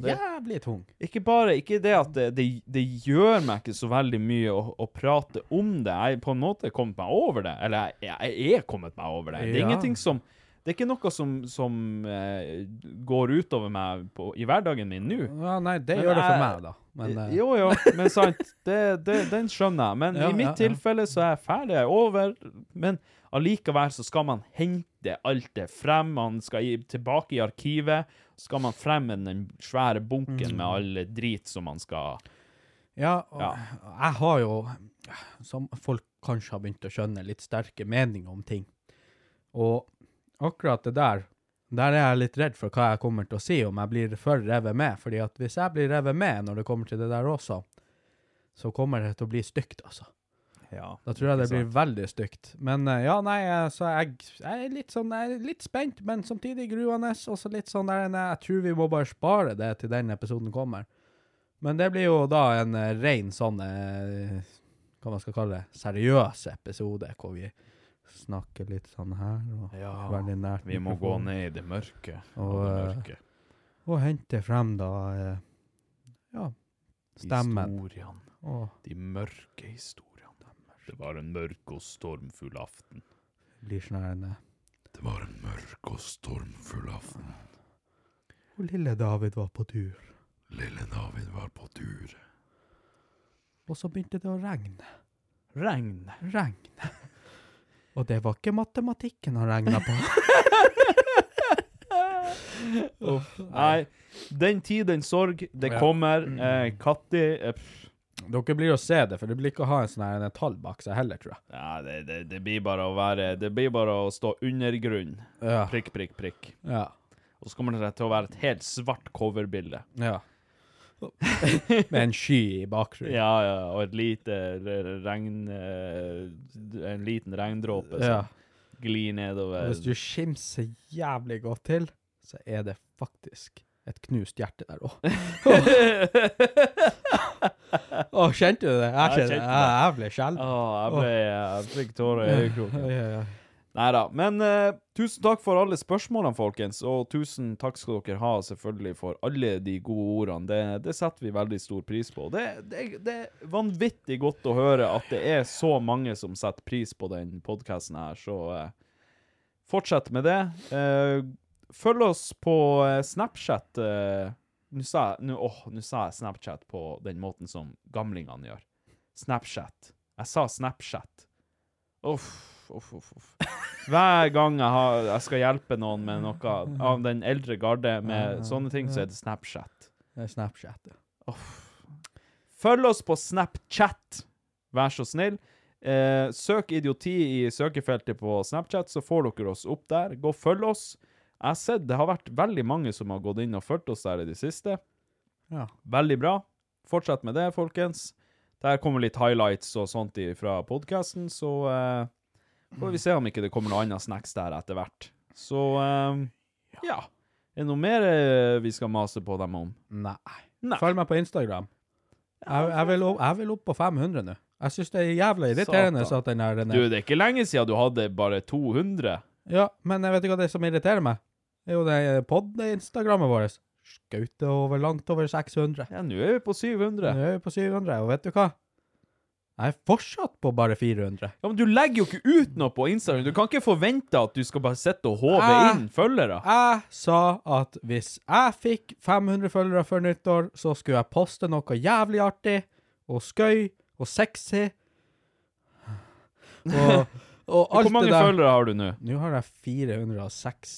Ja, det-
Jævlig tung.
Ikke bare ikke det at det, det, det gjør meg ikke så veldig mye å, å prate om det. Jeg er på en måte kommet meg over det. Eller jeg, jeg er kommet meg over det. Det er
Ja.
ingenting som Det er ikke noe som, som eh, går utover meg på, i hverdagen min nå.
Ja, nei, det
Men
gjør det for
jeg-
meg, da. Men eh,
jo, jo, men sant. Det, det, den skjønner jeg. Men
Ja,
i mitt
ja, ja.
tilfelle så er jeg ferdig, jeg er over. Men allikevel så skal man hente alt det frem. Man skal i, tilbake i arkivet. Så skal man frem med den svære
Mm.
bunken med all drit som man skal
ja, og,
Ja.
jeg har jo, som folk kanskje har begynt å skjønne, litt sterke meninger om ting. Og akkurat det der, der er jeg litt redd for hva jeg kommer til å si om jeg blir for revet med. Fordi at hvis jeg blir revet med når det kommer til det der også, så kommer det til å bli stygt, altså.
Ja.
Da tror jeg det
Ikke
blir veldig stygt. Men eh, ja, nei, eh, så jeg, jeg er litt sånn, jeg er litt spent, men samtidig gruende. Og så litt sånn der, nei, jeg tror vi må bare spare det til den episoden kommer. Men det blir jo da en eh, ren sånn, eh, hva man skal kalle det, seriøs episode, hvor vi snakker litt sånn her, og
Ja,
veldig nært
Vi må gå
mikrofonen.
ned i det mørke.
Og,
og det
eh,
mørke.
Og hente frem da, eh, ja, stemmen.
Historiene.
Og
De mørke historiene. Det var en mørk og stormfull aften.
blir sånn her, eh,
Det var en mørk og stormfull aften.
og lille David var på tur.
Lille David var på tur.
Og så begynte det å regne.
Regn.
Regn. Og det var ikke matematikken han regna på.
Uff, nei. Den tid, den sorg. Det
Ja. Mm.
kommer. Eh, Katti eh, pff,
Dere blir å se det, for du blir ikke å ha en sånn her en tall bak seg heller, tror jeg.
ja, det, det, det blir bare å være Det blir bare å stå under grunn.
Ja.
Prikk, prikk, prikk.
Ja.
Og så kommer det til å være et helt svart coverbilde.
ja. Med en sky i bakgrunnen.
Ja, ja, og et lite re- regn... eh, En liten regndråpe som
Ja.
glir
Og
nedover.
hvis du skimser jævlig godt til, så er det faktisk et knust hjerte der òg. Å, kjente du det? Jeg
jeg
kjente det.
kjente
Jeg ble skjelven.
Åh, jeg ble Jeg fikk tårer i øyekroken.
Ja, ja.
Nei da. Men eh, tusen takk for alle spørsmålene, folkens. Og tusen takk skal dere ha selvfølgelig for alle de gode ordene. Det, det setter vi veldig stor pris på. Det, det, det er vanvittig godt å høre at det er så mange som setter pris på den podkasten her, så eh, fortsett med det. Eh, følg oss på eh, Snapchat. eh, Nå sa, jeg- nå- åh, nå sa jeg Snapchat på den måten som gamlingene gjør. Snapchat. Jeg sa Snapchat. Uff, uff, uff. uff. Hver gang jeg, har, jeg skal hjelpe noen med noe av den eldre garde med sånne ting, så er det Snapchat.
Det er Snapchat. ja.
Følg oss på Snapchat, vær så snill. Eh, søk idioti i søkefeltet på Snapchat, så får dere oss opp der. Gå og følg oss. Jeg har sett det har vært veldig mange som har gått inn og fulgt oss der i det siste.
Ja.
Veldig bra. Fortsett med det, folkens. Der kommer litt highlights og sånt i- fra podkasten, så eh, får vi se om ikke det kommer noe annet snacks der etter hvert. Så eh, ja. Er det noe mer eh, vi skal mase på dem om?
Nei.
Nei.
Følg meg på Instagram. Jeg, jeg, vil, opp, jeg vil opp på 500 nå. Jeg syns det er jævla irriterende
Satan.
at den her den
Du,
er.
det er ikke lenge siden du hadde bare 200.
Ja, men jeg vet ikke hva det er som irriterer meg. Det er jo det pod-instagrammet vårt. Skautet over langt over 600.
Ja, nå er vi på 700.
Nå er vi på 700, og vet du hva? Jeg er fortsatt på bare 400.
Ja, men du legger jo ikke ut noe på Instagram. Du kan ikke forvente at du skal bare sitte og håve
Ah.
inn følgere.
Jeg sa at hvis jeg fikk 500 følgere før nyttår, så skulle jeg poste noe jævlig artig og skøy og sexy. Og, og alt
Hvor mange
det der.
følgere har du nå?
Nå har jeg 460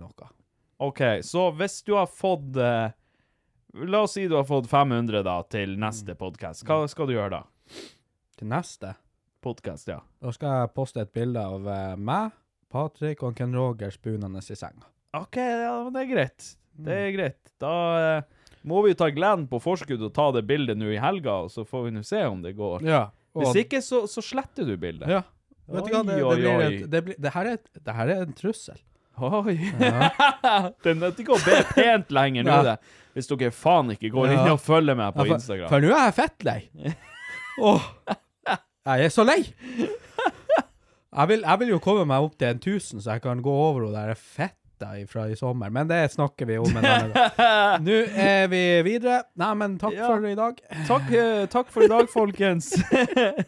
noe.
OK, så hvis du har fått eh, La oss si du har fått 500 da til neste
Mm.
podkast. Hva skal du gjøre da?
Til neste,
Podkast, ja.
da skal jeg poste et bilde av eh, meg, Patrick og Ken Roger spunende i senga.
OK, ja, men det er greit. Det
Mm.
er greit. Da eh, må vi ta Glenn på forskudd og ta det bildet nå i helga, og så får vi nå se om det går.
Ja.
Hvis ikke, så, så sletter du bildet.
Ja. Vet du hva, det,
Oi,
det blir
oi,
et,
oi.
det, blir, det, her er et, det her er en trussel.
Oi. Den nødt ikke å be pent lenger nå,
Ja.
det. Hvis dere faen ikke går
Ja.
inn og følger meg
Ja,
på
for-
Instagram.
For nå er jeg fettlei. Åh, jeg er så lei. Jeg vil, jeg vil jo komme meg opp til en tusen, så jeg kan gå over og der fetta fra i sommer, men det snakker vi om en annen gang. Nå er vi videre. Nei, men takk
Ja.
for i dag.
Takk, eh, takk for i dag, folkens.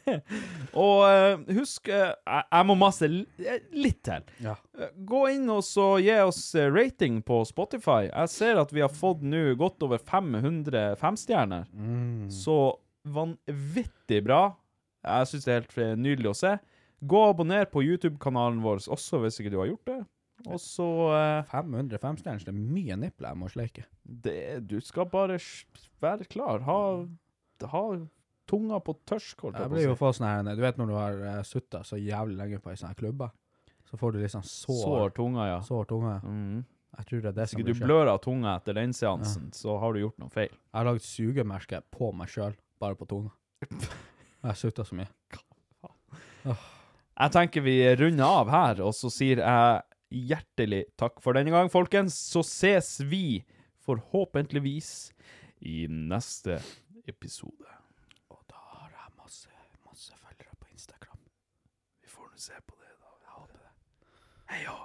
og eh, husk eh, jeg, jeg må mase li- eh, litt til.
Ja.
Eh, Gå inn og så gi oss eh, rating på Spotify. Jeg ser at vi har fått nå godt over 500 femstjerner.
Mm.
Så vanvittig bra. Jeg syns det er helt eh, nydelig å se. Gå og abonner på YouTube-kanalen vår også, hvis ikke du har gjort det. Og så eh,
500 femstjerners, det er mye nippler jeg må sleike.
det, Du skal bare sj- være klar. Ha, ha tunga på tørsk, holdt
Jeg
jeg på
blir
å
jo
si.
få sånn her, du vet når du har uh, sutta så jævlig lenge på ei sånn her klubbe, så får du liksom sår,
Sår tunga, ja.
sår tunge.
Mm.
Jeg tror det er det
Hvis
som
ikke du
blir skjedd.
blør av tunga etter den seansen, så har du gjort noe feil.
Jeg har lagd sugemerke på meg sjøl, bare på tunga. Jeg har sutta så mye.
Jeg tenker vi runder av her, og så sier jeg hjertelig takk for denne gang, folkens. Så ses vi, forhåpentligvis, i neste episode.
Og da har jeg masse, masse følgere på Instagram.
Vi får nå se på det, da. Jeg håper det. Hei òg.